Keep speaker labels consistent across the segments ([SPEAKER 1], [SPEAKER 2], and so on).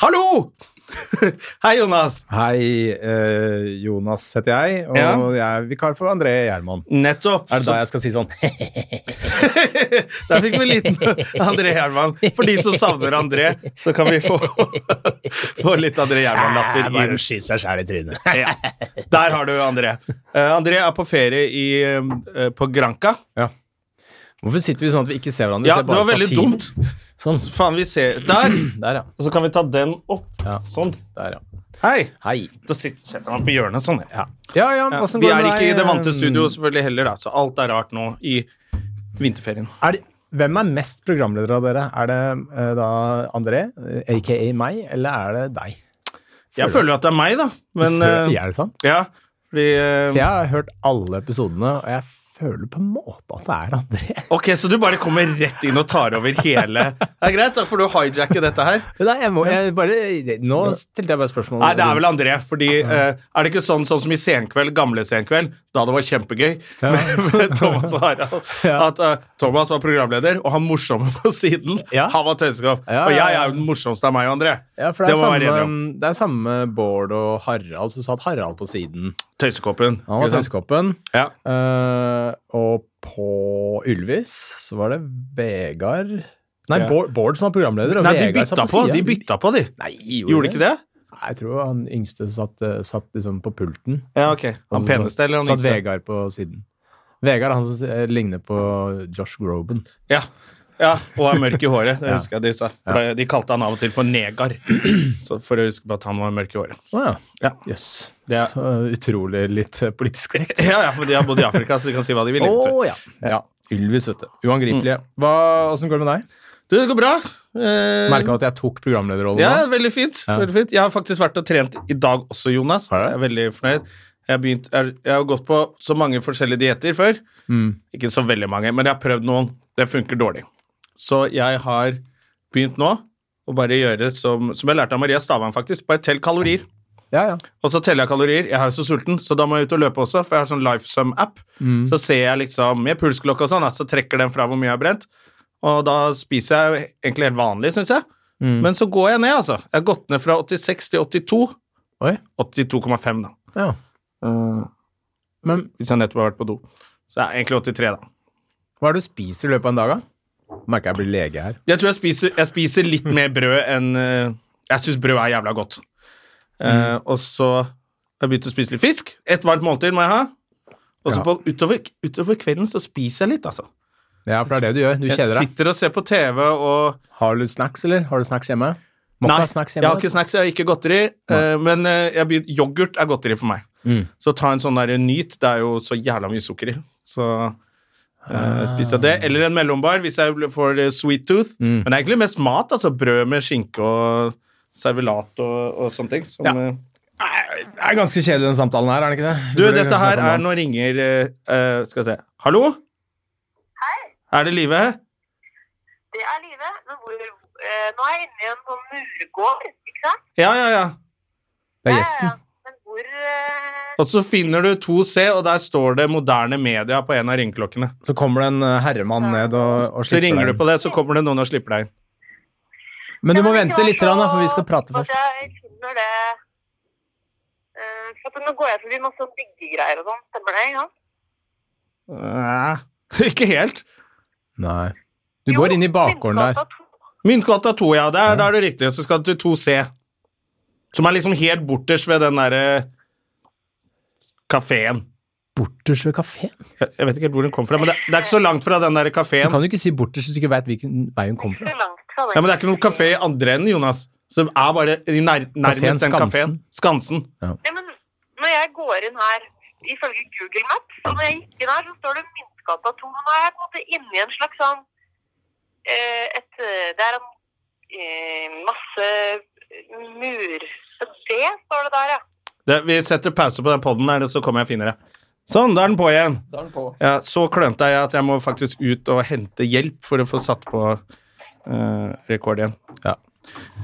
[SPEAKER 1] Hallo! Hei, Jonas.
[SPEAKER 2] Hei, eh, Jonas heter jeg, og
[SPEAKER 1] Ja.
[SPEAKER 2] jeg er vikar for André Gjermann.
[SPEAKER 1] Nettopp.
[SPEAKER 2] Er det da jeg skal si sånn
[SPEAKER 1] Der fikk vi en liten André Gjerman. For de som savner André, så kan vi få, få litt André Gjerman-latter inn.
[SPEAKER 2] skyte seg sjæl i trynet.
[SPEAKER 1] Ja. Der har du André. Eh, André er på ferie i, eh, på Granca.
[SPEAKER 2] Ja. Hvorfor sitter vi sånn at vi ikke ser hverandre? Vi
[SPEAKER 1] Ja,
[SPEAKER 2] ser
[SPEAKER 1] det
[SPEAKER 2] bare
[SPEAKER 1] var veldig
[SPEAKER 2] satiren.
[SPEAKER 1] dumt.
[SPEAKER 2] Sånn.
[SPEAKER 1] Faen, vi ser Der!
[SPEAKER 2] Der, ja.
[SPEAKER 1] Og så kan vi ta den opp.
[SPEAKER 2] Ja.
[SPEAKER 1] Sånn.
[SPEAKER 2] Der, ja.
[SPEAKER 1] Hei!
[SPEAKER 2] Hei.
[SPEAKER 1] Da sitter, setter man på hjørnet sånn. Ja.
[SPEAKER 2] Ja, ja,
[SPEAKER 1] Ja.
[SPEAKER 2] hvordan
[SPEAKER 1] Vi
[SPEAKER 2] går
[SPEAKER 1] er
[SPEAKER 2] med
[SPEAKER 1] ikke i
[SPEAKER 2] deg?
[SPEAKER 1] det vante studioet selvfølgelig heller, da, så alt er rart nå i vinterferien.
[SPEAKER 2] Mm. Er det, hvem er mest programleder av dere? Er det eh, da André, eh, aka meg, eller er det deg?
[SPEAKER 1] Jeg føler jo at det er meg, da. Men
[SPEAKER 2] Føler-
[SPEAKER 1] eh,
[SPEAKER 2] er det sant?
[SPEAKER 1] ja, fordi eh,
[SPEAKER 2] For jeg har hørt alle episodene, og jeg føler på en måte at det er André.
[SPEAKER 1] Ok, så du bare kommer rett inn og tar over hele Det er greit, da får du hijacker dette her.
[SPEAKER 2] Nei, jeg må, jeg bare, nå stilte jeg bare spørsmål.
[SPEAKER 1] Nei, det er vel André, fordi eh, Er det ikke sånn, sånn som i Senkveld, gamle Senkveld, da det var kjempegøy med, med Thomas og Harald?
[SPEAKER 2] Ja.
[SPEAKER 1] At eh, Thomas var programleder, og han morsomme på siden,
[SPEAKER 2] Ja.
[SPEAKER 1] han var tøysekopp.
[SPEAKER 2] Ja,
[SPEAKER 1] Og
[SPEAKER 2] ja,
[SPEAKER 1] jeg
[SPEAKER 2] ja.
[SPEAKER 1] er jo den morsomste av meg og André.
[SPEAKER 2] Ja, for det er,
[SPEAKER 1] må vi være enige om.
[SPEAKER 2] samme, det er samme Bård og Harald, så satt Harald på siden.
[SPEAKER 1] Tøysekoppen.
[SPEAKER 2] Han var
[SPEAKER 1] ikke sant?
[SPEAKER 2] tøysekoppen.
[SPEAKER 1] Ja.
[SPEAKER 2] Eh, og på Ylvis så var det Vegard Nei,
[SPEAKER 1] Ja.
[SPEAKER 2] Bård, Bård som var programleder. Og
[SPEAKER 1] Nei, de
[SPEAKER 2] Vegard satt
[SPEAKER 1] bytta på,
[SPEAKER 2] siden.
[SPEAKER 1] de bytta på, de.
[SPEAKER 2] Nei,
[SPEAKER 1] Gjorde de ikke det?
[SPEAKER 2] Nei, jeg tror han yngste satt, eh, satt liksom på pulten.
[SPEAKER 1] Ja, ok.
[SPEAKER 2] Og
[SPEAKER 1] Han
[SPEAKER 2] så
[SPEAKER 1] peneste eller han
[SPEAKER 2] Satt
[SPEAKER 1] yngste?
[SPEAKER 2] Vegard på siden. Vegard han som eh, ligner på Josh Groban.
[SPEAKER 1] Ja. ja, og er mørk i håret. Det
[SPEAKER 2] Ja.
[SPEAKER 1] husker jeg de sa. For da- De kalte han av og til for negar, så for å huske på at han var mørk i håret.
[SPEAKER 2] Å ja.
[SPEAKER 1] Ja.
[SPEAKER 2] Jøss.
[SPEAKER 1] Det er-
[SPEAKER 2] Så Utrolig litt eh, politisk korrekt.
[SPEAKER 1] Ja, ja, men de har bodd i Afrika, så de kan si hva de vil. egentlig.
[SPEAKER 2] ja. ja. Mm. Ylvis, vet du. Uangripelige. Hva, åssen går det med deg?
[SPEAKER 1] Du, det går bra. Eh,
[SPEAKER 2] Merka at jeg tok programlederrollen
[SPEAKER 1] ja,
[SPEAKER 2] nå?
[SPEAKER 1] veldig fint.
[SPEAKER 2] Ja.
[SPEAKER 1] veldig fint. Jeg har faktisk vært og trent i dag også, Jonas.
[SPEAKER 2] Har du?
[SPEAKER 1] Jeg er veldig fornøyd. Jeg har, begynt, jeg, jeg har gått på så mange forskjellige dietter før.
[SPEAKER 2] Mm.
[SPEAKER 1] Ikke så veldig mange, men jeg har prøvd noen. Det funker dårlig. Så jeg har begynt nå å bare gjøre som, som jeg lærte av Maria Stavang, faktisk. Bare tell kalorier.
[SPEAKER 2] Ja, ja.
[SPEAKER 1] Og så teller jeg kalorier. Jeg er jo så sulten, så da må jeg ut og løpe også, for jeg har sånn LifeSum-app. Så ser jeg liksom med pulsklokke og sånn, da, så trekker den fra hvor mye jeg har brent. Og da spiser jeg jo egentlig helt vanlig, syns jeg. Men så går jeg ned, altså. Jeg har gått ned fra 86 til 82.
[SPEAKER 2] Oi.
[SPEAKER 1] 82,5, da.
[SPEAKER 2] Ja. Men
[SPEAKER 1] Hvis jeg nettopp har vært på do. Så det er egentlig 83, da.
[SPEAKER 2] hva er det du spiser i løpet av en dag, da? Merker jeg blir lege her.
[SPEAKER 1] Jeg tror jeg spiser, jeg spiser litt mer brød enn eh, Jeg syns brød er jævla godt. Eh,
[SPEAKER 2] Mm.
[SPEAKER 1] og så har jeg begynt å spise litt fisk. Et varmt måltid må jeg ha. Og så
[SPEAKER 2] Ja.
[SPEAKER 1] på- utover, utover kvelden så spiser jeg litt, altså.
[SPEAKER 2] Ja, for det er det du gjør. Du
[SPEAKER 1] Jeg
[SPEAKER 2] kjeder deg.
[SPEAKER 1] sitter og ser på TV og
[SPEAKER 2] Har du snacks, eller? Har du snacks hjemme? Må
[SPEAKER 1] Nei,
[SPEAKER 2] ikke ha snacks
[SPEAKER 1] jeg
[SPEAKER 2] hjemme.
[SPEAKER 1] har ikke snacks, jeg har ikke godteri. eh, men eh, jeg begyn- yoghurt er godteri for meg. Så ta en sånn der nyt. Det er jo så jævla mye sukker i. Så eh, spiser jeg det. Eller en mellombar hvis jeg blir- får eh, sweet tooth. Men det er egentlig mest mat. altså Brød med skinke og servelat og, og sånne ting. Som,
[SPEAKER 2] Ja.
[SPEAKER 1] eh,
[SPEAKER 2] Nei, Det er ganske kjedelig, den samtalen her, er det ikke det? Vi
[SPEAKER 1] Du,
[SPEAKER 2] burde
[SPEAKER 1] dette
[SPEAKER 2] snakke
[SPEAKER 1] her
[SPEAKER 2] om
[SPEAKER 1] er
[SPEAKER 2] mat.
[SPEAKER 1] Nå ringer eh, eh, Skal vi se. Hallo? Hei. Er det Live?
[SPEAKER 3] Det er livet. Men hvor, eh, nå er jeg inne i en sånn murgård, ikke sant?
[SPEAKER 1] Ja, ja, ja.
[SPEAKER 2] Det er
[SPEAKER 3] Ja, ja,
[SPEAKER 2] gjesten.
[SPEAKER 3] ja. Men hvor eh,
[SPEAKER 1] Og så finner du 2C, og der står det 'Moderne Media' på en av ringeklokkene.
[SPEAKER 2] Så kommer det en eh, herremann ned og, og
[SPEAKER 1] Så
[SPEAKER 2] slipper
[SPEAKER 1] ringer
[SPEAKER 2] deg
[SPEAKER 1] du
[SPEAKER 2] inn.
[SPEAKER 1] på det, så kommer det noen og slipper deg inn.
[SPEAKER 2] Men du
[SPEAKER 3] Ja,
[SPEAKER 2] må
[SPEAKER 3] men
[SPEAKER 2] vente
[SPEAKER 3] jeg
[SPEAKER 2] litt,
[SPEAKER 3] tror
[SPEAKER 2] rann, da, for vi skal
[SPEAKER 3] at-
[SPEAKER 2] prate
[SPEAKER 3] At
[SPEAKER 2] først.
[SPEAKER 3] jeg finner det eh, for at Nå går jeg forbi masse byggegreier og sånn. Stemmer det? ikke sant?
[SPEAKER 1] Nei, ikke helt.
[SPEAKER 2] Nei. Du går inn i bakgården der.
[SPEAKER 1] Myntgata 2, ja. Der, der er det riktig. Så skal du til 2C. Som er liksom helt borters ved den eh, derre kafeen.
[SPEAKER 2] Borters ved kafeen?
[SPEAKER 1] Jeg, jeg vet ikke helt hvor den kom fra, men det, det er ikke så langt fra den derre
[SPEAKER 2] Du
[SPEAKER 1] kafeen.
[SPEAKER 2] kan jo ikke si borters hvis du ikke veit hvilken vei hun kommer fra.
[SPEAKER 1] Ja, men det er ikke noen kafé i andre enden, Jonas. Så det er bare i nær, nærmest den kafeen.
[SPEAKER 2] Kafeen
[SPEAKER 1] Skansen.
[SPEAKER 3] Nei, men når jeg går inn her, ifølge Google Maps, og når jeg gikk inn her, så står det Myntgata 2. Nå er jeg på en måte inne i en slags sånn eh, et, eh, Det er en eh, masse mur. Så det står det der, ja.
[SPEAKER 1] Det, vi setter pause på den poden, her, så kommer jeg og finner det. Sånn, da er den på igjen. Ja, så klønete er jeg at jeg må faktisk ut og hente hjelp for å få satt på eh, rekord igjen. Ja.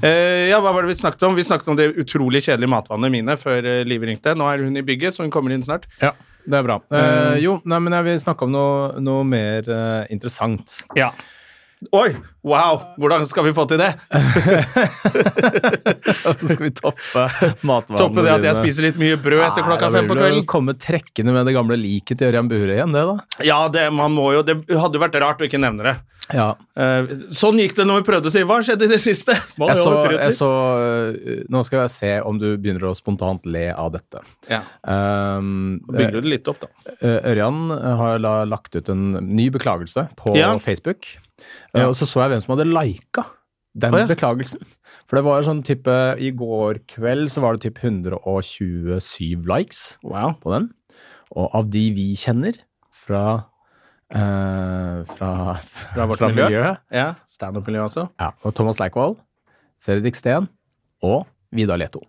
[SPEAKER 1] Eh, ja, hva var det vi snakket om? Vi snakket om det utrolig kjedelige matvannet mine før uh, Liv ringte. Nå er hun i bygget, så hun kommer inn snart.
[SPEAKER 2] Ja, det er bra. Eh, jo, nei, men jeg vil snakke om noe, noe mer eh, interessant.
[SPEAKER 1] Ja. Oi! Wow! Hvordan skal vi få til det?
[SPEAKER 2] Så skal vi toppe matvanene
[SPEAKER 1] Toppe det at jeg spiser litt mye brød etter klokka fem på kvelden.
[SPEAKER 2] Komme trekkende med det gamle liket til Ørjan Bure igjen, det da.
[SPEAKER 1] Ja, det, man må jo, det hadde jo vært rart å ikke nevne det.
[SPEAKER 2] Ja.
[SPEAKER 1] Eh, sånn gikk det når vi prøvde å si 'hva skjedde i det siste'? Må
[SPEAKER 2] Jeg
[SPEAKER 1] jo
[SPEAKER 2] så,
[SPEAKER 1] tro
[SPEAKER 2] jeg
[SPEAKER 1] litt.
[SPEAKER 2] så, eh, nå skal jeg se om du begynner å spontant le av dette.
[SPEAKER 1] Ja.
[SPEAKER 2] Um,
[SPEAKER 1] Bygger du det litt opp, da?
[SPEAKER 2] Eh, Ørjan har la, lagt ut en ny beklagelse på
[SPEAKER 1] Ja.
[SPEAKER 2] Facebook. Eh, Og så så jeg hvem som hadde lika den
[SPEAKER 1] Å, ja.
[SPEAKER 2] beklagelsen. For det var sånn type I går kveld så var det typ 127 likes
[SPEAKER 1] Wow.
[SPEAKER 2] på den. Og av de vi kjenner fra eh, fra,
[SPEAKER 1] Fra vårt miljø.
[SPEAKER 2] miljøet
[SPEAKER 1] Ja. Standup-miljø, altså?
[SPEAKER 2] ja, og Thomas Leikvoll, Fredrik Steen og Vidar Leto.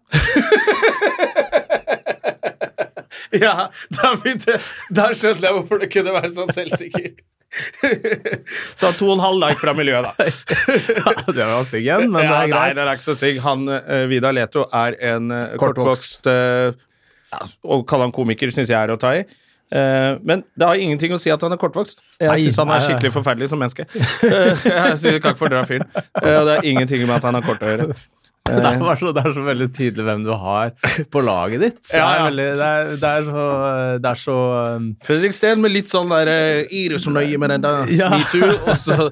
[SPEAKER 1] Ja, da, begynte, da skjønte jeg hvorfor du kunne være så selvsikker. så to og en halv like fra miljøet, da.
[SPEAKER 2] det var stygg igjen, men det
[SPEAKER 1] ja,
[SPEAKER 2] er
[SPEAKER 1] nei,
[SPEAKER 2] greit.
[SPEAKER 1] det er ikke så stygg. Han, eh, Vidar Leto er en eh,
[SPEAKER 2] Kortvokst.
[SPEAKER 1] kortvokst eh, ja, Å kalle han komiker syns jeg er å ta i. Eh, men det har ingenting å si at han er kortvokst.
[SPEAKER 2] Nei,
[SPEAKER 1] Jeg syns han
[SPEAKER 2] nei,
[SPEAKER 1] er
[SPEAKER 2] nei.
[SPEAKER 1] skikkelig forferdelig som menneske. Eh, jeg synes jeg kan ikke fordra fyren. Eh, og det har ingenting med at han har kort å gjøre.
[SPEAKER 2] Det er, bare så, det er så veldig tydelig hvem du har på laget ditt. Så
[SPEAKER 1] Ja, ja.
[SPEAKER 2] Det, er veldig, det, er, det er så, det er så um,
[SPEAKER 1] Fredrik Steen med litt sånn der eh, irusnøye med den der
[SPEAKER 2] Ja.
[SPEAKER 1] metoo, og så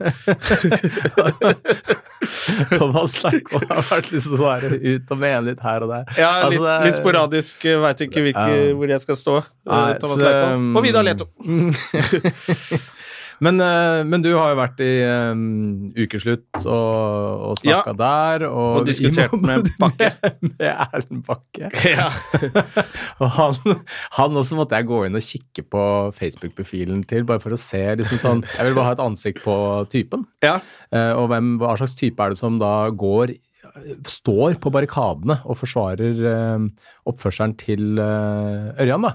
[SPEAKER 2] Thomas Leikvoll har vært litt sånn der, ut og mene litt her og der.
[SPEAKER 1] Ja, litt,
[SPEAKER 2] Altså, det er-
[SPEAKER 1] litt sporadisk. eh, Vet ikke hvilke,
[SPEAKER 2] Ja.
[SPEAKER 1] hvor jeg skal stå. eh,
[SPEAKER 2] Nei,
[SPEAKER 1] Thomas
[SPEAKER 2] så- um,
[SPEAKER 1] Leikvoll. Og Vidar Leto.
[SPEAKER 2] Men, eh, men du har jo vært i um, Ukeslutt og, og
[SPEAKER 1] Ja.
[SPEAKER 2] snakka der. Og,
[SPEAKER 1] Og diskutert
[SPEAKER 2] i-
[SPEAKER 1] med Bakke.
[SPEAKER 2] Med, Erlend Bakke.
[SPEAKER 1] Ja.
[SPEAKER 2] Og han, han også måtte jeg gå inn og kikke på Facebook-profilen til, bare for å se liksom sånn Jeg vil bare ha et ansikt på typen.
[SPEAKER 1] ja.
[SPEAKER 2] Eh, Og hvem, hva slags type er det som da går Står på barrikadene og forsvarer eh, oppførselen til eh, Ørjan, da.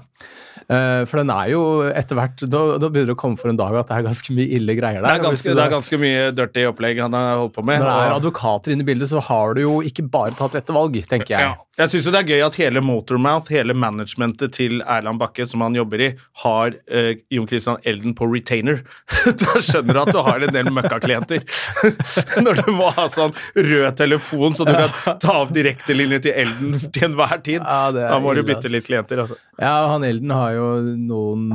[SPEAKER 2] Eh, for den er jo etter hvert da, da begynner det å komme for en dag at det er ganske mye ille greier
[SPEAKER 1] Det
[SPEAKER 2] der.
[SPEAKER 1] er
[SPEAKER 2] Og hvis
[SPEAKER 1] ganske,
[SPEAKER 2] du
[SPEAKER 1] det
[SPEAKER 2] da-
[SPEAKER 1] er ganske mye dirty opplegg han har holdt på med.
[SPEAKER 2] når det er
[SPEAKER 1] og-
[SPEAKER 2] advokater inne i bildet, så har du jo ikke bare tatt rette valg, tenker jeg.
[SPEAKER 1] Ja. Jeg syns det er gøy at hele Motormouth, hele managementet til Erland Bakke, som han jobber i, har eh, Jon Christian Elden på retainer. da skjønner du at du har en del møkkaklienter. Når du må ha sånn rød telefon, så du kan ta opp direktelinjer til Elden til enhver tid.
[SPEAKER 2] Ja, det er
[SPEAKER 1] da må du
[SPEAKER 2] ille, ass.
[SPEAKER 1] bytte litt klienter, altså.
[SPEAKER 2] Ja, han Elden har jo noen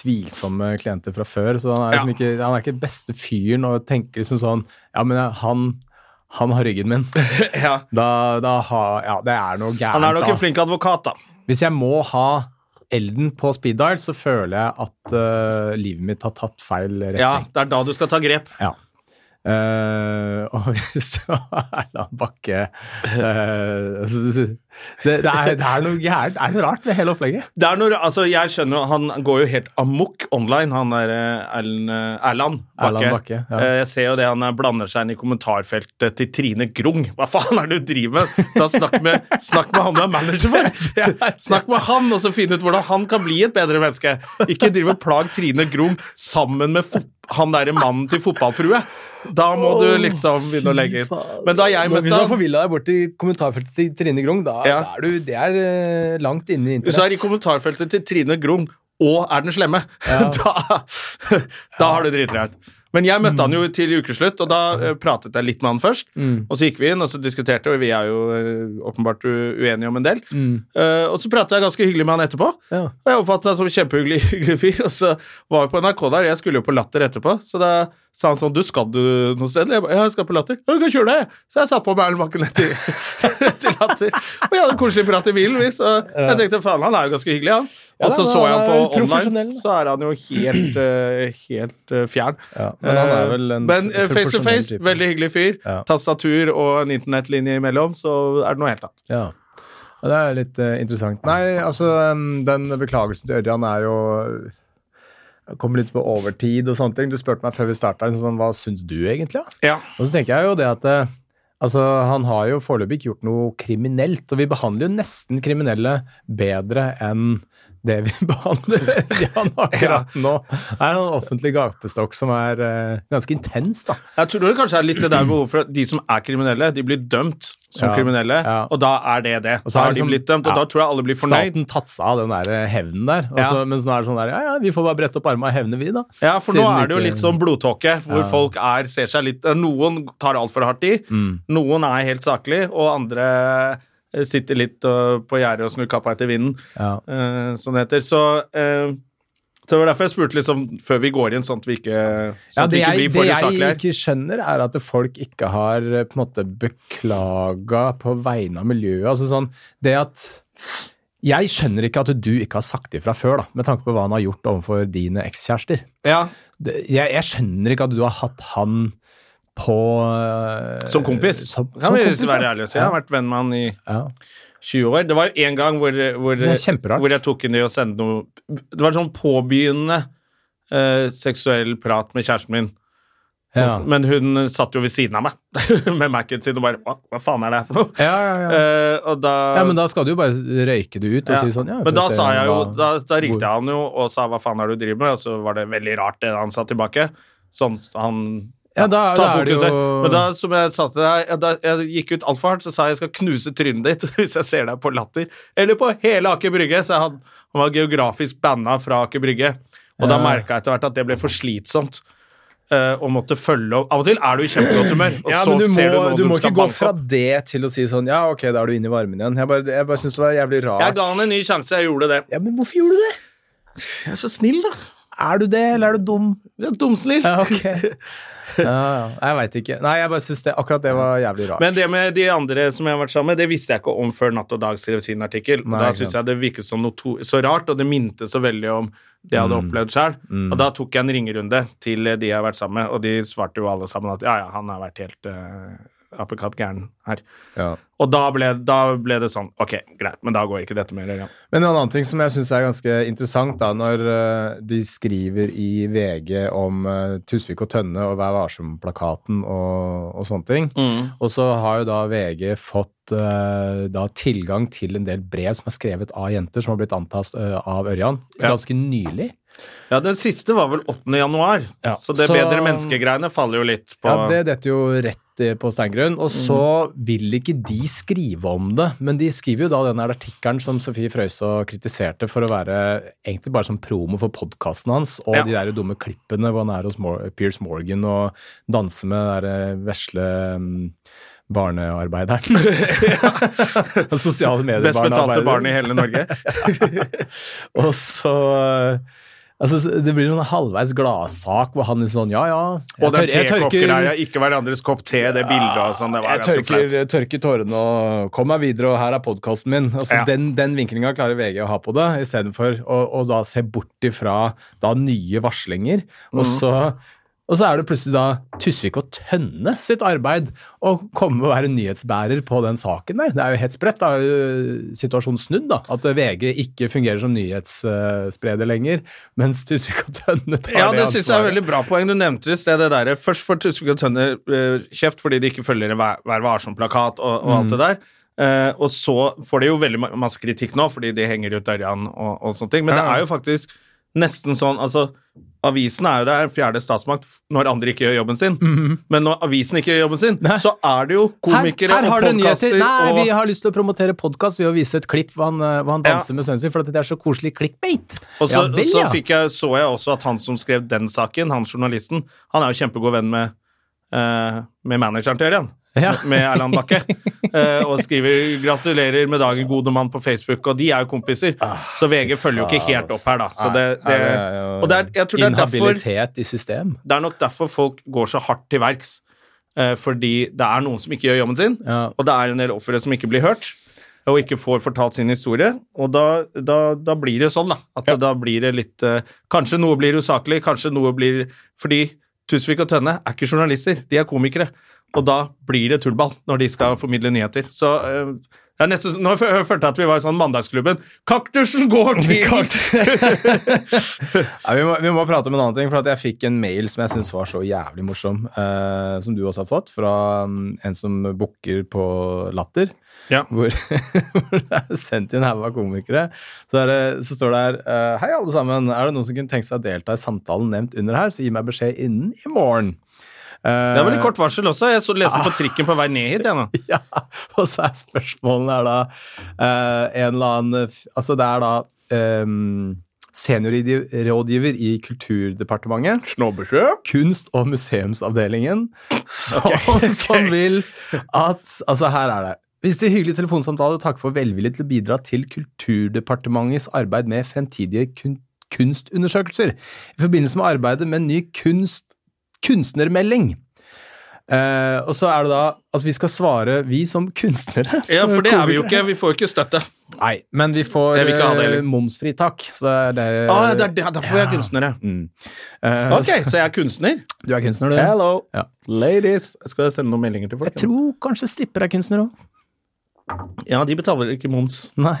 [SPEAKER 2] tvilsomme klienter fra før, så han er, liksom
[SPEAKER 1] Ja.
[SPEAKER 2] ikke, han er ikke beste fyren og tenker liksom sånn Ja, men jeg- han, han har ryggen min.
[SPEAKER 1] Ja.
[SPEAKER 2] Da, da har Ja, det er noe gærent.
[SPEAKER 1] Han er nok
[SPEAKER 2] da.
[SPEAKER 1] en flink advokat, da.
[SPEAKER 2] Hvis jeg må ha Elden på speed dial, så føler jeg at eh, livet mitt har tatt feil retning.
[SPEAKER 1] Ja, det er da du skal ta grep.
[SPEAKER 2] Ja. Eh, og så Erland Bakke eh, så- så- det, det, er, det er noe gærent. Det er noe rart med hele opplegget.
[SPEAKER 1] Det er når, altså, jeg skjønner, jo, Han går jo helt amok online, han der eh, Erlend- eh, Erland Bakke.
[SPEAKER 2] Erland Bakke, ja.
[SPEAKER 1] Eh, Jeg ser jo det han eh, blander seg inn i kommentarfeltet til Trine Grung. Hva faen er det du driver med?! Ta Snakk med, snakk med han du er manager for! Snakk med han, og så finn ut hvordan han kan bli et bedre menneske! Ikke drive og plag Trine Grung sammen med fot han derre mannen til fotballfrue! Da må du liksom begynne å legge inn. Men da jeg møtte
[SPEAKER 2] Hvis du har
[SPEAKER 1] han
[SPEAKER 2] forvilla deg bort i kommentarfeltet til Trine Grung, da,
[SPEAKER 1] Ja.
[SPEAKER 2] da er du det er eh, langt inne i
[SPEAKER 1] Hvis du er i
[SPEAKER 2] internett.
[SPEAKER 1] kommentarfeltet til Trine Grung og er den slemme, da, da har du driti deg ut. Men jeg møtte han jo til ukeslutt, og da eh, pratet jeg litt med han først. Og så gikk vi inn, og så diskuterte, og vi er jo eh, åpenbart u- uenige om en del. Eh, og så pratet jeg ganske hyggelig med han etterpå.
[SPEAKER 2] Ja.
[SPEAKER 1] Og jeg oppfattet han som en kjempehyggelig hyggelig fyr. Og så var vi på NRK der, jeg skulle jo på Latter etterpå. Så da sa han sånn 'Du, skal du noe sted?' eller? Jeg ba, ja, jeg skal på Latter. Ja, du kan kjøre deg, jeg. Så jeg satt på meg Erlend Bakken etter, etter Latter. Og vi hadde en koselig prat i bilen, vi. Så jeg tenkte faen, han er jo ganske hyggelig, han.
[SPEAKER 2] Ja,
[SPEAKER 1] Og så
[SPEAKER 2] da,
[SPEAKER 1] så jeg han
[SPEAKER 2] han er
[SPEAKER 1] på online,
[SPEAKER 2] profesjonell.
[SPEAKER 1] så er han jo helt, eh, helt eh, fjern.
[SPEAKER 2] Ja, men han er vel en
[SPEAKER 1] Eh, men, eh, face to
[SPEAKER 2] profesjonell
[SPEAKER 1] face,
[SPEAKER 2] type.
[SPEAKER 1] veldig hyggelig fyr.
[SPEAKER 2] Ja.
[SPEAKER 1] Tastatur og en internettlinje imellom, så er det noe helt annet.
[SPEAKER 2] Ja. Ja, det er litt eh, interessant. Nei, altså, um, den beklagelsen til Ørjan er jo eh, Kommer litt på liksom, overtid og sånne ting. Du spurte meg før vi starta, sånn, hva syns du egentlig? da?
[SPEAKER 1] Ja.
[SPEAKER 2] Og så tenker jeg jo det at eh, Altså, Han har jo foreløpig ikke gjort noe kriminelt, og vi behandler jo nesten kriminelle bedre enn det vi behandler de han akkurat nå. Det er en offentlig gapestokk som er eh, ganske intens, da.
[SPEAKER 1] Jeg tror det kanskje er litt det der behovet for at de som er kriminelle, de blir dømt som
[SPEAKER 2] Ja,
[SPEAKER 1] kriminelle,
[SPEAKER 2] ja.
[SPEAKER 1] og da er det det.
[SPEAKER 2] Og
[SPEAKER 1] Da
[SPEAKER 2] så er
[SPEAKER 1] har
[SPEAKER 2] det
[SPEAKER 1] de
[SPEAKER 2] som-
[SPEAKER 1] blitt dømt, og
[SPEAKER 2] ja.
[SPEAKER 1] da tror jeg alle blir fornøyd.
[SPEAKER 2] Staten tatt seg av den der eh, hevnen der. Og så-
[SPEAKER 1] Ja.
[SPEAKER 2] Men så nå er det sånn der Ja, ja, vi får bare brette opp armene og hevne, vi, da.
[SPEAKER 1] Ja, for nå
[SPEAKER 2] Siden
[SPEAKER 1] er det jo
[SPEAKER 2] ikke-
[SPEAKER 1] litt sånn blodtåke, hvor
[SPEAKER 2] Ja.
[SPEAKER 1] folk er, ser seg litt Noen tar altfor hardt i,
[SPEAKER 2] Mm.
[SPEAKER 1] noen er helt saklig, og andre eh, sitter litt eh, på gjerdet og snur kappa etter vinden,
[SPEAKER 2] Ja.
[SPEAKER 1] eh, som det heter. Så eh, det var derfor jeg spurte liksom før vi går inn, sånn at vi ikke, sånn
[SPEAKER 2] Ja,
[SPEAKER 1] at
[SPEAKER 2] det
[SPEAKER 1] vi ikke
[SPEAKER 2] jeg,
[SPEAKER 1] blir
[SPEAKER 2] det
[SPEAKER 1] for
[SPEAKER 2] jeg
[SPEAKER 1] usaklige. her.
[SPEAKER 2] ikke skjønner, er at folk ikke har eh, på en måte beklaga på vegne av miljøet. Altså sånn, det at Jeg skjønner ikke at du ikke har sagt ifra før, da, med tanke på hva han har gjort overfor dine ekskjærester.
[SPEAKER 1] Ja,
[SPEAKER 2] Det- Jeg, jeg skjønner ikke at du har hatt han på eh,
[SPEAKER 1] som kompis.
[SPEAKER 2] Som, som
[SPEAKER 1] kan vi
[SPEAKER 2] kompis,
[SPEAKER 1] være
[SPEAKER 2] ja.
[SPEAKER 1] ærlige og si. Jeg har vært venn med han i
[SPEAKER 2] Ja.
[SPEAKER 1] 20 år. Det var jo en gang hvor, hvor,
[SPEAKER 2] Det er kjemperart.
[SPEAKER 1] hvor jeg tok henne i å sende noe Det var sånn påbegynnende eh, seksuell prat med kjæresten min.
[SPEAKER 2] Ja.
[SPEAKER 1] Men hun satt jo ved siden av meg med Mac-en sin og bare Hva, hva faen er det her for noe?
[SPEAKER 2] Ja, ja, ja.
[SPEAKER 1] Eh, og da,
[SPEAKER 2] ja, men da skal du jo bare røyke det ut og
[SPEAKER 1] Ja.
[SPEAKER 2] si sånn ja,
[SPEAKER 1] Men
[SPEAKER 2] får
[SPEAKER 1] da
[SPEAKER 2] se
[SPEAKER 1] sa jeg jo
[SPEAKER 2] hva-
[SPEAKER 1] Da, da ringte
[SPEAKER 2] hvor-
[SPEAKER 1] jeg han jo og sa hva faen er det du driver med, og så var det veldig rart det han sa tilbake. Sånn han
[SPEAKER 2] Ja, da-
[SPEAKER 1] ta
[SPEAKER 2] da er det
[SPEAKER 1] fokuset.
[SPEAKER 2] jo-
[SPEAKER 1] Men da, som jeg sa til deg, jeg, da, jeg gikk ut altfor hardt, så sa jeg jeg skal knuse trynet ditt hvis jeg ser deg på Latter. Eller på hele Aker Brygge. Så jeg hadde, han var geografisk banna fra Aker Brygge. Og da
[SPEAKER 2] Ja.
[SPEAKER 1] merka jeg etter hvert at det ble for slitsomt. eh, Og måtte følge opp Av og til er du i kjempegodt humør, og
[SPEAKER 2] Ja,
[SPEAKER 1] så
[SPEAKER 2] men du
[SPEAKER 1] ser du
[SPEAKER 2] må,
[SPEAKER 1] noen
[SPEAKER 2] du
[SPEAKER 1] du,
[SPEAKER 2] må
[SPEAKER 1] skal
[SPEAKER 2] ikke gå
[SPEAKER 1] banke
[SPEAKER 2] fra
[SPEAKER 1] opp.
[SPEAKER 2] det til å si sånn Ja, ok, da er du inne i varmen igjen. Jeg bare, jeg bare syns det var jævlig
[SPEAKER 1] Jeg
[SPEAKER 2] rart.
[SPEAKER 1] ga han en ny sjanse, jeg gjorde det.
[SPEAKER 2] Ja, Men hvorfor gjorde du det?
[SPEAKER 1] Jeg er så snill, da.
[SPEAKER 2] Er du det, eller er du dum?
[SPEAKER 1] Jeg er Dumsnill.
[SPEAKER 2] Ja, ok. Ja, ja. jeg veit ikke. Nei, jeg bare syns det, akkurat det var jævlig rart.
[SPEAKER 1] Men det med de andre som jeg har vært sammen med, det visste jeg ikke om før Natt og Dag skrev sin artikkel.
[SPEAKER 2] Nei,
[SPEAKER 1] da
[SPEAKER 2] ikke
[SPEAKER 1] syntes jeg
[SPEAKER 2] sant.
[SPEAKER 1] det virket som noe to så rart, og det minte så veldig om det jeg hadde opplevd sjøl. Og da tok jeg en ringerunde til eh, de jeg har vært sammen med, og de svarte jo alle sammen at ja, ja, han har vært helt eh, apekatt gæren her.
[SPEAKER 2] ja.
[SPEAKER 1] Og da ble, da ble det sånn Ok, greit, men da går ikke dette mer. Ja.
[SPEAKER 2] Men en annen ting som jeg syns er ganske interessant, da, når eh, de skriver i VG om eh, Tusvik og Tønne og Vær varsom-plakaten og, og sånne ting, og så har jo da VG fått eh, da tilgang til en del brev som er skrevet av jenter som har blitt antastet eh, av Ørjan
[SPEAKER 1] Ja.
[SPEAKER 2] ganske nylig.
[SPEAKER 1] ja, den siste var vel 8. januar,
[SPEAKER 2] Ja.
[SPEAKER 1] så det
[SPEAKER 2] Så-
[SPEAKER 1] bedre menneskegreiene faller jo litt på Mhm.
[SPEAKER 2] Ja, det detter jo rett eh, på steingrunn. Og så vil ikke de skrive om det, men de skriver jo da den her artikkelen som Sofie Frøysaa kritiserte for å være egentlig bare som promo for podkasten hans, og
[SPEAKER 1] Ja.
[SPEAKER 2] de der dumme klippene hvor han er hos Mor Piers Morgan og danser med den der eh, vesle mm, barnearbeideren. Den Sosiale medier
[SPEAKER 1] best betalte barnet i hele Norge.
[SPEAKER 2] Og så eh, Altså, Det blir sånn halvveis gladsak hvor han er sånn Ja, ja. jeg
[SPEAKER 1] Og den
[SPEAKER 2] tør- jeg tørker-
[SPEAKER 1] tekoppen der, ja, ikke hverandres kopp te, det bildet og sånn, det var
[SPEAKER 2] jeg
[SPEAKER 1] ganske
[SPEAKER 2] tørker,
[SPEAKER 1] flaut.
[SPEAKER 2] tørker tårene og kom meg videre, og her er podkasten min. Altså,
[SPEAKER 1] Ja.
[SPEAKER 2] Den, den vinklinga klarer VG å ha på det, istedenfor å, å da se bort ifra da nye varslinger. Og,
[SPEAKER 1] Mm.
[SPEAKER 2] så, og så er det plutselig da Tusvik og Tønne sitt arbeid å komme og være nyhetsbærer på den saken der. Det er jo helt sprøtt. Da er jo situasjonen snudd, da. At VG ikke fungerer som nyhetsspreder lenger, mens Tusvik og Tønne tar
[SPEAKER 1] Ja, det
[SPEAKER 2] ansvaret.
[SPEAKER 1] syns jeg er veldig bra poeng. Du nevnte i sted det derre Først får Tusvik og Tønne eh, kjeft fordi de ikke følger Vær, vær varsom-plakat og, og
[SPEAKER 2] Mm.
[SPEAKER 1] alt det der. Eh, og så får de jo veldig ma- masse kritikk nå fordi de henger ut Ørjan og, og sånne ting. Men det
[SPEAKER 2] Ja.
[SPEAKER 1] er jo faktisk nesten sånn Altså, avisen er jo der, fjerde statsmakt, f- når andre ikke gjør jobben sin. Men når avisen ikke gjør jobben sin, så er det jo komikere
[SPEAKER 2] Mhm. her, her har
[SPEAKER 1] og
[SPEAKER 2] dere nyheter.
[SPEAKER 1] podkaster
[SPEAKER 2] Nei,
[SPEAKER 1] og
[SPEAKER 2] vi har lyst til å promotere podkast ved å vise et klipp hvor han, eh, hvor han danser med sønnen sin, for at det er så koselig clickbait.
[SPEAKER 1] Og så,
[SPEAKER 2] Ja vel,
[SPEAKER 1] så
[SPEAKER 2] ja.
[SPEAKER 1] fikk jeg, så jeg også at han som skrev den saken, han journalisten, han er jo kjempegod venn med, eh, med manageren til Ørjan.
[SPEAKER 2] Ja.
[SPEAKER 1] Med Erland Bakke. Eh, og skriver 'gratulerer med dagen, gode mann' på Facebook, og de er jo kompiser.
[SPEAKER 2] Ah,
[SPEAKER 1] Så VG følger jo ikke helt opp her, da. Så det, det, og det er, jeg tror det er derfor
[SPEAKER 2] Inhabilitet i system.
[SPEAKER 1] det er nok derfor folk går så hardt til verks. eh, Fordi det er noen som ikke gjør jobben sin,
[SPEAKER 2] Ja.
[SPEAKER 1] og det er en del ofre som ikke blir hørt. Og ikke får fortalt sin historie. Og da, da, da blir det sånn, da. At da blir det litt eh, Kanskje noe blir usaklig, kanskje noe blir Fordi Tusvik og Tønne er ikke journalister, de er komikere. Og da blir det tullball når de skal formidle nyheter. Så eh, Det er nesten, nå fø- følte jeg at vi var i sånn Mandagsklubben. Kaktusen går til
[SPEAKER 2] Ja, vi, må, vi må prate om en annen ting, for at jeg fikk en mail som jeg syns var så jævlig morsom, eh, som du også har fått, fra mm, en som booker på Latter.
[SPEAKER 1] Ja.
[SPEAKER 2] Hvor, hvor det er sendt inn haug av komikere. Så, er det, så står det her eh, Hei, alle sammen. Er det noen som kunne tenkt seg å delta i samtalen nevnt under her, så gi meg beskjed innen i morgen. Eh,
[SPEAKER 1] Det er veldig kort varsel også. Jeg så leste på trikken på vei ned hit. Jeg, nå.
[SPEAKER 2] Ja, og så er spørsmålene er da eh, en eller annen f- Altså, det er da um, seniorrådgiver i Kulturdepartementet, kunst- og museumsavdelingen, som, som vil at Altså, her er det. Hvis det er hyggelig telefonsamtale, takk for velvillig til å bidra til Kulturdepartementets arbeid med fremtidige kun kunstundersøkelser i forbindelse med arbeidet med en ny kunst, kunstnermelding. Eh, og så er det da Altså, vi skal svare, vi som kunstnere
[SPEAKER 1] Ja, for det er vi jo ikke. Vi får jo ikke støtte.
[SPEAKER 2] Nei, men vi får
[SPEAKER 1] Jeg vil ikke ha det,
[SPEAKER 2] eh,
[SPEAKER 1] heller.
[SPEAKER 2] momsfritak. Så det er
[SPEAKER 1] Ah, det er det- derfor vi er kunstnere.
[SPEAKER 2] Mm. Eh,
[SPEAKER 1] Ok, så jeg er kunstner?
[SPEAKER 2] Du er kunstner, du.
[SPEAKER 1] Hello,
[SPEAKER 2] Ja.
[SPEAKER 1] ladies. Skal jeg sende noen meldinger til folk?
[SPEAKER 2] Jeg tror kanskje stripper er kunstner òg.
[SPEAKER 1] Ja, de betaler ikke moms.
[SPEAKER 2] Nei.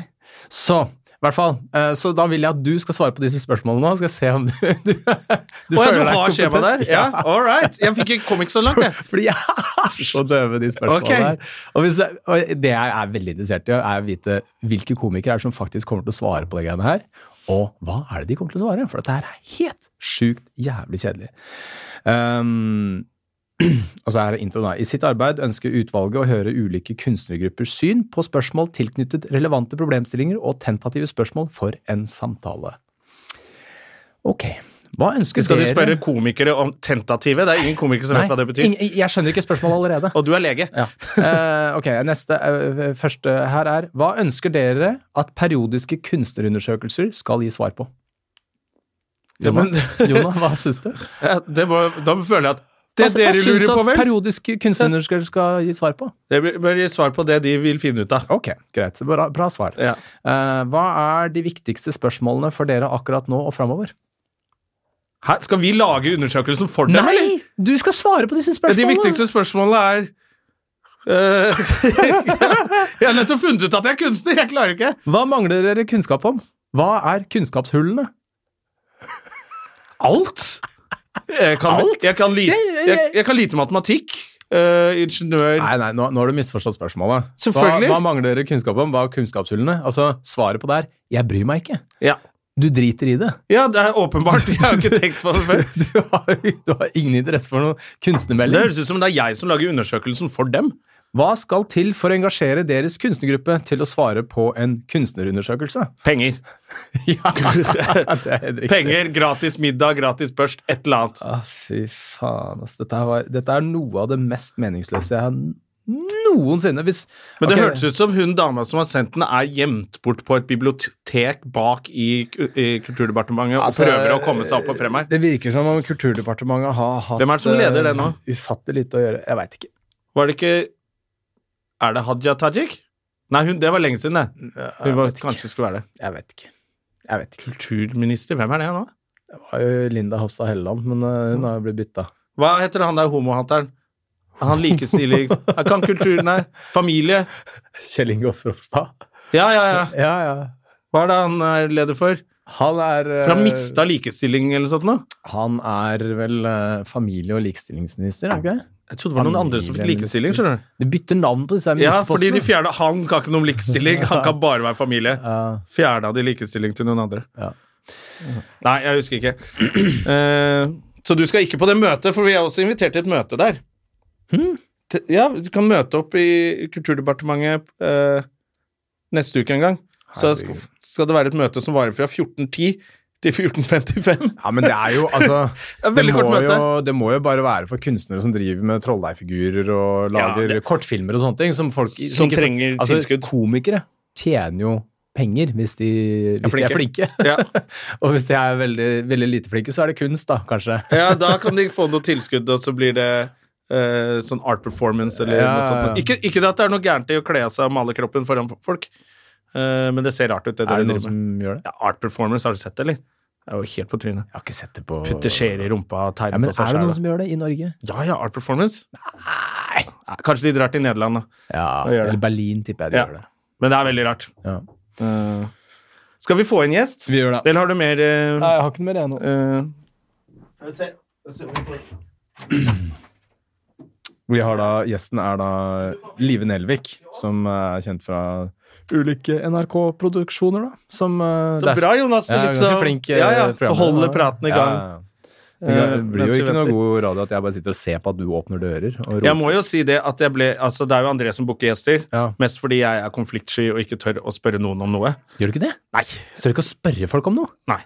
[SPEAKER 2] Så i hvert fall. eh, så da vil jeg at du skal svare på disse spørsmålene. nå. Skal jeg se om du Du, du
[SPEAKER 1] Å ja,
[SPEAKER 2] føler
[SPEAKER 1] du
[SPEAKER 2] deg
[SPEAKER 1] har skjema der?
[SPEAKER 2] kompetent.
[SPEAKER 1] Ja, all right. Jeg fikk ikke, kom ikke så langt, jeg.
[SPEAKER 2] Fordi jeg er så døve, de spørsmålene
[SPEAKER 1] Ok.
[SPEAKER 2] der. Og, hvis jeg, og det jeg er veldig interessert i, er å vite hvilke komikere er det som faktisk kommer til å svare på de greiene her. Og hva er det de kommer til å svare? For dette her er helt sjukt jævlig kjedelig. Ehm, og så er det introen her. I sitt arbeid ønsker utvalget å høre ulike kunstnergruppers syn på spørsmål tilknyttet relevante problemstillinger og tentative spørsmål for en samtale. Ok. Hva ønsker
[SPEAKER 1] Skal de
[SPEAKER 2] dere
[SPEAKER 1] spørre komikere om tentative? Det er ingen komikere som
[SPEAKER 2] Nei,
[SPEAKER 1] vet hva det betyr.
[SPEAKER 2] ingen- jeg skjønner ikke spørsmålet allerede.
[SPEAKER 1] Og du er lege.
[SPEAKER 2] Eh, ok, neste eh, første her er Hva ønsker dere at periodiske kunstnerundersøkelser skal gi svar på?
[SPEAKER 1] Ja, men-
[SPEAKER 2] Jonah, Jonah, hva syns du?
[SPEAKER 1] Ja, det må, da føler jeg at det
[SPEAKER 2] Altså,
[SPEAKER 1] dere
[SPEAKER 2] jeg syns
[SPEAKER 1] lurer på,
[SPEAKER 2] at
[SPEAKER 1] vel?
[SPEAKER 2] periodiske kunstnerundersøkelser skal gi svar på.
[SPEAKER 1] Det bør- bør gi svar på det de vil finne ut av.
[SPEAKER 2] Ok, greit. Bra, bra svar.
[SPEAKER 1] Ja.
[SPEAKER 2] Eh, hva er de viktigste spørsmålene for dere akkurat nå og framover?
[SPEAKER 1] Hæ? Skal vi lage undersøkelsen for dem, eller?
[SPEAKER 2] Nei! Du skal svare på disse
[SPEAKER 1] De
[SPEAKER 2] spørsmålene!
[SPEAKER 1] viktigste spørsmålene er eh, Jeg har nettopp funnet ut at jeg er kunstner! Jeg klarer ikke!
[SPEAKER 2] Hva mangler dere kunnskap om? Hva er kunnskapshullene?
[SPEAKER 1] Alt? Jeg kan,
[SPEAKER 2] Alt?
[SPEAKER 1] Jeg kan, li,
[SPEAKER 2] Jeg- jeg-
[SPEAKER 1] jeg, jeg kan lite matematikk. eh, ingeniør
[SPEAKER 2] Nei, nei, nå, nå har du misforstått spørsmålet.
[SPEAKER 1] Selvfølgelig.
[SPEAKER 2] Hva, hva mangler dere kunnskap om? Hva er kunnskapshullene? Altså, svaret på det er 'jeg bryr meg ikke'.
[SPEAKER 1] Ja.
[SPEAKER 2] Du driter i det.
[SPEAKER 1] ja, det er åpenbart. Jeg har jo ikke tenkt på det før.
[SPEAKER 2] Du har, du har ingen interesse for noe
[SPEAKER 1] Det
[SPEAKER 2] kunstnermelding.
[SPEAKER 1] høres ut som det er jeg som lager undersøkelsen for dem.
[SPEAKER 2] Hva skal til for å engasjere deres kunstnergruppe til å svare på en kunstnerundersøkelse?
[SPEAKER 1] Penger.
[SPEAKER 2] Ja, det er helt riktig.
[SPEAKER 1] Penger, gratis middag, gratis børst, et eller annet.
[SPEAKER 2] Ah, fy faen, ass. Dette, her var, dette er noe av det mest meningsløse jeg har noensinne. Hvis,
[SPEAKER 1] Men det
[SPEAKER 2] Ok.
[SPEAKER 1] hørtes ut som hun dama som har sendt den, er gjemt bort på et bibliotek bak i, ku- i Kulturdepartementet
[SPEAKER 2] Altså,
[SPEAKER 1] og prøver å komme seg opp og frem her.
[SPEAKER 2] Det virker som om Kulturdepartementet har hatt
[SPEAKER 1] Hvem er det som leder det nå?
[SPEAKER 2] eh, Ufattelig lite å gjøre. Jeg veit ikke.
[SPEAKER 1] Var det ikke Er det Hadia Tajik? Nei, hun, det var lenge siden, det. Hun
[SPEAKER 2] Jeg
[SPEAKER 1] var,
[SPEAKER 2] vet ikke.
[SPEAKER 1] kanskje skulle være det.
[SPEAKER 2] Jeg vet ikke. Jeg vet ikke.
[SPEAKER 1] Kulturminister, hvem er det nå?
[SPEAKER 2] Det var jo Linda Hofstad Helleland, men eh, hun har jo blitt bytta.
[SPEAKER 1] Hva heter han der homohatteren? Han likestilling Kan kultur Nei, familie.
[SPEAKER 2] Kjell Ingolf Ropstad?
[SPEAKER 1] Ja, ja, ja.
[SPEAKER 2] Ja, ja.
[SPEAKER 1] Hva er det han er leder for?
[SPEAKER 2] Han er eh,
[SPEAKER 1] For han mista likestilling eller noe sånt nå?
[SPEAKER 2] Han er vel eh, familie- og likestillingsminister, er han ikke det?
[SPEAKER 1] Jeg trodde det var noen andre som fikk likestilling,
[SPEAKER 2] liksom.
[SPEAKER 1] skjønner du.
[SPEAKER 2] De bytter navn på disse her
[SPEAKER 1] Ja, fordi de
[SPEAKER 2] ministerpostene.
[SPEAKER 1] fjerna han kan ikke noe om likestilling, han kan bare være familie.
[SPEAKER 2] Ja.
[SPEAKER 1] Fjerna de likestilling til noen andre.
[SPEAKER 2] Ja.
[SPEAKER 1] Nei, jeg husker ikke. Eh, så du skal ikke på det møtet, for vi er også invitert til et møte der.
[SPEAKER 2] Hmm?
[SPEAKER 1] T- Ja, du kan møte opp i Kulturdepartementet eh, neste uke en gang. Så skal,
[SPEAKER 2] Herregud.
[SPEAKER 1] skal det være et møte som varer fra 14.10 til 14.55.
[SPEAKER 2] Ja, men det er jo, altså
[SPEAKER 1] Det er
[SPEAKER 2] det
[SPEAKER 1] veldig
[SPEAKER 2] må,
[SPEAKER 1] kort møte.
[SPEAKER 2] jo, det må jo bare være for kunstnere som driver med trolldeigfigurer og
[SPEAKER 1] Ja,
[SPEAKER 2] lager
[SPEAKER 1] det-
[SPEAKER 2] kortfilmer og sånne ting. Som, folk,
[SPEAKER 1] Som
[SPEAKER 2] ikke-
[SPEAKER 1] trenger
[SPEAKER 2] altså,
[SPEAKER 1] tilskudd.
[SPEAKER 2] Komikere tjener jo penger hvis de, hvis de er flinke.
[SPEAKER 1] Ja.
[SPEAKER 2] og hvis de er veldig, veldig lite flinke, så er det kunst, da, kanskje.
[SPEAKER 1] Ja, da kan de få noe tilskudd, og så blir det eh, sånn art performance eller
[SPEAKER 2] Ja,
[SPEAKER 1] noe sånt.
[SPEAKER 2] ja, ja.
[SPEAKER 1] Ikke, ikke det at det er noe gærent i å kle av seg og male kroppen foran folk, eh, men det ser rart ut, det
[SPEAKER 2] er
[SPEAKER 1] dere
[SPEAKER 2] det noen
[SPEAKER 1] driver med.
[SPEAKER 2] som gjør det?
[SPEAKER 1] Ja, art performance, har du sett det, eller? Det er jo helt på trynet.
[SPEAKER 2] Jeg har ikke sett det på
[SPEAKER 1] Putte skjeer i rumpa og
[SPEAKER 2] ja,
[SPEAKER 1] tegne
[SPEAKER 2] men
[SPEAKER 1] på seg
[SPEAKER 2] Er det noen
[SPEAKER 1] sjæl.
[SPEAKER 2] som gjør det i Norge?
[SPEAKER 1] Ja ja, art performance? Nei. Kanskje de drar til Nederland, da.
[SPEAKER 2] Ja,
[SPEAKER 1] gjør det.
[SPEAKER 2] eller Berlin tipper jeg de
[SPEAKER 1] Ja.
[SPEAKER 2] gjør det.
[SPEAKER 1] Men det er veldig rart.
[SPEAKER 2] Ja.
[SPEAKER 1] Eh, skal vi få en gjest?
[SPEAKER 2] Vi gjør
[SPEAKER 1] Eller har du mer eh,
[SPEAKER 2] Nei, jeg har ikke noe mer jeg nå.
[SPEAKER 1] eh,
[SPEAKER 2] Vi har da, Gjesten er da Live Nelvik, som eh, er kjent fra ulike NRK-produksjoner. da. Som, eh,
[SPEAKER 1] Så
[SPEAKER 2] det er-
[SPEAKER 1] bra, Jonas.
[SPEAKER 2] Ja,
[SPEAKER 1] Litt
[SPEAKER 2] ganske
[SPEAKER 1] så-
[SPEAKER 2] flink eh,
[SPEAKER 1] ja, ja.
[SPEAKER 2] programleder.
[SPEAKER 1] Holder praten i
[SPEAKER 2] Ja,
[SPEAKER 1] gang.
[SPEAKER 2] ja, ja. Det blir
[SPEAKER 1] mens
[SPEAKER 2] jo
[SPEAKER 1] vi
[SPEAKER 2] ikke noe
[SPEAKER 1] venter.
[SPEAKER 2] god radio at jeg bare sitter og ser på at du åpner dører. Og roper.
[SPEAKER 1] Jeg må jo si det at jeg ble Altså, det er jo André som booker gjester.
[SPEAKER 2] Ja.
[SPEAKER 1] Mest fordi jeg er konfliktsky og ikke tør å spørre noen om noe.
[SPEAKER 2] Gjør du ikke det?
[SPEAKER 1] Nei.
[SPEAKER 2] Står det ikke å spørre folk om noe?
[SPEAKER 1] Eh,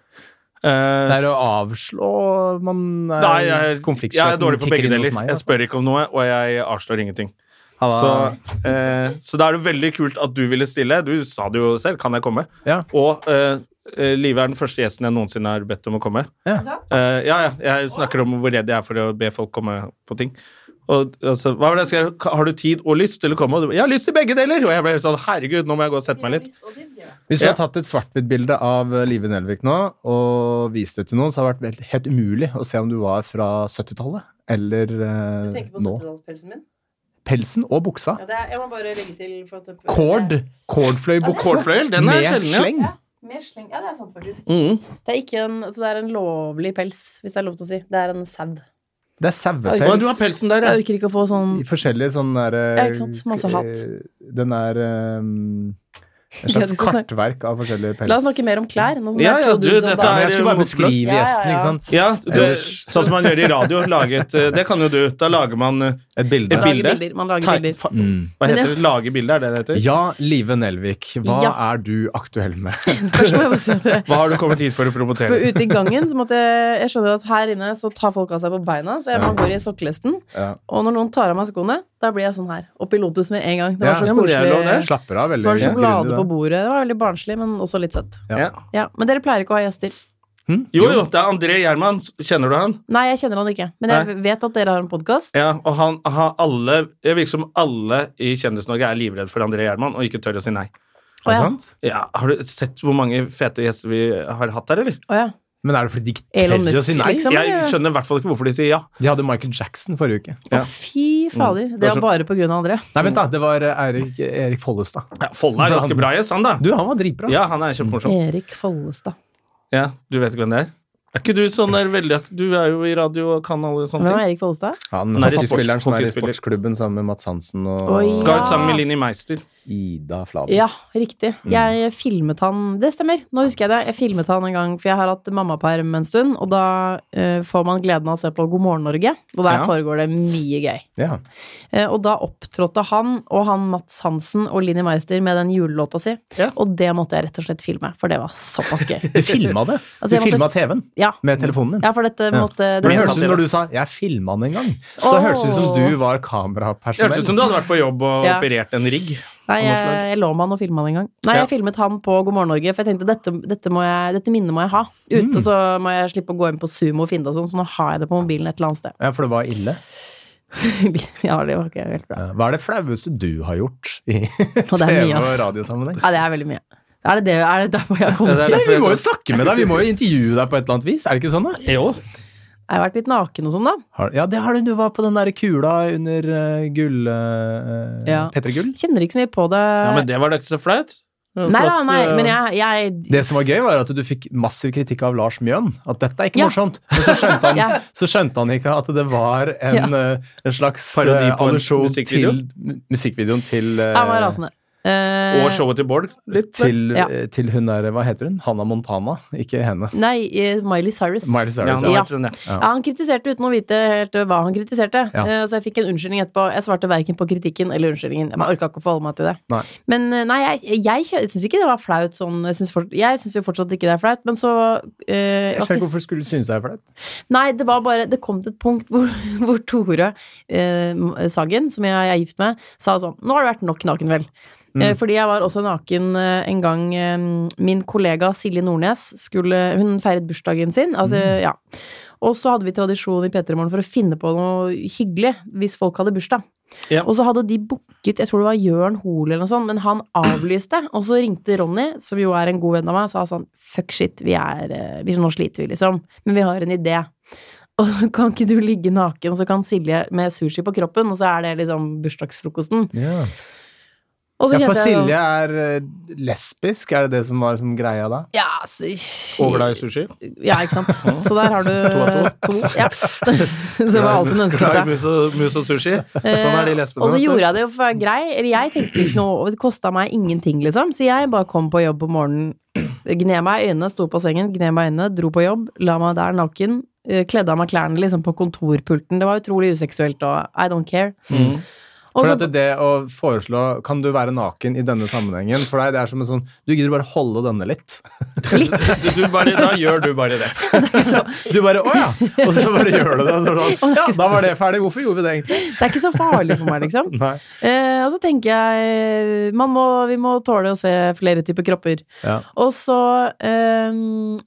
[SPEAKER 2] Det er å avslå man er
[SPEAKER 1] Nei, jeg, jeg
[SPEAKER 2] konfliktsøkende
[SPEAKER 1] er dårlig på
[SPEAKER 2] kicker
[SPEAKER 1] begge
[SPEAKER 2] inn hos
[SPEAKER 1] deler.
[SPEAKER 2] meg,
[SPEAKER 1] Jeg
[SPEAKER 2] altså.
[SPEAKER 1] spør ikke om noe, og jeg avslår ingenting.
[SPEAKER 2] Halla.
[SPEAKER 1] Så, eh, så da er det veldig kult at du ville stille. Du sa det jo selv. Kan jeg komme?
[SPEAKER 2] Ja.
[SPEAKER 1] Og eh, eh, Live er den første gjesten jeg noensinne har bedt om å komme.
[SPEAKER 2] Ja.
[SPEAKER 1] Eh, ja, ja, jeg snakker om hvor redd jeg er for å be folk komme på ting. Og, altså, hva var det jeg skrev? Ka- Har du tid og lyst til å komme? Og du, ba, jeg har lyst til begge deler! Og jeg ble sånn, herregud, nå må jeg gå og sette meg litt.
[SPEAKER 2] Hvis du
[SPEAKER 1] Ja.
[SPEAKER 2] har tatt et svart-hvitt-bilde av eh, Live Nelvik nå og vist det til noen, så har det vært helt- helt umulig å se om du var fra 70-tallet eller eh, nå.
[SPEAKER 4] setedalspelsen min?
[SPEAKER 2] Pelsen og buksa.
[SPEAKER 4] Ja, det er, jeg må bare legge til for at
[SPEAKER 2] Cord.
[SPEAKER 4] sånn.
[SPEAKER 2] Cordfløy-bukse.
[SPEAKER 1] Kålfløyel, den er
[SPEAKER 2] Med
[SPEAKER 1] sjelden, ja.
[SPEAKER 2] sleng.
[SPEAKER 4] Mer sleng. Ja, det er sant, faktisk.
[SPEAKER 1] Mm.
[SPEAKER 4] Det er, ikke en, så det er en lovlig pels, hvis det er lov til å si. Det er en sau.
[SPEAKER 2] Det er
[SPEAKER 1] Å,
[SPEAKER 2] sauepels.
[SPEAKER 1] du har pelsen der,
[SPEAKER 4] Jeg
[SPEAKER 1] ja.
[SPEAKER 4] orker ikke å få sånn
[SPEAKER 2] I forskjellige sånne der,
[SPEAKER 4] Ja, ikke sant? Masse hat.
[SPEAKER 2] eh, Den er um, en
[SPEAKER 4] Ja,
[SPEAKER 2] slags
[SPEAKER 4] vi skal snakke-
[SPEAKER 2] kartverk av forskjellige pels.
[SPEAKER 4] La oss snakke mer om klær. Nå som det
[SPEAKER 1] Ja,
[SPEAKER 4] er
[SPEAKER 1] ja,
[SPEAKER 4] to
[SPEAKER 1] du,
[SPEAKER 4] dudes og
[SPEAKER 1] dette
[SPEAKER 2] Ja, men
[SPEAKER 4] en dame.
[SPEAKER 1] er
[SPEAKER 2] jeg
[SPEAKER 1] jo
[SPEAKER 2] skulle bare
[SPEAKER 1] motblad.
[SPEAKER 2] beskrive
[SPEAKER 4] Ja, ja,
[SPEAKER 2] gjesten,
[SPEAKER 4] ja.
[SPEAKER 2] ikke sant?
[SPEAKER 1] ja du,
[SPEAKER 2] Ellers-
[SPEAKER 1] sånn som man gjør i radio. Laget, eh, det kan jo du. Da lager man eh,
[SPEAKER 2] Et bilde.
[SPEAKER 1] Et
[SPEAKER 4] Man lager
[SPEAKER 1] bilde.
[SPEAKER 4] bilder. Man lager
[SPEAKER 1] tei-
[SPEAKER 4] bilder.
[SPEAKER 1] fa-
[SPEAKER 2] Mm.
[SPEAKER 1] Hva
[SPEAKER 4] Men
[SPEAKER 1] heter det? Lage bilder, er det det heter?
[SPEAKER 2] Ja, Live Nelvik, hva
[SPEAKER 4] Ja.
[SPEAKER 2] er du aktuell med?
[SPEAKER 4] Først må jeg bare si at jeg-
[SPEAKER 1] Hva har du kommet hit for å promotere?
[SPEAKER 4] for ute i gangen så måtte jeg Jeg skjønner at her inne så tar folk av seg på beina, så jeg man går i sokkelesten.
[SPEAKER 2] Ja.
[SPEAKER 4] Og når noen tar av meg skoene, da blir jeg sånn her. Opp i Lotus med en gang. Det var
[SPEAKER 2] Ja,
[SPEAKER 4] så
[SPEAKER 1] ja, men det er lov,
[SPEAKER 4] koselig.
[SPEAKER 1] det.
[SPEAKER 2] Slapper av
[SPEAKER 4] Så var
[SPEAKER 2] veldig
[SPEAKER 4] det
[SPEAKER 2] grundig,
[SPEAKER 4] sjokolade på
[SPEAKER 2] da.
[SPEAKER 4] bordet. Det var veldig barnslig, men også litt søtt.
[SPEAKER 1] Ja.
[SPEAKER 4] Ja, Men dere pleier ikke å ha gjester.
[SPEAKER 2] Hm?
[SPEAKER 1] Jo, jo, det er André Gjerman. Kjenner du han?
[SPEAKER 4] Nei, jeg kjenner han ikke. Men jeg vet at dere har en podkast.
[SPEAKER 1] Ja, og han, han alle, Det virker som alle i Kjendis-Norge er livredd for André Gjerman og ikke tør å si nei.
[SPEAKER 2] Er det
[SPEAKER 4] ja.
[SPEAKER 2] sant?
[SPEAKER 1] Ja, har du sett hvor mange fete gjester vi har hatt her, eller?
[SPEAKER 4] Å ja.
[SPEAKER 2] Men er det fordi de ikke
[SPEAKER 4] Elon
[SPEAKER 2] tør å
[SPEAKER 4] Musk,
[SPEAKER 2] si nei?
[SPEAKER 4] liksom.
[SPEAKER 1] Jeg
[SPEAKER 4] eller?
[SPEAKER 1] skjønner i hvert fall ikke hvorfor de sier ja.
[SPEAKER 2] De hadde Michael Jackson forrige uke.
[SPEAKER 1] Ja.
[SPEAKER 4] Å, fy fader.
[SPEAKER 2] Mm.
[SPEAKER 1] Det
[SPEAKER 4] Det
[SPEAKER 1] var så-
[SPEAKER 4] var bare på grunn av André.
[SPEAKER 2] Nei, vent da, det var eh, Erik, Erik Follestad.
[SPEAKER 1] ja Folle er ganske bra gjest, han da.
[SPEAKER 2] Du, han var dritbra.
[SPEAKER 1] Ja, han er kjempemorsom.
[SPEAKER 4] Erik Follestad.
[SPEAKER 1] Ja, du vet ikke hvem det er? Er ikke du sånn der veldig ak- Du er jo i radio og kan alle
[SPEAKER 4] Hvem
[SPEAKER 1] sånne
[SPEAKER 4] er
[SPEAKER 1] ting.
[SPEAKER 4] Erik Follestad?
[SPEAKER 2] Han
[SPEAKER 1] Han er i sports-
[SPEAKER 2] hockeyspilleren som er i
[SPEAKER 1] hockeyspiller.
[SPEAKER 2] sportsklubben sammen med Mats Hansen og
[SPEAKER 4] Oi,
[SPEAKER 1] Ga
[SPEAKER 4] ja.
[SPEAKER 1] ut sammen med Linni Meister.
[SPEAKER 2] Ida Fladen.
[SPEAKER 4] Ja, riktig.
[SPEAKER 2] Mm.
[SPEAKER 4] Jeg filmet han Det stemmer, nå husker jeg det. Jeg filmet han en gang, for jeg har hatt mammaperm en stund, og da eh, får man gleden av å se på God morgen Norge, og der
[SPEAKER 1] Ja.
[SPEAKER 4] foregår det mye gøy.
[SPEAKER 2] Ja.
[SPEAKER 4] Eh, og da opptrådte han og han Mats Hansen og Linni Meister med den julelåta si,
[SPEAKER 1] Ja.
[SPEAKER 4] og det måtte jeg rett og slett filme, for det var såpass gøy.
[SPEAKER 2] Du filma det.
[SPEAKER 4] Altså,
[SPEAKER 2] Du
[SPEAKER 4] jeg måtte-
[SPEAKER 2] filma TV-en
[SPEAKER 4] Ja,
[SPEAKER 2] med telefonen din.
[SPEAKER 4] ja for dette
[SPEAKER 2] Ja.
[SPEAKER 4] måtte
[SPEAKER 2] Men det
[SPEAKER 4] dette-
[SPEAKER 2] hørtes ut som når du sa 'jeg filma den en gang', så
[SPEAKER 4] Åh.
[SPEAKER 2] hørtes det ut som du var
[SPEAKER 1] Det hørtes ut som
[SPEAKER 2] kamerapersonell.
[SPEAKER 1] du hadde vært på jobb og
[SPEAKER 4] Ja.
[SPEAKER 1] operert en rigg.
[SPEAKER 4] Nei,
[SPEAKER 1] Av noe
[SPEAKER 4] jeg,
[SPEAKER 1] slag.
[SPEAKER 4] jeg lå med han og filma han en gang. Nei,
[SPEAKER 1] Ja.
[SPEAKER 4] jeg filmet han på God morgen Norge, for jeg tenkte dette, dette, må jeg, dette minnet må jeg ha. Ute
[SPEAKER 2] Mm.
[SPEAKER 4] så må jeg slippe å gå inn på Sumo og finne det og sånn, så nå har jeg det på mobilen et eller annet sted.
[SPEAKER 2] Ja, for det var ille.
[SPEAKER 4] ja, det var ikke helt bra.
[SPEAKER 2] Ja. Hva er det flaueste du har gjort i
[SPEAKER 4] Og det er
[SPEAKER 2] TV-
[SPEAKER 4] mye,
[SPEAKER 2] og
[SPEAKER 4] ass.
[SPEAKER 2] radiosammenheng?
[SPEAKER 4] Ja, det er veldig mye. Er det, det, er det derfor jeg har kommet
[SPEAKER 1] Ja, det er
[SPEAKER 4] til?
[SPEAKER 2] Nei,
[SPEAKER 1] derfor
[SPEAKER 2] vi
[SPEAKER 1] jeg-
[SPEAKER 2] må jo snakke med deg, vi må jo intervjue deg på et eller annet vis. Er det ikke sånn, da?
[SPEAKER 1] Jo.
[SPEAKER 4] Jeg har vært litt naken og sånn, da.
[SPEAKER 2] Har, ja, det har du. Du var på den der kula under eh, gull... Uh,
[SPEAKER 4] Ja.
[SPEAKER 2] P3 Gull.
[SPEAKER 4] Kjenner ikke så mye på det.
[SPEAKER 1] Ja, men det var da ikke så flaut. Det var
[SPEAKER 4] nei da,
[SPEAKER 1] flott,
[SPEAKER 4] nei,
[SPEAKER 1] eh,
[SPEAKER 4] men jeg, jeg
[SPEAKER 2] Det som var gøy, var at du fikk massiv kritikk av Lars Mjøen. At dette er ikke
[SPEAKER 4] Ja.
[SPEAKER 2] morsomt. Men så skjønte, han,
[SPEAKER 4] Ja.
[SPEAKER 2] så skjønte han ikke at det var en, eh, en slags
[SPEAKER 1] Parodi
[SPEAKER 2] eh,
[SPEAKER 1] på en
[SPEAKER 2] allusjon
[SPEAKER 1] musikkvideo?
[SPEAKER 2] til mu- musikkvideoen til eh,
[SPEAKER 4] Jeg var rasende. Eh,
[SPEAKER 1] Og showet til Bård, litt.
[SPEAKER 2] til,
[SPEAKER 4] Ja.
[SPEAKER 2] eh, til hun der, hva heter hun? Hanna Montana, ikke henne.
[SPEAKER 4] Nei, eh, Miley Cyrus.
[SPEAKER 2] Miley Cyrus.
[SPEAKER 4] Ja.
[SPEAKER 2] Ja.
[SPEAKER 1] jeg tror det.
[SPEAKER 2] Ja.
[SPEAKER 4] Ja, han kritiserte uten å vite helt eh, hva han kritiserte.
[SPEAKER 2] Ja.
[SPEAKER 4] Eh, Så jeg fikk en unnskyldning etterpå. Jeg svarte verken på kritikken eller unnskyldningen. Jeg orka ikke å forholde meg til det.
[SPEAKER 2] Nei.
[SPEAKER 4] Men eh, nei, jeg, jeg, kjen- jeg syns ikke det var flaut sånn. Jeg syns fort- Jeg syns jo fortsatt ikke det er flaut, men så eh,
[SPEAKER 2] Jeg skjønner ikke hvorfor
[SPEAKER 4] s-
[SPEAKER 2] skulle du synes det er flaut.
[SPEAKER 4] Nei, det var bare Det kom til et punkt hvor, hvor Tore eh, Sagen, som jeg er gift med, sa sånn Nå har det vært nok naken, vel. Eh, Fordi jeg var også naken eh, en gang eh, min kollega Silje Nordnes skulle Hun feiret bursdagen sin. Altså, ja. Og så hadde vi tradisjon i P3 Morgen for å finne på noe hyggelig hvis folk hadde bursdag.
[SPEAKER 1] Ja.
[SPEAKER 4] Og så hadde de booket Jeg tror det var Jørn Hoel eller noe sånt, men han avlyste. Og så ringte Ronny, som jo er en god venn av meg, og sa sånn Fuck shit, vi er eh, vi, Nå sliter vi, liksom. Men vi har en idé. Og så kan ikke du ligge naken, og så kan Silje med sushi på kroppen, og så er det liksom bursdagsfrokosten. Og så
[SPEAKER 2] Ja, for
[SPEAKER 4] kjente jeg sånn-
[SPEAKER 2] Silje er eh, lesbisk, er det det som var liksom, greia da?
[SPEAKER 4] Ja, s-
[SPEAKER 1] Overglad i sushi.
[SPEAKER 4] Ja, ikke sant. Så der har du
[SPEAKER 1] To av to.
[SPEAKER 4] Ja. Så det var alt hun ønsket
[SPEAKER 1] Glad i
[SPEAKER 4] seg. Eh,
[SPEAKER 1] mus og, mus og sushi. Sånn er de lesbene.
[SPEAKER 4] Og så
[SPEAKER 1] vet du.
[SPEAKER 4] gjorde jeg det jo for å være grei. Eller jeg tenkte ikke noe over det. Kosta meg ingenting, liksom. Så jeg bare kom på jobb om morgenen. Gned meg i øynene, sto på sengen, gned meg i øynene, dro på jobb, la meg der naken. eh, Kledde av meg klærne liksom på kontorpulten. Det var utrolig useksuelt og I don't care.
[SPEAKER 1] Mm.
[SPEAKER 4] Og
[SPEAKER 2] For
[SPEAKER 4] så-
[SPEAKER 2] at det, det å foreslå Kan du være naken i denne sammenhengen? For deg, det er som en sånn Du gidder bare holde denne litt.
[SPEAKER 4] litt.
[SPEAKER 1] Du, du bare, da gjør du bare det.
[SPEAKER 4] Liksom.
[SPEAKER 2] Du bare Å ja! Og så bare gjør du det. Så er det sånn, ja, da var det ferdig. Hvorfor gjorde vi det egentlig?
[SPEAKER 4] Det er ikke så farlig for meg, liksom.
[SPEAKER 2] Nei.
[SPEAKER 4] Eh, og så tenker jeg man må, Vi må tåle å se flere typer kropper.
[SPEAKER 2] Ja.
[SPEAKER 4] Og så eh,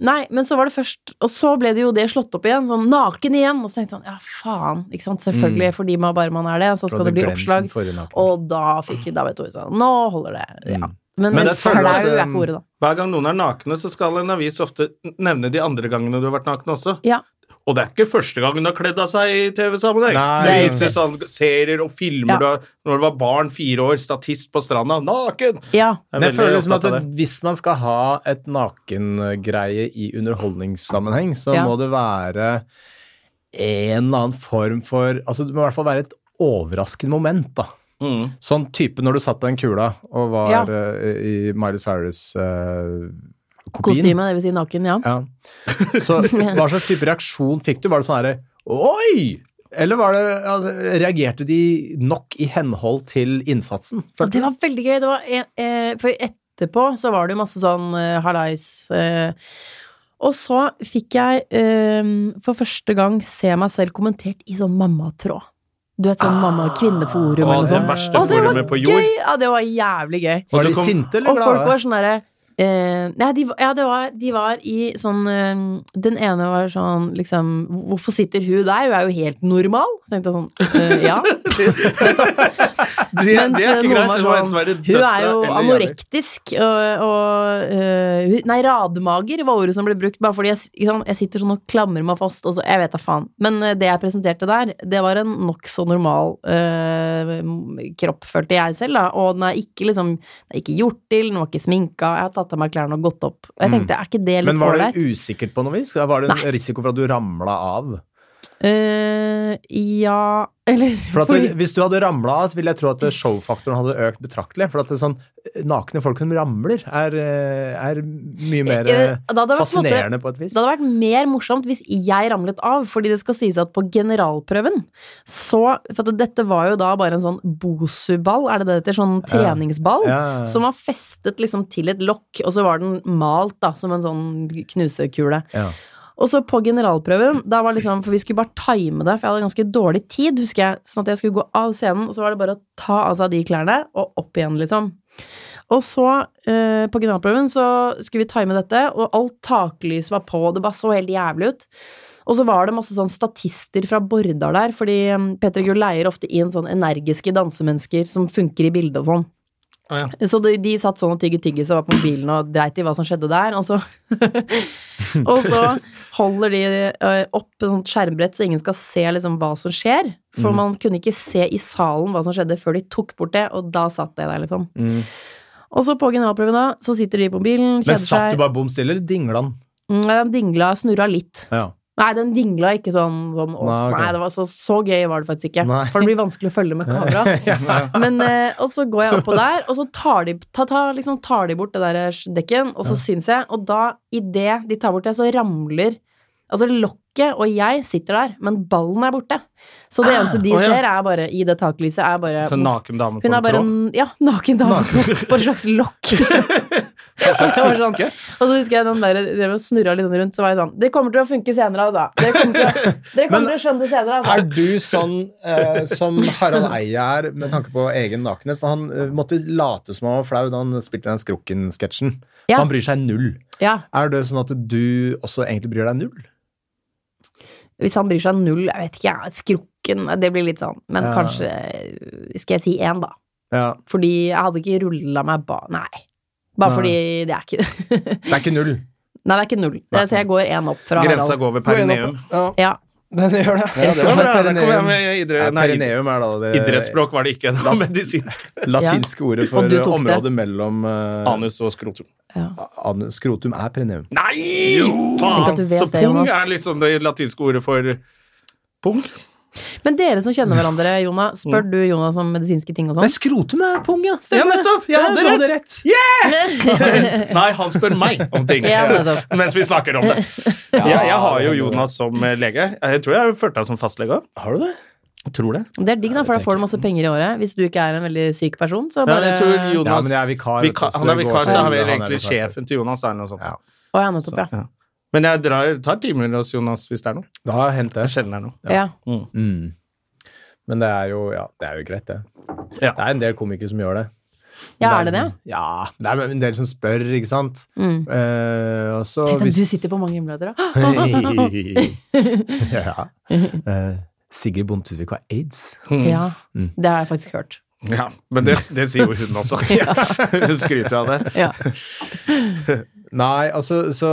[SPEAKER 4] Nei, men så var det først Og så ble det jo det slått opp igjen. Sånn naken igjen. Og så tenkte jeg sånn Ja, faen. ikke sant, Selvfølgelig, fordi man bare man er det. Så skal det bli oppslag. Og da fikk da ble Tore sånn Nå holder det. Ja.
[SPEAKER 2] Mm.
[SPEAKER 1] Men
[SPEAKER 4] Men, men
[SPEAKER 1] det
[SPEAKER 4] flau
[SPEAKER 1] føler
[SPEAKER 2] jeg at,
[SPEAKER 4] er
[SPEAKER 2] um,
[SPEAKER 4] ikke ordet, da.
[SPEAKER 1] Hver gang noen er nakne, så skal en avis ofte nevne de andre gangene du har vært naken også.
[SPEAKER 4] Ja.
[SPEAKER 1] Og det er ikke første gang hun har kledd av seg i TV-sammenheng.
[SPEAKER 2] Nei.
[SPEAKER 1] Det viser sånn serier og filmer
[SPEAKER 4] Ja.
[SPEAKER 1] du har når du var barn, fire år, statist på stranda, naken! Jeg er
[SPEAKER 4] Ja.
[SPEAKER 2] Men jeg
[SPEAKER 1] veldig
[SPEAKER 2] føler liksom at
[SPEAKER 1] opptatt av
[SPEAKER 2] det- hvis man skal ha et nakengreie i underholdningssammenheng, så
[SPEAKER 4] Ja.
[SPEAKER 2] må det være en eller annen form for Altså det må i hvert fall være et overraskende moment, da.
[SPEAKER 1] Mm.
[SPEAKER 2] Sånn type når du satt på den kula og var
[SPEAKER 4] Ja.
[SPEAKER 2] eh, i Miley Cyrus-kopien.
[SPEAKER 4] Kostyme, det vil si naken, ja.
[SPEAKER 2] ja. Så hva slags type reaksjon fikk du? Var det sånn herre Oi! Eller var det, ja, reagerte de nok i henhold til innsatsen?
[SPEAKER 4] Og Det var veldig gøy. Det var, eh, eh, for etterpå så var det jo masse sånn eh, hallais. Eh, og så fikk jeg eh, for første gang se meg selv kommentert i sånn mammatråd. Du vet sånn mamma- og kvinneforum
[SPEAKER 1] Ah. Å,
[SPEAKER 4] eller noe
[SPEAKER 1] det
[SPEAKER 4] sånt.
[SPEAKER 1] verste
[SPEAKER 4] Å, det var
[SPEAKER 1] forumet på jord.
[SPEAKER 4] Gøy! Ja, det var jævlig gøy.
[SPEAKER 2] Var
[SPEAKER 1] du
[SPEAKER 2] de
[SPEAKER 1] kom-
[SPEAKER 2] sinte eller
[SPEAKER 4] Og folk
[SPEAKER 2] glade?
[SPEAKER 4] var sånn derre eh, Nei, de, var- ja, det var, de var i sånn eh, Den ene var sånn liksom Hvorfor sitter hun der? Hun er jo helt normal. Tenkte jeg sånn eh, Ja.
[SPEAKER 1] Det,
[SPEAKER 4] Mens
[SPEAKER 1] det er ikke
[SPEAKER 4] noen
[SPEAKER 1] greit.
[SPEAKER 4] var
[SPEAKER 1] Det må
[SPEAKER 4] sånn,
[SPEAKER 1] enten være
[SPEAKER 4] Hun
[SPEAKER 1] dødsbra
[SPEAKER 4] er jo
[SPEAKER 1] eller jævlig.
[SPEAKER 4] anorektisk og, og øh, hun- Nei, rademager var ordet som ble brukt, bare fordi jeg, s- ikke sant, jeg sitter sånn og klamrer meg fast. Og så, jeg vet da faen. Men øh, det jeg presenterte der, det var en nokså normal øh, m- kropp, følte jeg selv. da Og den er ikke liksom Den er ikke gjort til, den var ikke sminka, jeg har tatt av meg klærne og gått opp. Og jeg
[SPEAKER 2] Mm.
[SPEAKER 4] tenkte, er ikke
[SPEAKER 2] Men
[SPEAKER 4] det litt
[SPEAKER 2] var det
[SPEAKER 4] ålreit?
[SPEAKER 2] usikkert på noe vis? Var det en risiko for at du ramla av?
[SPEAKER 4] Eh, ja Eller
[SPEAKER 2] For at det, hvis du hadde ramla av, så ville jeg tro at showfaktoren hadde økt betraktelig. For at det er sånn, nakne folk som ramler, er, eh, er mye mer eh,
[SPEAKER 4] Eh, da hadde det vært på en måte-
[SPEAKER 2] fascinerende på et vis.
[SPEAKER 4] Det hadde vært mer morsomt hvis jeg ramlet av, fordi det skal sies at på generalprøven så For at dette var jo da bare en sånn bosuball, er det det heter? Sånn
[SPEAKER 2] Ja.
[SPEAKER 4] treningsball.
[SPEAKER 2] Ja, ja, ja.
[SPEAKER 4] Som var festet liksom til et lokk, og så var den malt da, som en sånn knusekule.
[SPEAKER 2] Ja.
[SPEAKER 4] Og så på generalprøven, da var liksom, for vi skulle bare time det, for jeg hadde ganske dårlig tid, husker jeg, sånn at jeg skulle gå av scenen, og så var det bare å ta av seg de klærne, og opp igjen, liksom. Og så, eh, på generalprøven, så skulle vi time dette, og alt taklys var på, og det bare så helt jævlig ut. Og så var det masse sånn statister fra Bordar der, fordi eh, Petter Gull leier ofte inn sånn energiske dansemennesker som funker i bildet og sånn.
[SPEAKER 1] Å, ja.
[SPEAKER 4] Så de, de satt sånn og tygget tyggis og var på mobilen og dreit i hva som skjedde der. Og så, og så holder de eh, opp et sånt skjermbrett så ingen skal se liksom hva som skjer.
[SPEAKER 2] Mm.
[SPEAKER 4] For man kunne ikke se i salen hva som skjedde før de tok bort det, og da satt det der, liksom.
[SPEAKER 2] Mm.
[SPEAKER 4] Og så på generalprøven da, så sitter de på mobilen,
[SPEAKER 2] Men
[SPEAKER 4] kjeder
[SPEAKER 2] satt du
[SPEAKER 4] seg.
[SPEAKER 2] bare bom stille, eller dingla den?
[SPEAKER 4] Mm, Den dingla, snurra litt.
[SPEAKER 2] Ja.
[SPEAKER 4] Nei, den dingla ikke sånn, sånn oss. Nei,
[SPEAKER 2] Nei, ok.
[SPEAKER 4] det var så, så gøy var det faktisk ikke.
[SPEAKER 2] Nei.
[SPEAKER 4] For det blir vanskelig å følge med kamera. Men, eh, og så går jeg oppå der, og så tar de, ta, ta, liksom, tar de bort det der dekken, og så syns jeg Og da, idet de tar bort det, så ramler Altså, lokket og jeg sitter der, men ballen er borte. Så det eneste de
[SPEAKER 1] å, ja.
[SPEAKER 4] ser, er bare i det taklyset, er bare
[SPEAKER 1] Så en naken dame på
[SPEAKER 4] hun er
[SPEAKER 1] en
[SPEAKER 4] bare
[SPEAKER 1] tråd.
[SPEAKER 4] en ja, naken dame på et slags lokk. Og det var sånn- Og så husker jeg den der, dere snurra litt sånn rundt, så var jeg sånn Det kommer til å funke senere, altså. Dere kommer til å,
[SPEAKER 2] Men-
[SPEAKER 4] dere kommer til å skjønne det senere,
[SPEAKER 2] Er
[SPEAKER 4] altså.
[SPEAKER 2] du sånn eh, som Harald Eia er med tanke på egen nakenhet? For han eh, måtte late som han var flau da han spilte den Skrukken-sketsjen.
[SPEAKER 4] Ja.
[SPEAKER 2] Han bryr seg null.
[SPEAKER 4] Ja,
[SPEAKER 2] Er det sånn at du også egentlig bryr deg null?
[SPEAKER 4] hvis han bryr seg null, jeg vet ikke, jeg, skrukken Det blir litt sånn. Men
[SPEAKER 2] Ja.
[SPEAKER 4] kanskje Skal jeg si én, da?
[SPEAKER 2] Ja.
[SPEAKER 4] Fordi jeg hadde ikke rulla meg ba... Nei. Bare
[SPEAKER 2] Nei.
[SPEAKER 4] fordi det er ikke Nei,
[SPEAKER 2] Det er ikke null.
[SPEAKER 4] det er ikke null. Det- Så jeg går én opp fra
[SPEAKER 1] Grensa
[SPEAKER 4] Harald.
[SPEAKER 1] går ved perineum.
[SPEAKER 2] Ja.
[SPEAKER 4] Ja.
[SPEAKER 5] Den gjør det.
[SPEAKER 2] Ja,
[SPEAKER 1] Det var bra. Der kom jeg med idre,
[SPEAKER 2] Ja,
[SPEAKER 1] nei,
[SPEAKER 2] perineum er da
[SPEAKER 1] Eh,
[SPEAKER 2] det
[SPEAKER 1] idrettsspråk, var det ikke. Det var medisinsk.
[SPEAKER 2] latinske ordet for
[SPEAKER 4] Og du tok
[SPEAKER 2] området
[SPEAKER 4] det.
[SPEAKER 2] mellom eh,
[SPEAKER 1] Anus og skrotum.
[SPEAKER 2] anus. Skrotum er perineum.
[SPEAKER 1] Nei!
[SPEAKER 4] Tenk at du
[SPEAKER 1] Faen!
[SPEAKER 4] vet
[SPEAKER 1] Så
[SPEAKER 4] det,
[SPEAKER 1] pung
[SPEAKER 4] Jonas.
[SPEAKER 1] er liksom det latinske ordet for pung.
[SPEAKER 4] Men dere som kjenner hverandre, Jona, spør du Jonas om medisinske ting og
[SPEAKER 2] Nei,
[SPEAKER 4] sånn?
[SPEAKER 2] skrotum er pung, ja!
[SPEAKER 1] Ja,
[SPEAKER 2] Stemmer det.
[SPEAKER 1] nettopp! Jeg
[SPEAKER 2] Ja, du
[SPEAKER 1] hadde
[SPEAKER 2] hadde
[SPEAKER 1] rett! Nei, han spør meg om ting
[SPEAKER 4] Ja, nettopp.
[SPEAKER 1] mens vi snakker om det. Ja, jeg har jo Jonas som eh, lege. Jeg tror jeg førte deg som fastlege òg.
[SPEAKER 2] Har du det?
[SPEAKER 1] Tror det.
[SPEAKER 4] Det er digg, da, for da får du masse penger i året. Hvis du ikke er en veldig syk person, så
[SPEAKER 1] Ja, men
[SPEAKER 4] bare
[SPEAKER 1] jeg tror Jonas,
[SPEAKER 2] Ja, men jeg er vikar, vet du, så
[SPEAKER 1] han er
[SPEAKER 2] det går
[SPEAKER 1] vikar, så
[SPEAKER 2] til-
[SPEAKER 1] er vel
[SPEAKER 2] han er
[SPEAKER 1] egentlig
[SPEAKER 2] vikar.
[SPEAKER 1] sjefen til Jonas. Eller noe sånt.
[SPEAKER 2] Ja.
[SPEAKER 4] Å ja, nettopp, ja.
[SPEAKER 1] Ja. Men jeg drar, tar timer hos Jonas hvis det er noe.
[SPEAKER 2] Da har jeg hentet det.
[SPEAKER 1] Sjelden er noe.
[SPEAKER 4] ja.
[SPEAKER 2] Mm. Men det er jo, ja, det er jo greit, det.
[SPEAKER 1] Ja.
[SPEAKER 2] Det er en del komikere som gjør det.
[SPEAKER 4] Ja, er det det?
[SPEAKER 2] Ja, det er en del som spør, ikke sant.
[SPEAKER 4] Mm.
[SPEAKER 2] Eh, og så
[SPEAKER 4] Tenk deg,
[SPEAKER 2] hvis-
[SPEAKER 4] du sitter på mange himmeløyder, da.
[SPEAKER 2] ja. Eh, Sigrid Bonde Tusvik har aids.
[SPEAKER 4] Ja.
[SPEAKER 2] Mm.
[SPEAKER 4] Det har jeg faktisk hørt.
[SPEAKER 1] Ja, Men det, det sier jo hun også. Hun skryter av det.
[SPEAKER 4] Ja.
[SPEAKER 2] Nei, altså, så,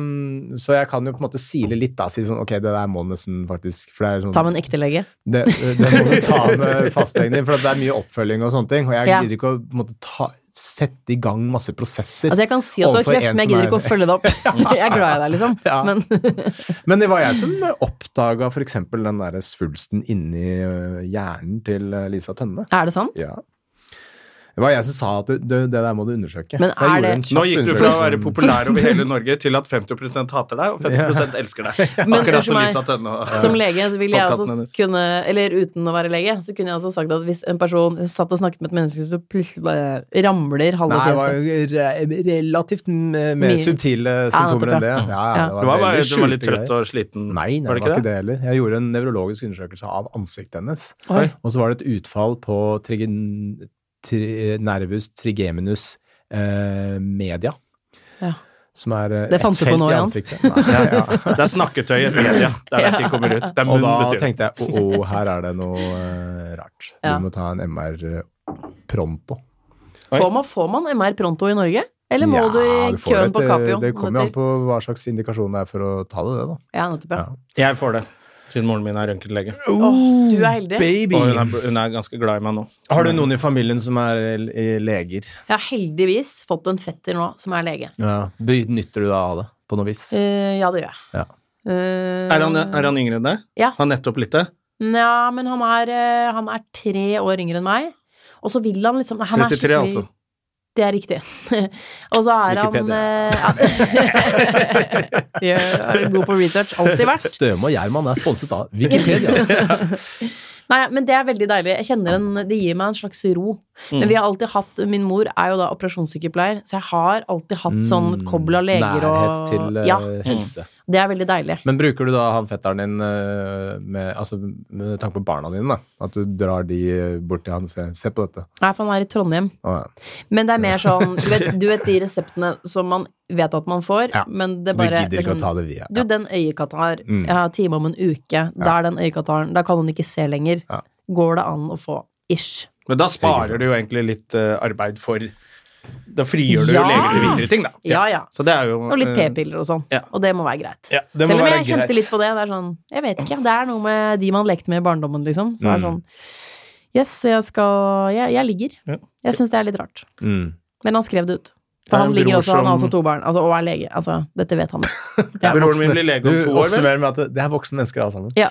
[SPEAKER 2] um, så jeg kan jo på en måte sile litt, da. Si sånn ok, det der må du nesten faktisk For det er sånn
[SPEAKER 4] Ta med en ekte lege.
[SPEAKER 2] det, det må du ta med fastlegen din, for at det er mye oppfølging og sånne ting. Og jeg
[SPEAKER 4] Ja.
[SPEAKER 2] gidder ikke å på en måte, ta, sette i gang masse prosesser.
[SPEAKER 4] Altså, jeg kan si at du har
[SPEAKER 2] Overfor
[SPEAKER 4] kreft,
[SPEAKER 2] en
[SPEAKER 4] men jeg
[SPEAKER 2] som
[SPEAKER 4] gidder ikke å
[SPEAKER 2] er-
[SPEAKER 4] følge det opp. Jeg er glad i deg, liksom.
[SPEAKER 2] Ja.
[SPEAKER 4] Men
[SPEAKER 2] Men det var jeg som oppdaga f.eks. den derre svulsten inni ø, hjernen til ø, Lisa Tønne.
[SPEAKER 4] er det sant?
[SPEAKER 2] Ja. Det var jeg som sa at du, du, det der må du undersøke.
[SPEAKER 4] Men
[SPEAKER 2] For jeg
[SPEAKER 4] er
[SPEAKER 2] gjorde
[SPEAKER 4] det-
[SPEAKER 2] en kjapp
[SPEAKER 1] Nå gikk du fra å være
[SPEAKER 2] undersøkelse.
[SPEAKER 1] populær over hele Norge til at 50 hater deg, og 50 elsker deg.
[SPEAKER 4] Men
[SPEAKER 1] Akkurat som
[SPEAKER 4] unnskyld meg,
[SPEAKER 1] Lisa Tønne. og-
[SPEAKER 4] Som lege så ville jeg
[SPEAKER 1] Podcasten
[SPEAKER 4] også
[SPEAKER 1] hennes.
[SPEAKER 4] kunne Eller uten å være lege, så kunne jeg også sagt at hvis en person satt og snakket med et menneske, så plutselig bare ramler halve
[SPEAKER 2] Nei, det var
[SPEAKER 4] fjeset.
[SPEAKER 2] jo re- relativt m- mer
[SPEAKER 4] Mye.
[SPEAKER 2] subtile symptomer
[SPEAKER 4] nettopp,
[SPEAKER 2] enn det.
[SPEAKER 4] ja.
[SPEAKER 2] Ja, ja,
[SPEAKER 4] Ja.
[SPEAKER 2] det
[SPEAKER 1] Du var, bare,
[SPEAKER 2] veldig
[SPEAKER 1] du var litt
[SPEAKER 2] skjulte
[SPEAKER 1] trøtt
[SPEAKER 2] greier.
[SPEAKER 1] og sliten?
[SPEAKER 2] Nei, nei,
[SPEAKER 1] var det ikke det?
[SPEAKER 2] heller. Jeg gjorde en nevrologisk undersøkelse av ansiktet hennes.
[SPEAKER 4] Oi.
[SPEAKER 2] Og så var det et utfall på trigen, tri, nervus trigeminus eh, media.
[SPEAKER 4] Ja.
[SPEAKER 2] Som er eh,
[SPEAKER 4] Det fant
[SPEAKER 2] et
[SPEAKER 4] du på
[SPEAKER 2] felt
[SPEAKER 4] nå,
[SPEAKER 2] i
[SPEAKER 4] Jan.
[SPEAKER 2] ansiktet. Nei, ja.
[SPEAKER 1] Det er snakketøyet i media. Det er der ting kommer ut. Det er
[SPEAKER 2] Og
[SPEAKER 1] munn,
[SPEAKER 2] da
[SPEAKER 1] betyr det.
[SPEAKER 2] tenkte jeg å, å, her er det noe eh, rart.
[SPEAKER 4] Ja.
[SPEAKER 2] Vi må ta en MR pronto.
[SPEAKER 1] Oi.
[SPEAKER 4] Får man, får man MR pronto i Norge? Eller må
[SPEAKER 2] Ja,
[SPEAKER 4] du i
[SPEAKER 2] du får
[SPEAKER 4] køen
[SPEAKER 2] et,
[SPEAKER 4] på
[SPEAKER 2] eh,
[SPEAKER 4] Capio?
[SPEAKER 2] Det kommer jo an på hva slags indikasjon det er for å ta det, det da.
[SPEAKER 4] Ja, nettopp, ja.
[SPEAKER 2] Ja.
[SPEAKER 1] Jeg får det, siden moren min er røntgenlege.
[SPEAKER 4] Åh, du er heldig.
[SPEAKER 2] Baby!
[SPEAKER 1] Og hun er, hun er ganske glad i meg nå.
[SPEAKER 2] Har du noen i familien som er l- i leger?
[SPEAKER 4] Jeg har heldigvis fått en fetter nå som er lege.
[SPEAKER 2] Benytter du deg av det på noe vis?
[SPEAKER 4] Eh, ja, det gjør jeg.
[SPEAKER 2] Ja.
[SPEAKER 4] Eh,
[SPEAKER 1] Er han, er han yngre enn deg?
[SPEAKER 4] Ja.
[SPEAKER 1] Han er nettopp lite?
[SPEAKER 4] Nja, men han er, eh, han er tre år yngre enn meg. Og så vil han liksom
[SPEAKER 1] 33,
[SPEAKER 4] han er skikkelig-
[SPEAKER 1] altså.
[SPEAKER 4] Det er riktig. og så er han eh, ja. Gjør- er god på research. Alltid vært.
[SPEAKER 2] Støme og Gjerman er sponset av Wikipedia.
[SPEAKER 4] Nei, men det er veldig deilig. Jeg kjenner en, Det gir meg en slags ro. Men vi har alltid hatt Min mor er jo da operasjonssykepleier, så jeg har alltid hatt sånn kobbel av leger
[SPEAKER 2] Mm. Nærhet
[SPEAKER 4] og
[SPEAKER 2] til eh,
[SPEAKER 4] Ja,
[SPEAKER 2] helse.
[SPEAKER 4] det er veldig deilig.
[SPEAKER 2] Men bruker du da han fetteren din eh, med, altså, med tanke på barna dine, da? At du drar de eh, bort til han og sier 'se på dette'.
[SPEAKER 4] Nei, for han er i Trondheim.
[SPEAKER 2] Å, ja.
[SPEAKER 4] Men det er mer sånn Du vet, du vet de reseptene som man vet at man får,
[SPEAKER 2] Ja.
[SPEAKER 4] men det
[SPEAKER 2] Du
[SPEAKER 4] bare liksom
[SPEAKER 2] gidder ikke å ta det via.
[SPEAKER 4] Du, den øyekatar,
[SPEAKER 2] Mm.
[SPEAKER 4] jeg har time om en uke, da er den øyekataren, da kan hun ikke se lenger.
[SPEAKER 2] Ja.
[SPEAKER 4] Går det an å få ish?
[SPEAKER 1] Men da sparer du jo egentlig litt eh, arbeid for Da frigjør du jo
[SPEAKER 4] Ja!
[SPEAKER 1] leger til videre ting, da.
[SPEAKER 4] Ja, ja.
[SPEAKER 1] Så det er jo
[SPEAKER 4] Og litt
[SPEAKER 1] eh,
[SPEAKER 4] p-piller og sånn.
[SPEAKER 1] ja.
[SPEAKER 4] Og det må være greit.
[SPEAKER 1] Ja, det må
[SPEAKER 4] Selv om
[SPEAKER 1] være
[SPEAKER 4] jeg kjente
[SPEAKER 1] greit.
[SPEAKER 4] litt på det. Det er sånn, jeg vet ikke. Det er noe med de man lekte med i barndommen, liksom. Så
[SPEAKER 2] Mm.
[SPEAKER 4] er det sånn Yes, jeg skal Jeg, jeg ligger.
[SPEAKER 1] Ja.
[SPEAKER 4] Jeg syns det er litt rart.
[SPEAKER 2] Mm.
[SPEAKER 4] Men han skrev det ut.
[SPEAKER 1] Jeg
[SPEAKER 4] Og
[SPEAKER 1] har
[SPEAKER 4] han
[SPEAKER 1] en
[SPEAKER 4] ligger
[SPEAKER 1] bror
[SPEAKER 4] også, han har
[SPEAKER 1] som-
[SPEAKER 4] også to barn. Altså, og er lege. Altså, dette vet han. Ja.
[SPEAKER 1] Broren min blir lege om
[SPEAKER 2] Du
[SPEAKER 1] to år, vel?
[SPEAKER 2] oppsummerer med at det- det er voksne mennesker alle sammen.
[SPEAKER 4] Ja.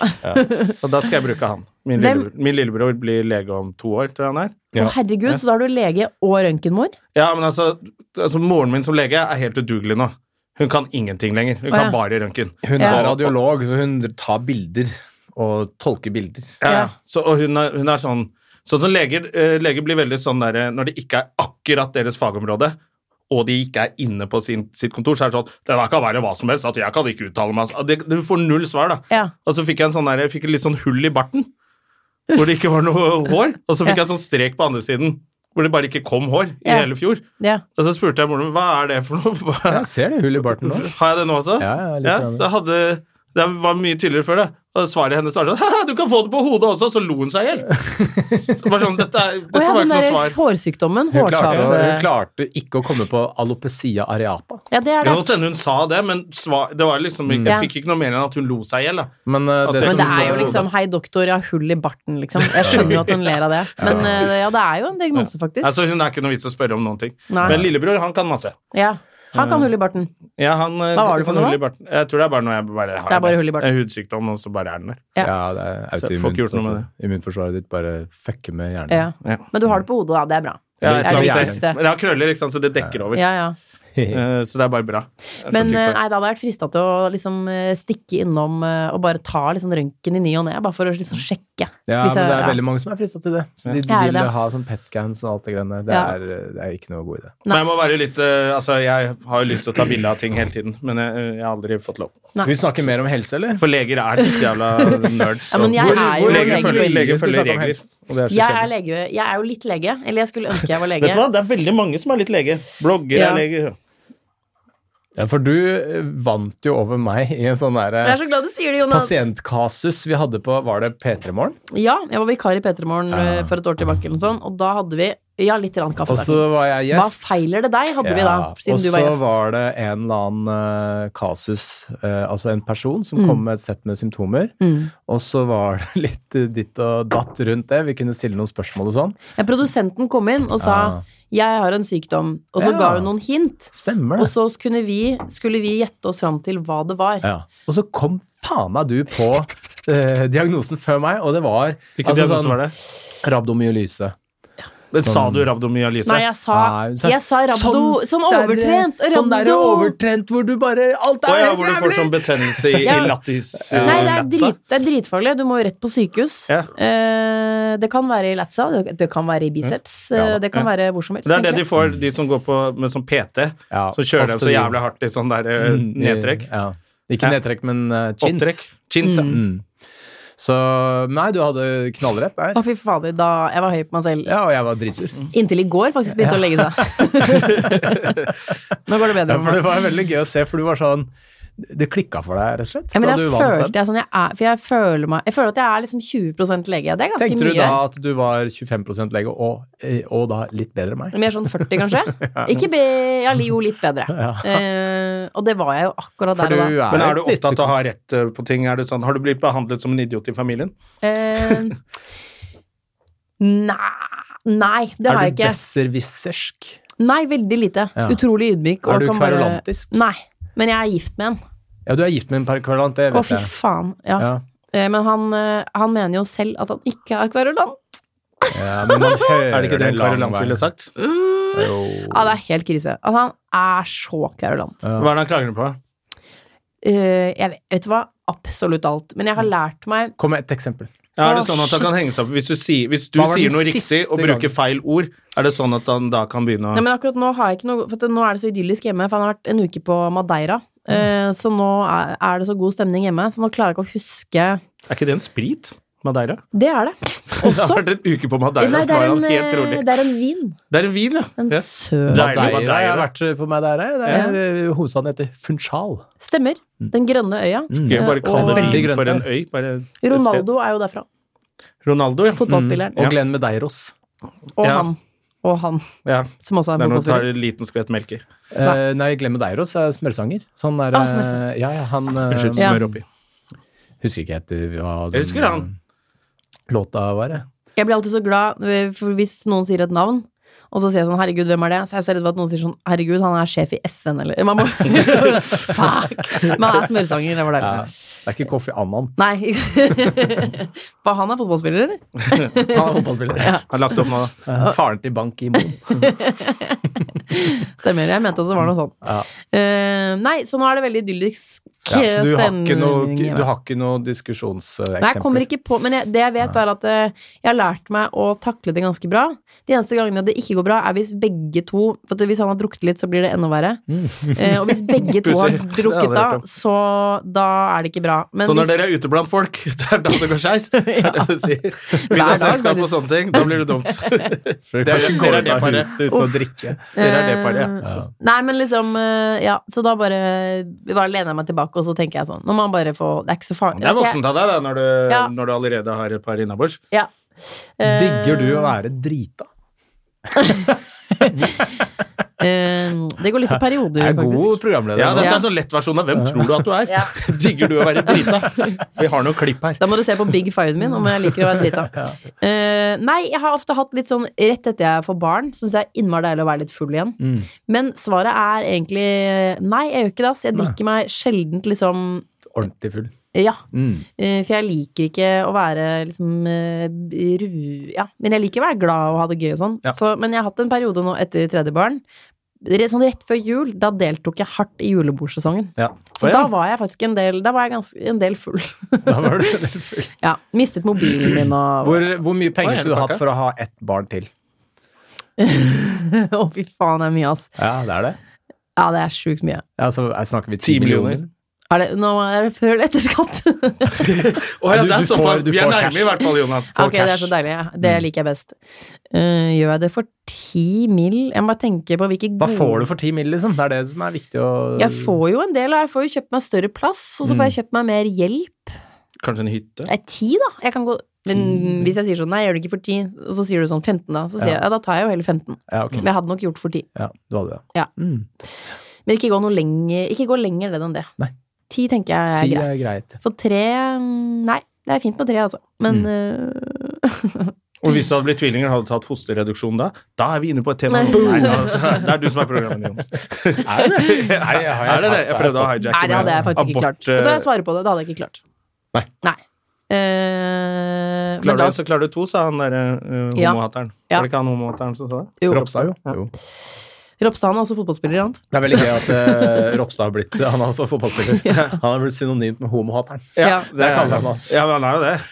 [SPEAKER 1] Og da skal jeg bruke han. Min,
[SPEAKER 4] Hvem-
[SPEAKER 1] lillebror, min lillebror blir lege om to år, tror jeg han er.
[SPEAKER 2] Ja.
[SPEAKER 4] Å, herregud, så da har du lege og røntgenmor?
[SPEAKER 1] Ja, men altså, altså Moren min som lege er helt udugelig nå. Hun kan ingenting lenger. Hun
[SPEAKER 4] Å, ja.
[SPEAKER 1] kan bare røntgen.
[SPEAKER 2] Hun
[SPEAKER 4] Ja.
[SPEAKER 2] er radiolog, så hun tar bilder og tolker bilder.
[SPEAKER 1] Ja.
[SPEAKER 4] Ja.
[SPEAKER 1] Så, og hun er, hun er sånn Sånn som leger, eh, leger blir veldig sånn der eh, Når det ikke er akkurat deres fagområde, og de ikke er inne på sin, sitt kontor, så er det sånn Det der kan være hva som helst. At jeg kan ikke uttale meg. altså. Det, du får null svar, da.
[SPEAKER 4] Ja.
[SPEAKER 1] Og så fikk jeg en sånn der, jeg fikk et litt sånn hull i barten, hvor det ikke var noe hår. Og så fikk jeg en sånn strek på andre siden, hvor det bare ikke kom hår i
[SPEAKER 4] Ja.
[SPEAKER 1] hele fjor.
[SPEAKER 4] ja.
[SPEAKER 1] Og så spurte jeg moren min hva er det for noe. Hva?
[SPEAKER 2] Jeg ser det hullet i barten nå.
[SPEAKER 1] Har jeg det nå også?
[SPEAKER 2] Ja, ja, litt
[SPEAKER 1] ja,
[SPEAKER 2] grann.
[SPEAKER 1] så jeg hadde, Det var mye tydeligere før det. Og svaret hennes var sånn «Haha, Du kan få det på hodet også! Så lo hun seg i hjel. Så Bare sånn, dette, er-
[SPEAKER 4] Å
[SPEAKER 1] dette
[SPEAKER 4] ja,
[SPEAKER 1] var
[SPEAKER 4] den
[SPEAKER 1] ikke noe
[SPEAKER 4] der
[SPEAKER 1] svar.
[SPEAKER 4] hårsykdommen.
[SPEAKER 5] Hun klarte, hun
[SPEAKER 4] Hårtap.
[SPEAKER 5] klarte ikke å komme på alopecia areata.
[SPEAKER 4] Ja, det
[SPEAKER 1] Det
[SPEAKER 4] er
[SPEAKER 1] kan
[SPEAKER 4] det.
[SPEAKER 1] godt hende hun sa det, men svar, det var liksom, ikke-
[SPEAKER 4] Mm.
[SPEAKER 1] jeg fikk ikke noe mer enn at hun lo seg i hjel. da.
[SPEAKER 5] Men, eh,
[SPEAKER 1] At
[SPEAKER 5] det
[SPEAKER 1] det-
[SPEAKER 4] Men
[SPEAKER 5] som
[SPEAKER 4] det
[SPEAKER 5] hun
[SPEAKER 4] er jo
[SPEAKER 5] sa-
[SPEAKER 4] liksom 'hei, doktor, jeg har hull i barten', liksom. Jeg skjønner jo at hun ler av det. Men eh, ja, det er jo en diagnose, faktisk.
[SPEAKER 1] Altså, hun er ikke noe vits å spørre om noen ting.
[SPEAKER 4] Nei.
[SPEAKER 1] Men lillebror, han kan masse.
[SPEAKER 4] Ja. Han kan hull i barten.
[SPEAKER 1] Ja, han, eh,
[SPEAKER 4] Hva var det for
[SPEAKER 1] han
[SPEAKER 4] noe?
[SPEAKER 1] hull i barten. Jeg tror det er bare noe jeg bare har.
[SPEAKER 4] Det er bare hull i barten.
[SPEAKER 1] Det er Hudsykdom, og så bare er den der.
[SPEAKER 5] Ja, det er
[SPEAKER 1] Så jeg får ikke gjort
[SPEAKER 5] autoimmunt.
[SPEAKER 1] noe med
[SPEAKER 5] altså. Immunforsvaret ditt bare fucker med hjernen.
[SPEAKER 4] Ja.
[SPEAKER 1] Ja.
[SPEAKER 4] Men du har det på hodet, da. Det er bra.
[SPEAKER 1] Ja, et
[SPEAKER 4] Det er
[SPEAKER 1] eller
[SPEAKER 4] det
[SPEAKER 1] annet
[SPEAKER 4] viktigste.
[SPEAKER 1] sted. Men jeg har krøller, ikke sant, så det dekker over.
[SPEAKER 4] Ja, ja.
[SPEAKER 1] Eh, Så det er bare bra. Det er så
[SPEAKER 4] Men eh,
[SPEAKER 1] TikTok.
[SPEAKER 4] nei, det hadde vært frista til å liksom eh, stikke innom eh, og bare ta liksom røntgen i ny og ne, bare for å liksom sjekke.
[SPEAKER 5] Ja,
[SPEAKER 4] Hvis jeg-
[SPEAKER 5] men det er
[SPEAKER 4] ja.
[SPEAKER 5] veldig mange som er frista til det. Så de, de
[SPEAKER 4] Ja, er det
[SPEAKER 5] vil
[SPEAKER 4] det?
[SPEAKER 5] ha sånn PET-scans og alt det greiene. Det,
[SPEAKER 4] Ja.
[SPEAKER 5] er, eh, det er ikke noe god idé.
[SPEAKER 1] Men jeg må være litt eh, Altså, jeg har jo lyst til å ta bilde av ting hele tiden, men jeg, eh, jeg har aldri fått lov.
[SPEAKER 5] Skal vi snakke mer om helse, eller?
[SPEAKER 1] For leger er litt jævla nerds.
[SPEAKER 4] Ja, men jeg
[SPEAKER 1] og-
[SPEAKER 4] er jo
[SPEAKER 1] leger
[SPEAKER 4] lege
[SPEAKER 1] følger,
[SPEAKER 4] på
[SPEAKER 1] leger
[SPEAKER 4] innsiden.
[SPEAKER 5] Vi skulle
[SPEAKER 1] følger
[SPEAKER 5] snakke om
[SPEAKER 1] regler.
[SPEAKER 5] helse, og det er så
[SPEAKER 4] Jeg
[SPEAKER 5] kjedelig.
[SPEAKER 4] er, lege, jeg er jo litt lege, eller jeg skulle ønske jeg var lege.
[SPEAKER 1] Vet du hva, det er veldig mange som er litt lege. Blogger
[SPEAKER 4] Ja.
[SPEAKER 1] er leger.
[SPEAKER 5] Ja, for du eh, vant jo over meg i en sånn
[SPEAKER 4] Jeg er
[SPEAKER 5] derre
[SPEAKER 4] så glad du sier det, Jonas.
[SPEAKER 5] pasientkasus vi hadde på Var det P3 Morgen?
[SPEAKER 4] Ja, jeg var vikar i P3 Morgen eh, for et år tilbake, eller noe sånt, og da hadde vi Ja, litt grann kaffe.
[SPEAKER 5] Og
[SPEAKER 4] der.
[SPEAKER 5] så var jeg
[SPEAKER 4] Hva
[SPEAKER 5] gjest.
[SPEAKER 4] feiler det deg, hadde vi da,
[SPEAKER 5] Ja,
[SPEAKER 4] siden du var
[SPEAKER 5] Og så
[SPEAKER 4] gjest.
[SPEAKER 5] var det en eller annen eh, kasus, eh, altså en person som kom med et sett med symptomer.
[SPEAKER 4] Mm.
[SPEAKER 5] Og så var det litt eh, ditt og datt rundt det. Vi kunne stille noen spørsmål og sånn.
[SPEAKER 4] Ja, produsenten kom inn og sa
[SPEAKER 5] Ja.
[SPEAKER 4] 'jeg har en sykdom', og så
[SPEAKER 5] Ja.
[SPEAKER 4] ga hun noen hint.
[SPEAKER 5] Stemmer
[SPEAKER 4] Og
[SPEAKER 5] det.
[SPEAKER 4] så kunne vi, skulle vi gjette oss fram til hva det var.
[SPEAKER 5] Ja. Og så kom faen meg du på eh, diagnosen før meg, og det var altså sånn
[SPEAKER 1] Hvilken diagnose var det? Sånn-
[SPEAKER 5] rabdomyolyse.
[SPEAKER 1] Altså, sånn- Men sa du rabdomyalyse?
[SPEAKER 4] Nei, jeg sa,
[SPEAKER 5] Nei, hun sa-
[SPEAKER 4] jeg sa rabdo Sånn, overtrent.
[SPEAKER 5] derre-
[SPEAKER 4] Rabdo.
[SPEAKER 5] eh, Sånn derre overtrent hvor du bare Alt
[SPEAKER 1] Å
[SPEAKER 5] er
[SPEAKER 1] ja,
[SPEAKER 5] helt
[SPEAKER 1] hvor du får
[SPEAKER 5] jævlig!
[SPEAKER 1] sånn betennelse i,
[SPEAKER 4] Ja.
[SPEAKER 1] i lattis... eh,
[SPEAKER 4] Nei, det er,
[SPEAKER 1] latsa.
[SPEAKER 4] drit, det er dritfarlig. Du må jo rett på sykehus.
[SPEAKER 1] Ja.
[SPEAKER 4] Eh, det kan være i latsa, det, det kan være i biceps,
[SPEAKER 5] Ja.
[SPEAKER 4] eh, det kan være hvor som helst.
[SPEAKER 1] Det er det de
[SPEAKER 4] egentlig.
[SPEAKER 1] får, de som går på med sånn PT.
[SPEAKER 5] Ja,
[SPEAKER 1] så kjører
[SPEAKER 5] ofte
[SPEAKER 1] de så
[SPEAKER 5] de-
[SPEAKER 1] jævlig hardt i sånn der eh,
[SPEAKER 5] Mm, i-
[SPEAKER 1] nedtrekk.
[SPEAKER 5] Ja. Ikke
[SPEAKER 1] Ja.
[SPEAKER 5] nedtrekk, men eh, chins.
[SPEAKER 1] Opptrekk. Chins, ja.
[SPEAKER 5] Mm. Så Nei, du hadde knallrett der.
[SPEAKER 4] Å, Mm. fy fader, da jeg var høy på meg selv.
[SPEAKER 5] Ja, og jeg var dritsur.
[SPEAKER 4] Inntil i går faktisk begynte å legge seg. Nå går det
[SPEAKER 5] Ja,
[SPEAKER 4] bedre
[SPEAKER 5] for
[SPEAKER 4] med meg.
[SPEAKER 5] det var veldig gøy å se, for du var sånn Det klikka for deg, rett og slett.
[SPEAKER 4] Ja, men jeg
[SPEAKER 5] da du vant den.
[SPEAKER 4] følte jeg sånn, jeg er, for jeg føler, meg, jeg føler at jeg er liksom 20 lege. Det er ganske
[SPEAKER 5] Tenkte
[SPEAKER 4] mye.
[SPEAKER 5] du da at du var 25 lege, og, eh, og da litt bedre enn meg?
[SPEAKER 4] Mer sånn 40, kanskje? Ikke be... Ja, jo, litt bedre. Eh, og det var jeg jo akkurat
[SPEAKER 5] For
[SPEAKER 4] der
[SPEAKER 5] du
[SPEAKER 4] og da.
[SPEAKER 5] er
[SPEAKER 1] Men er du
[SPEAKER 5] et lite-
[SPEAKER 1] opptatt av å ha rett eh, på ting? Er det sånn, har du blitt behandlet som en idiot i familien?
[SPEAKER 4] Eh, nei, nei, det har
[SPEAKER 5] Er
[SPEAKER 4] jeg
[SPEAKER 5] du
[SPEAKER 4] ikke.
[SPEAKER 5] besserwissersk?
[SPEAKER 4] Nei, veldig lite.
[SPEAKER 5] Ja.
[SPEAKER 4] Utrolig ydmyk. og
[SPEAKER 5] Er du
[SPEAKER 4] kan bare-
[SPEAKER 5] kverulantisk?
[SPEAKER 4] Nei, men jeg er gift med en.
[SPEAKER 5] Ja, du er gift med en parkvalant, det
[SPEAKER 4] Å, fy
[SPEAKER 5] vet jeg.
[SPEAKER 4] faen. Ja.
[SPEAKER 5] Ja.
[SPEAKER 4] Eh, Men han, eh, han mener jo selv at han ikke er kverulant.
[SPEAKER 5] ja, men man hører
[SPEAKER 1] Er det ikke det
[SPEAKER 5] lang
[SPEAKER 1] Kari Lant
[SPEAKER 5] vei.
[SPEAKER 1] ville sagt?
[SPEAKER 4] Mm.
[SPEAKER 5] Jo.
[SPEAKER 4] Ja, det er helt krise. At han er så kverulant.
[SPEAKER 5] Ja.
[SPEAKER 1] Hva er det han klager på?
[SPEAKER 4] Eh, jeg vet, vet du hva? Absolutt alt. Men jeg har lært meg
[SPEAKER 5] Kom med et eksempel.
[SPEAKER 1] Ja, er det
[SPEAKER 4] Å,
[SPEAKER 1] sånn at han kan
[SPEAKER 4] shit.
[SPEAKER 1] henge seg opp Hvis du sier, hvis du
[SPEAKER 5] Hva var
[SPEAKER 1] sier
[SPEAKER 5] den
[SPEAKER 1] noe
[SPEAKER 5] siste
[SPEAKER 1] riktig og bruker
[SPEAKER 5] gangen?
[SPEAKER 1] feil ord, er det sånn at han da kan begynne
[SPEAKER 4] Nei,
[SPEAKER 1] å
[SPEAKER 4] men akkurat nå har jeg ikke noe For at nå er det så idyllisk hjemme, for han har vært en uke på Madeira.
[SPEAKER 1] Mm.
[SPEAKER 4] Eh, Så nå er er det så god stemning hjemme, så nå klarer jeg ikke å huske
[SPEAKER 1] Er ikke det en sprit? Madeira?
[SPEAKER 4] Det er det.
[SPEAKER 1] Det
[SPEAKER 4] Også
[SPEAKER 1] har vært en uke på Madeira,
[SPEAKER 4] Nei,
[SPEAKER 1] så
[SPEAKER 4] det
[SPEAKER 1] nå er
[SPEAKER 4] er en,
[SPEAKER 1] han helt
[SPEAKER 4] eh,
[SPEAKER 1] rolig.
[SPEAKER 4] det er en vin.
[SPEAKER 1] Det er en vin, ja.
[SPEAKER 4] En
[SPEAKER 1] ja.
[SPEAKER 4] søt
[SPEAKER 1] Deilig
[SPEAKER 5] Madeira,
[SPEAKER 1] Madeira.
[SPEAKER 5] Jeg har vært eh, på Madeira. Det er eh, hovedstaden heter Funchal.
[SPEAKER 4] Stemmer.
[SPEAKER 1] Mm.
[SPEAKER 4] Den grønne øya.
[SPEAKER 1] Gøy å bare kalle
[SPEAKER 4] Og-
[SPEAKER 1] det
[SPEAKER 5] Veldig grønt
[SPEAKER 1] for en
[SPEAKER 5] der.
[SPEAKER 1] øy. Bare et sted.
[SPEAKER 4] Ronaldo er jo derfra.
[SPEAKER 1] Ronaldo, ja.
[SPEAKER 4] Fotballspilleren.
[SPEAKER 5] Mm. Og
[SPEAKER 1] Ja.
[SPEAKER 5] Glenn Medeiros.
[SPEAKER 4] Og
[SPEAKER 1] Ja.
[SPEAKER 4] han. Og han,
[SPEAKER 1] ja.
[SPEAKER 4] som også er
[SPEAKER 1] Det er
[SPEAKER 4] en
[SPEAKER 1] når du tar
[SPEAKER 4] fotballspiller.
[SPEAKER 1] en liten skvett melk i.
[SPEAKER 5] Eh, nei, Glenn Medeiros er smørsanger. Så han er,
[SPEAKER 4] Ah, smørsanger.
[SPEAKER 5] eh, ja, ja, han eh,
[SPEAKER 1] Unnskyld,
[SPEAKER 4] Ja.
[SPEAKER 1] smør oppi.
[SPEAKER 5] Husker ikke etter hva
[SPEAKER 1] Jeg husker
[SPEAKER 5] eh,
[SPEAKER 1] han.
[SPEAKER 5] låta var. jeg.
[SPEAKER 4] Jeg blir alltid så glad eh, for hvis noen sier et navn, og så sier jeg sånn 'herregud, hvem er det?' Så jeg er så redd for at noen sier sånn 'herregud, han er sjef i FN', eller Man må Fuck! Men han er smørsanger, det var
[SPEAKER 5] Ja.
[SPEAKER 4] deilig.
[SPEAKER 5] Eh, Det er ikke Kofi Annan.
[SPEAKER 4] Nei. Hva, han er fotballspiller, eller?
[SPEAKER 5] Han er fotballspiller.
[SPEAKER 1] Jeg har lagt opp nå, da.
[SPEAKER 5] Eh, Faren til Bank i Moen.
[SPEAKER 4] Stemmer. Jeg mente at det var noe sånt.
[SPEAKER 5] Ja.
[SPEAKER 4] Eh, nei, så nå er det veldig idyllisk
[SPEAKER 5] Ja, så du har ikke noe,
[SPEAKER 4] stemning hjemme.
[SPEAKER 5] du har ikke noe diskusjonseksempel?
[SPEAKER 4] Nei, jeg kommer ikke på, men jeg, det jeg vet er at eh, jeg har lært meg å takle det ganske bra. De eneste gangene det ikke går bra, er hvis begge to For at hvis han har drukket litt, så blir det enda verre.
[SPEAKER 1] Mm.
[SPEAKER 4] Eh, og hvis begge to har
[SPEAKER 1] Pussig. Det
[SPEAKER 4] drukket
[SPEAKER 1] hadde jeg
[SPEAKER 4] da,
[SPEAKER 1] hørt om.
[SPEAKER 4] så da er det ikke bra. Men
[SPEAKER 1] Så når dere
[SPEAKER 4] hvis,
[SPEAKER 1] er ute blant folk, det er da det går skeis. Det er det du sier. Middagsselskap og sånne ting, da blir det dumt.
[SPEAKER 5] For du
[SPEAKER 1] Det
[SPEAKER 5] kan
[SPEAKER 1] er-
[SPEAKER 5] ikke
[SPEAKER 1] det
[SPEAKER 5] gå
[SPEAKER 1] er
[SPEAKER 5] ut av
[SPEAKER 1] det bare.
[SPEAKER 5] huset uten å drikke.
[SPEAKER 1] Dere er det paret, ja.
[SPEAKER 4] eh, Nei, men liksom eh, Ja, så da bare, bare lener jeg meg tilbake og og så tenker jeg sånn Nå må han bare få Det er ikke så farlig. Altså,
[SPEAKER 1] Det er voksent av deg, da, når du,
[SPEAKER 4] Ja.
[SPEAKER 1] når du allerede har et par innabords.
[SPEAKER 4] Ja. Eh,
[SPEAKER 5] Digger du å være drita?
[SPEAKER 4] eh, det går litt i
[SPEAKER 5] Jeg
[SPEAKER 4] perioder,
[SPEAKER 5] er god
[SPEAKER 4] faktisk.
[SPEAKER 5] programleder.
[SPEAKER 1] Ja,
[SPEAKER 5] nå.
[SPEAKER 1] Dette er
[SPEAKER 4] Ja.
[SPEAKER 1] en sånn lettversjon av 'Hvem tror du at du er?'
[SPEAKER 4] Ja.
[SPEAKER 1] Digger du å være drita? Vi har noen klipp her.
[SPEAKER 4] Da må du se på big five-en min, om jeg liker å være drita. Eh, nei, jeg har ofte hatt litt sånn Rett etter jeg får barn, syns jeg er innmari deilig å være litt full igjen.
[SPEAKER 5] Mm.
[SPEAKER 4] Men svaret er egentlig nei, jeg gjør ikke det. ass. Jeg drikker meg sjeldent liksom
[SPEAKER 5] Ordentlig full.
[SPEAKER 4] Ja.
[SPEAKER 5] Mm.
[SPEAKER 4] Eh, For jeg liker ikke å være liksom eh, ru... Ja, men jeg liker å være glad og ha det gøy og sånn.
[SPEAKER 5] Ja.
[SPEAKER 4] Så, men jeg har hatt en periode nå etter tredje barn. re- Sånn rett før jul, da deltok jeg hardt i julebordsesongen.
[SPEAKER 5] Ja.
[SPEAKER 4] Så
[SPEAKER 1] Å, ja.
[SPEAKER 4] da var jeg faktisk en del Da var jeg ganske, en del full.
[SPEAKER 5] Da var du full.
[SPEAKER 4] ja, Mistet mobilen min og
[SPEAKER 5] Hvor, hvor
[SPEAKER 1] Hva
[SPEAKER 5] mye
[SPEAKER 1] er
[SPEAKER 5] penger skulle du
[SPEAKER 1] hele
[SPEAKER 5] hatt
[SPEAKER 1] pakka?
[SPEAKER 5] for å ha ett barn til?
[SPEAKER 4] Å, fy faen, det er mye, ass.
[SPEAKER 5] Ja, det er det.
[SPEAKER 4] Ja, det er sjukt mye.
[SPEAKER 5] Ja, så jeg snakker vi
[SPEAKER 1] 10 millioner.
[SPEAKER 4] Er det, nå er det før eller etter skatt?
[SPEAKER 1] Å ja,
[SPEAKER 5] Du-
[SPEAKER 1] det er
[SPEAKER 5] du
[SPEAKER 1] såpass.
[SPEAKER 5] får- du
[SPEAKER 1] Vi er
[SPEAKER 5] får
[SPEAKER 1] nærme
[SPEAKER 5] cash.
[SPEAKER 1] i hvert fall, Jonas.
[SPEAKER 4] ok, det er så deilig. Ja. Det
[SPEAKER 5] Mm.
[SPEAKER 4] liker jeg best. Eh, gjør jeg det for ti mil? Jeg må bare tenke på hvilke
[SPEAKER 5] Hva
[SPEAKER 4] gode
[SPEAKER 5] får du for 10 mill., liksom? Det er det som er viktig å
[SPEAKER 4] Jeg får jo en del, og jeg får jo kjøpt meg større plass, og så
[SPEAKER 5] Mm.
[SPEAKER 4] får jeg kjøpt meg mer hjelp.
[SPEAKER 1] Kanskje en hytte?
[SPEAKER 4] Det er ti, da. Jeg kan gå Men hvis jeg sier sånn, nei, jeg gjør det ikke for ti, og så sier du sånn 15, da, så sier jeg
[SPEAKER 5] Ja.
[SPEAKER 4] ja, da tar jeg jo heller 15.
[SPEAKER 5] Ja, ok.
[SPEAKER 4] Men jeg hadde nok gjort for ti.
[SPEAKER 5] Mm. Ja, du hadde det.
[SPEAKER 4] Ja.
[SPEAKER 5] Mm.
[SPEAKER 4] Men ikke gå noe lenger, ikke gå lenger ned enn det.
[SPEAKER 5] Nei.
[SPEAKER 4] Ti tenker jeg er
[SPEAKER 5] 10
[SPEAKER 4] greit.
[SPEAKER 5] er greit.
[SPEAKER 4] For tre mm, Nei, det er fint med tre, altså. Men
[SPEAKER 5] Mm.
[SPEAKER 4] øh,
[SPEAKER 1] Og hvis det hadde blitt tvillinger, hadde du tatt fosterreduksjon da? Da er vi inne på et tema.
[SPEAKER 4] Nei.
[SPEAKER 1] nå. Nei, altså, det er du som er programmet, Jonas. Er det det?
[SPEAKER 5] Nei, jeg har jeg
[SPEAKER 1] Er det, det?
[SPEAKER 5] tatt-
[SPEAKER 1] Jeg prøvde å
[SPEAKER 5] har
[SPEAKER 1] hijacke
[SPEAKER 4] Nei, det hadde jeg
[SPEAKER 1] med
[SPEAKER 4] faktisk ikke klart. Vet
[SPEAKER 1] Eh,
[SPEAKER 4] du hva, jeg svarer på det. Det hadde jeg ikke klart.
[SPEAKER 5] Nei.
[SPEAKER 4] Eh, men
[SPEAKER 1] Klarer
[SPEAKER 4] da-
[SPEAKER 1] du, så klarer du to, sa han derre uh,
[SPEAKER 4] Ja.
[SPEAKER 1] homohateren.
[SPEAKER 4] Ja.
[SPEAKER 1] Var det ikke han homohateren som sa det?
[SPEAKER 4] jo,
[SPEAKER 5] Ropstad, jo. jo.
[SPEAKER 4] Ropstad han er også fotballspiller, ikke sant?
[SPEAKER 5] Det er veldig gøy at eh, Ropstad har blitt Han er også fotballspiller. Han er blitt synonymt med homohateren.
[SPEAKER 4] Ja.
[SPEAKER 1] det er
[SPEAKER 5] kaller han oss.
[SPEAKER 1] Ja, men han er jo det.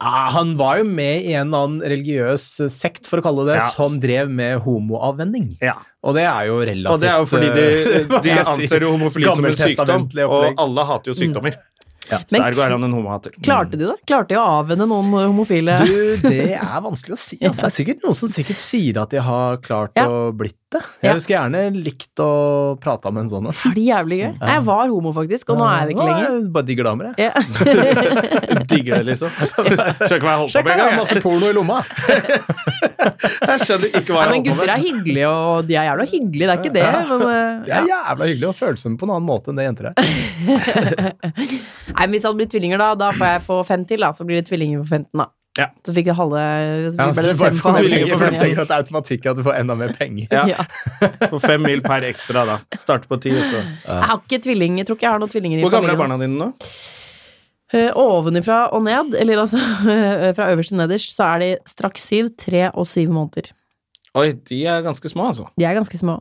[SPEAKER 5] Ja, han var jo med i en eller annen religiøs eh, sekt, for å kalle det det,
[SPEAKER 1] Ja.
[SPEAKER 5] som drev med homoavvenning.
[SPEAKER 1] Ja.
[SPEAKER 5] Og det er jo relativt
[SPEAKER 1] Og det er jo fordi
[SPEAKER 5] eh,
[SPEAKER 1] de,
[SPEAKER 5] hva
[SPEAKER 1] de
[SPEAKER 5] skal jeg si?
[SPEAKER 1] anser jo homofili som en sykdom,
[SPEAKER 5] Gammeltestamentlig opplegg.
[SPEAKER 1] og alle hater jo sykdommer.
[SPEAKER 5] Ja.
[SPEAKER 1] Så
[SPEAKER 4] Mm. Men-
[SPEAKER 1] ergo er han en homohater.
[SPEAKER 4] Klarte de det? Klarte de å avvenne noen eh, homofile
[SPEAKER 5] Du, det er vanskelig å si. Altså, det er sikkert noen som sikkert sier at de har klart
[SPEAKER 4] Ja.
[SPEAKER 5] å blitt det.
[SPEAKER 4] Ja.
[SPEAKER 5] Jeg skulle gjerne likt å prate med en sånn en.
[SPEAKER 4] Har det jævlig gøy? Jeg var homo, faktisk, og nå er jeg det ikke lenger.
[SPEAKER 5] Nå er jeg Bare digger damer, jeg.
[SPEAKER 4] Ja.
[SPEAKER 1] Digger det, liksom. Skjønner ikke hva jeg holdt på
[SPEAKER 5] Sjekk,
[SPEAKER 1] med
[SPEAKER 5] her har jeg
[SPEAKER 1] engang.
[SPEAKER 5] masse porno i lomma!
[SPEAKER 1] Jeg skjønner ikke hva
[SPEAKER 4] Nei,
[SPEAKER 1] jeg
[SPEAKER 4] men
[SPEAKER 1] holdt på med.
[SPEAKER 4] gutter er hyggelige, og de er jævla hyggelige, det er ikke det. Men, eh,
[SPEAKER 5] Det
[SPEAKER 4] ja.
[SPEAKER 5] er jævla hyggelig og følsomme på en annen måte enn det jenter er.
[SPEAKER 4] Nei, men hvis det hadde blitt tvillinger, da, da får jeg få fem til, da. Så blir det tvillinger for 15, da.
[SPEAKER 1] Ja.
[SPEAKER 4] Så fikk jeg halve så
[SPEAKER 5] Ja,
[SPEAKER 4] ble
[SPEAKER 5] så
[SPEAKER 4] det
[SPEAKER 5] du bare
[SPEAKER 4] fem
[SPEAKER 5] får
[SPEAKER 4] for halve.
[SPEAKER 5] penger,
[SPEAKER 1] tvillinger for
[SPEAKER 5] for du
[SPEAKER 1] fem.
[SPEAKER 5] tenker at det er automatikk at du får enda mer penger.
[SPEAKER 1] Ja,
[SPEAKER 4] Ja.
[SPEAKER 1] For fem mil per ekstra, da. Starte på ti, så.
[SPEAKER 4] Jeg har ikke tvilling, jeg tror ikke jeg har noen tvillinger i
[SPEAKER 1] Hvor gamle er barna
[SPEAKER 4] familien,
[SPEAKER 1] dine nå?
[SPEAKER 4] ass. Eh, Ovenifra og ned, eller altså fra øverst til nederst, så er de straks syv, tre og syv måneder.
[SPEAKER 1] Oi, de er ganske små, altså.
[SPEAKER 4] De er ganske små.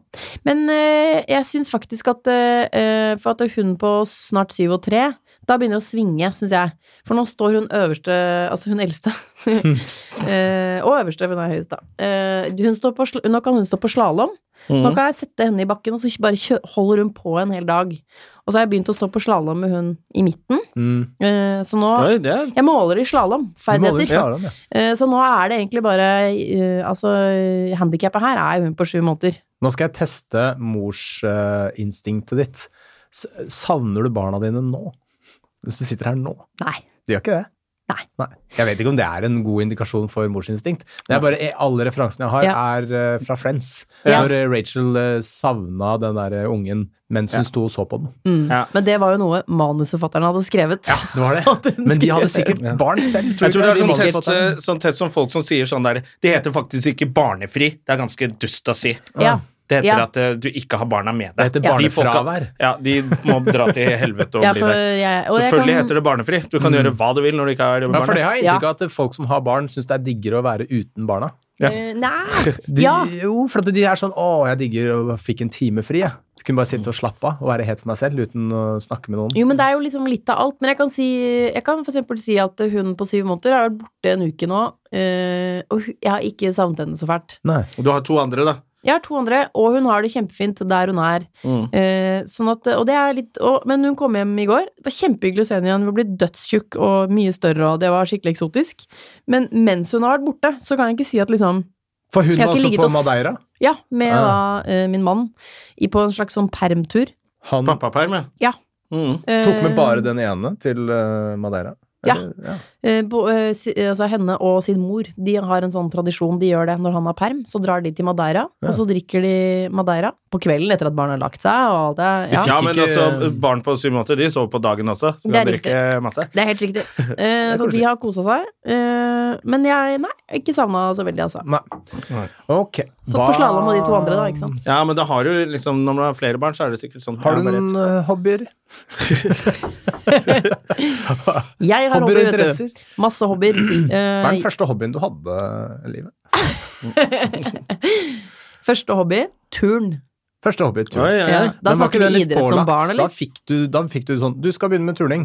[SPEAKER 4] Men eh, jeg syns faktisk at eh, eh, For at hun på snart syv og tre da begynner det å svinge, syns jeg. For nå står hun øverste Altså hun eldste. Eh, og øverste, for hun er høyest, da. Eh, hun står på, sl- nå kan hun stå på slalåm, så
[SPEAKER 1] Mhm.
[SPEAKER 4] nå kan jeg sette henne i bakken, og så bare kjø holder hun på en hel dag. Og så har jeg begynt å stå på slalåm med hun i midten,
[SPEAKER 5] Mm.
[SPEAKER 4] eh, så nå
[SPEAKER 1] Oi, det er
[SPEAKER 4] Jeg måler i slalåmferdigheter. Eh, Så nå er det egentlig bare eh, Altså, handikappet her er jo hun på sju måneder.
[SPEAKER 5] Nå skal jeg teste morsinstinktet ditt. S- Savner du barna dine nå? Hvis du sitter her nå?
[SPEAKER 4] Nei.
[SPEAKER 5] Du gjør ikke det?
[SPEAKER 4] Nei.
[SPEAKER 5] Jeg vet ikke om det er en god indikasjon for morsinstinkt. Det er bare Alle referansene jeg har, er eh, fra Friends.
[SPEAKER 4] Ja.
[SPEAKER 5] Når eh, Rachel eh, savna den derre ungen mens hun sto og så på den.
[SPEAKER 4] Mm.
[SPEAKER 1] Ja.
[SPEAKER 4] Men det var jo noe manusforfatteren hadde skrevet.
[SPEAKER 5] Det var det. Men de hadde sikkert
[SPEAKER 1] Ja.
[SPEAKER 5] barn selv.
[SPEAKER 1] jeg tror det er
[SPEAKER 5] ikke?
[SPEAKER 1] sånn
[SPEAKER 5] De hadde
[SPEAKER 1] test,
[SPEAKER 5] fått den.
[SPEAKER 1] eh, sånn test som folk som sier sånn der Det heter faktisk ikke barnefri. Det er ganske dust å si.
[SPEAKER 4] Ja.
[SPEAKER 1] Det heter
[SPEAKER 4] Ja.
[SPEAKER 1] at eh, du ikke har barna med deg.
[SPEAKER 5] Det heter
[SPEAKER 1] Ja. De folka-
[SPEAKER 5] barnefravær.
[SPEAKER 1] Ja, de må dra til helvete og
[SPEAKER 4] Ja,
[SPEAKER 1] bli
[SPEAKER 4] for
[SPEAKER 1] det.
[SPEAKER 4] jeg, og
[SPEAKER 1] Selvfølgelig
[SPEAKER 4] jeg kan,
[SPEAKER 1] heter det barnefri. Du kan gjøre hva du vil når du ikke har
[SPEAKER 5] Ja, for det
[SPEAKER 1] barn.
[SPEAKER 5] har jeg inntrykk av at folk som har barn, syns det er diggere å være uten barna.
[SPEAKER 1] Ja.
[SPEAKER 4] Eh, Nei!
[SPEAKER 5] De,
[SPEAKER 4] Ja.
[SPEAKER 5] Jo, for at de er sånn 'Å, jeg digger og fikk en time fri', jeg. Du kunne bare sitte og slappe av og være helt for meg selv uten å snakke med noen.
[SPEAKER 4] Jo, men det er jo liksom litt av alt. Men jeg kan, si, jeg kan for eksempel si at hun på syv måneder har vært borte en uke nå, eh, og hun- jeg har ikke savnet henne så fælt.
[SPEAKER 5] Nei.
[SPEAKER 1] Og du har to andre, da.
[SPEAKER 4] Jeg har to andre, og hun har det kjempefint der hun er.
[SPEAKER 1] Mm.
[SPEAKER 4] Eh, Sånn at, og det er litt og, Men hun kom hjem i går. Det var kjempehyggelig å se henne igjen. Hun ble dødstjukk og mye større, og det var skikkelig eksotisk. Men mens hun har vært borte, så kan jeg ikke si at liksom
[SPEAKER 5] For hun
[SPEAKER 4] Jeg har
[SPEAKER 5] var
[SPEAKER 4] ikke
[SPEAKER 5] også
[SPEAKER 4] ligget
[SPEAKER 5] på
[SPEAKER 4] og s-
[SPEAKER 5] Madeira.
[SPEAKER 4] Ja, med
[SPEAKER 5] Ah.
[SPEAKER 4] da eh, min mann i, på en slags sånn permtur.
[SPEAKER 5] Han,
[SPEAKER 1] Pappaperm, ja.
[SPEAKER 4] Ja,
[SPEAKER 1] Mm.
[SPEAKER 2] Tok med bare den ene til eh, Madeira?
[SPEAKER 4] Ja.
[SPEAKER 2] ja.
[SPEAKER 4] Eh, bo, eh, si, altså henne og sin mor De har en sånn tradisjon. De gjør det når han har perm. Så drar de til Madeira,
[SPEAKER 2] Ja.
[SPEAKER 4] og så drikker de Madeira på kvelden etter at barnet har lagt seg. Og alt det.
[SPEAKER 1] Ja,
[SPEAKER 4] Ja.
[SPEAKER 2] Ikke-
[SPEAKER 1] men
[SPEAKER 2] ikke-
[SPEAKER 1] altså, barn på syv måneder, de sover på dagen også. Så
[SPEAKER 4] Det er
[SPEAKER 1] kan drikke masse.
[SPEAKER 4] Det er helt riktig. Eh, så de har kosa seg. Eh, men jeg nei, ikke savna så veldig, altså.
[SPEAKER 2] Nei. Ok.
[SPEAKER 4] Så på slalåm og de to andre, da. ikke sant?
[SPEAKER 1] Ja, men da har du liksom, når man har flere barn, så er det sikkert sånn
[SPEAKER 2] Har
[SPEAKER 1] ja,
[SPEAKER 2] du
[SPEAKER 1] bare-
[SPEAKER 2] noen eh, hobbyer?
[SPEAKER 4] Jeg har
[SPEAKER 2] Hobbyer
[SPEAKER 4] hobbyer,
[SPEAKER 2] og
[SPEAKER 4] vet
[SPEAKER 2] interesser?
[SPEAKER 4] du. Masse hobbyer. Eh,
[SPEAKER 2] Hva er den første hobbyen du hadde i livet?
[SPEAKER 4] første hobby turn.
[SPEAKER 2] Første hobbytur.
[SPEAKER 1] Oi, oi, oi.
[SPEAKER 4] Ja. Da
[SPEAKER 2] Men var ikke
[SPEAKER 4] snakker
[SPEAKER 2] det
[SPEAKER 4] vi
[SPEAKER 2] litt
[SPEAKER 4] idrett som
[SPEAKER 2] pålagt?
[SPEAKER 4] barn, eller?
[SPEAKER 2] Da fikk, du, da fikk du sånn Du skal begynne med turning.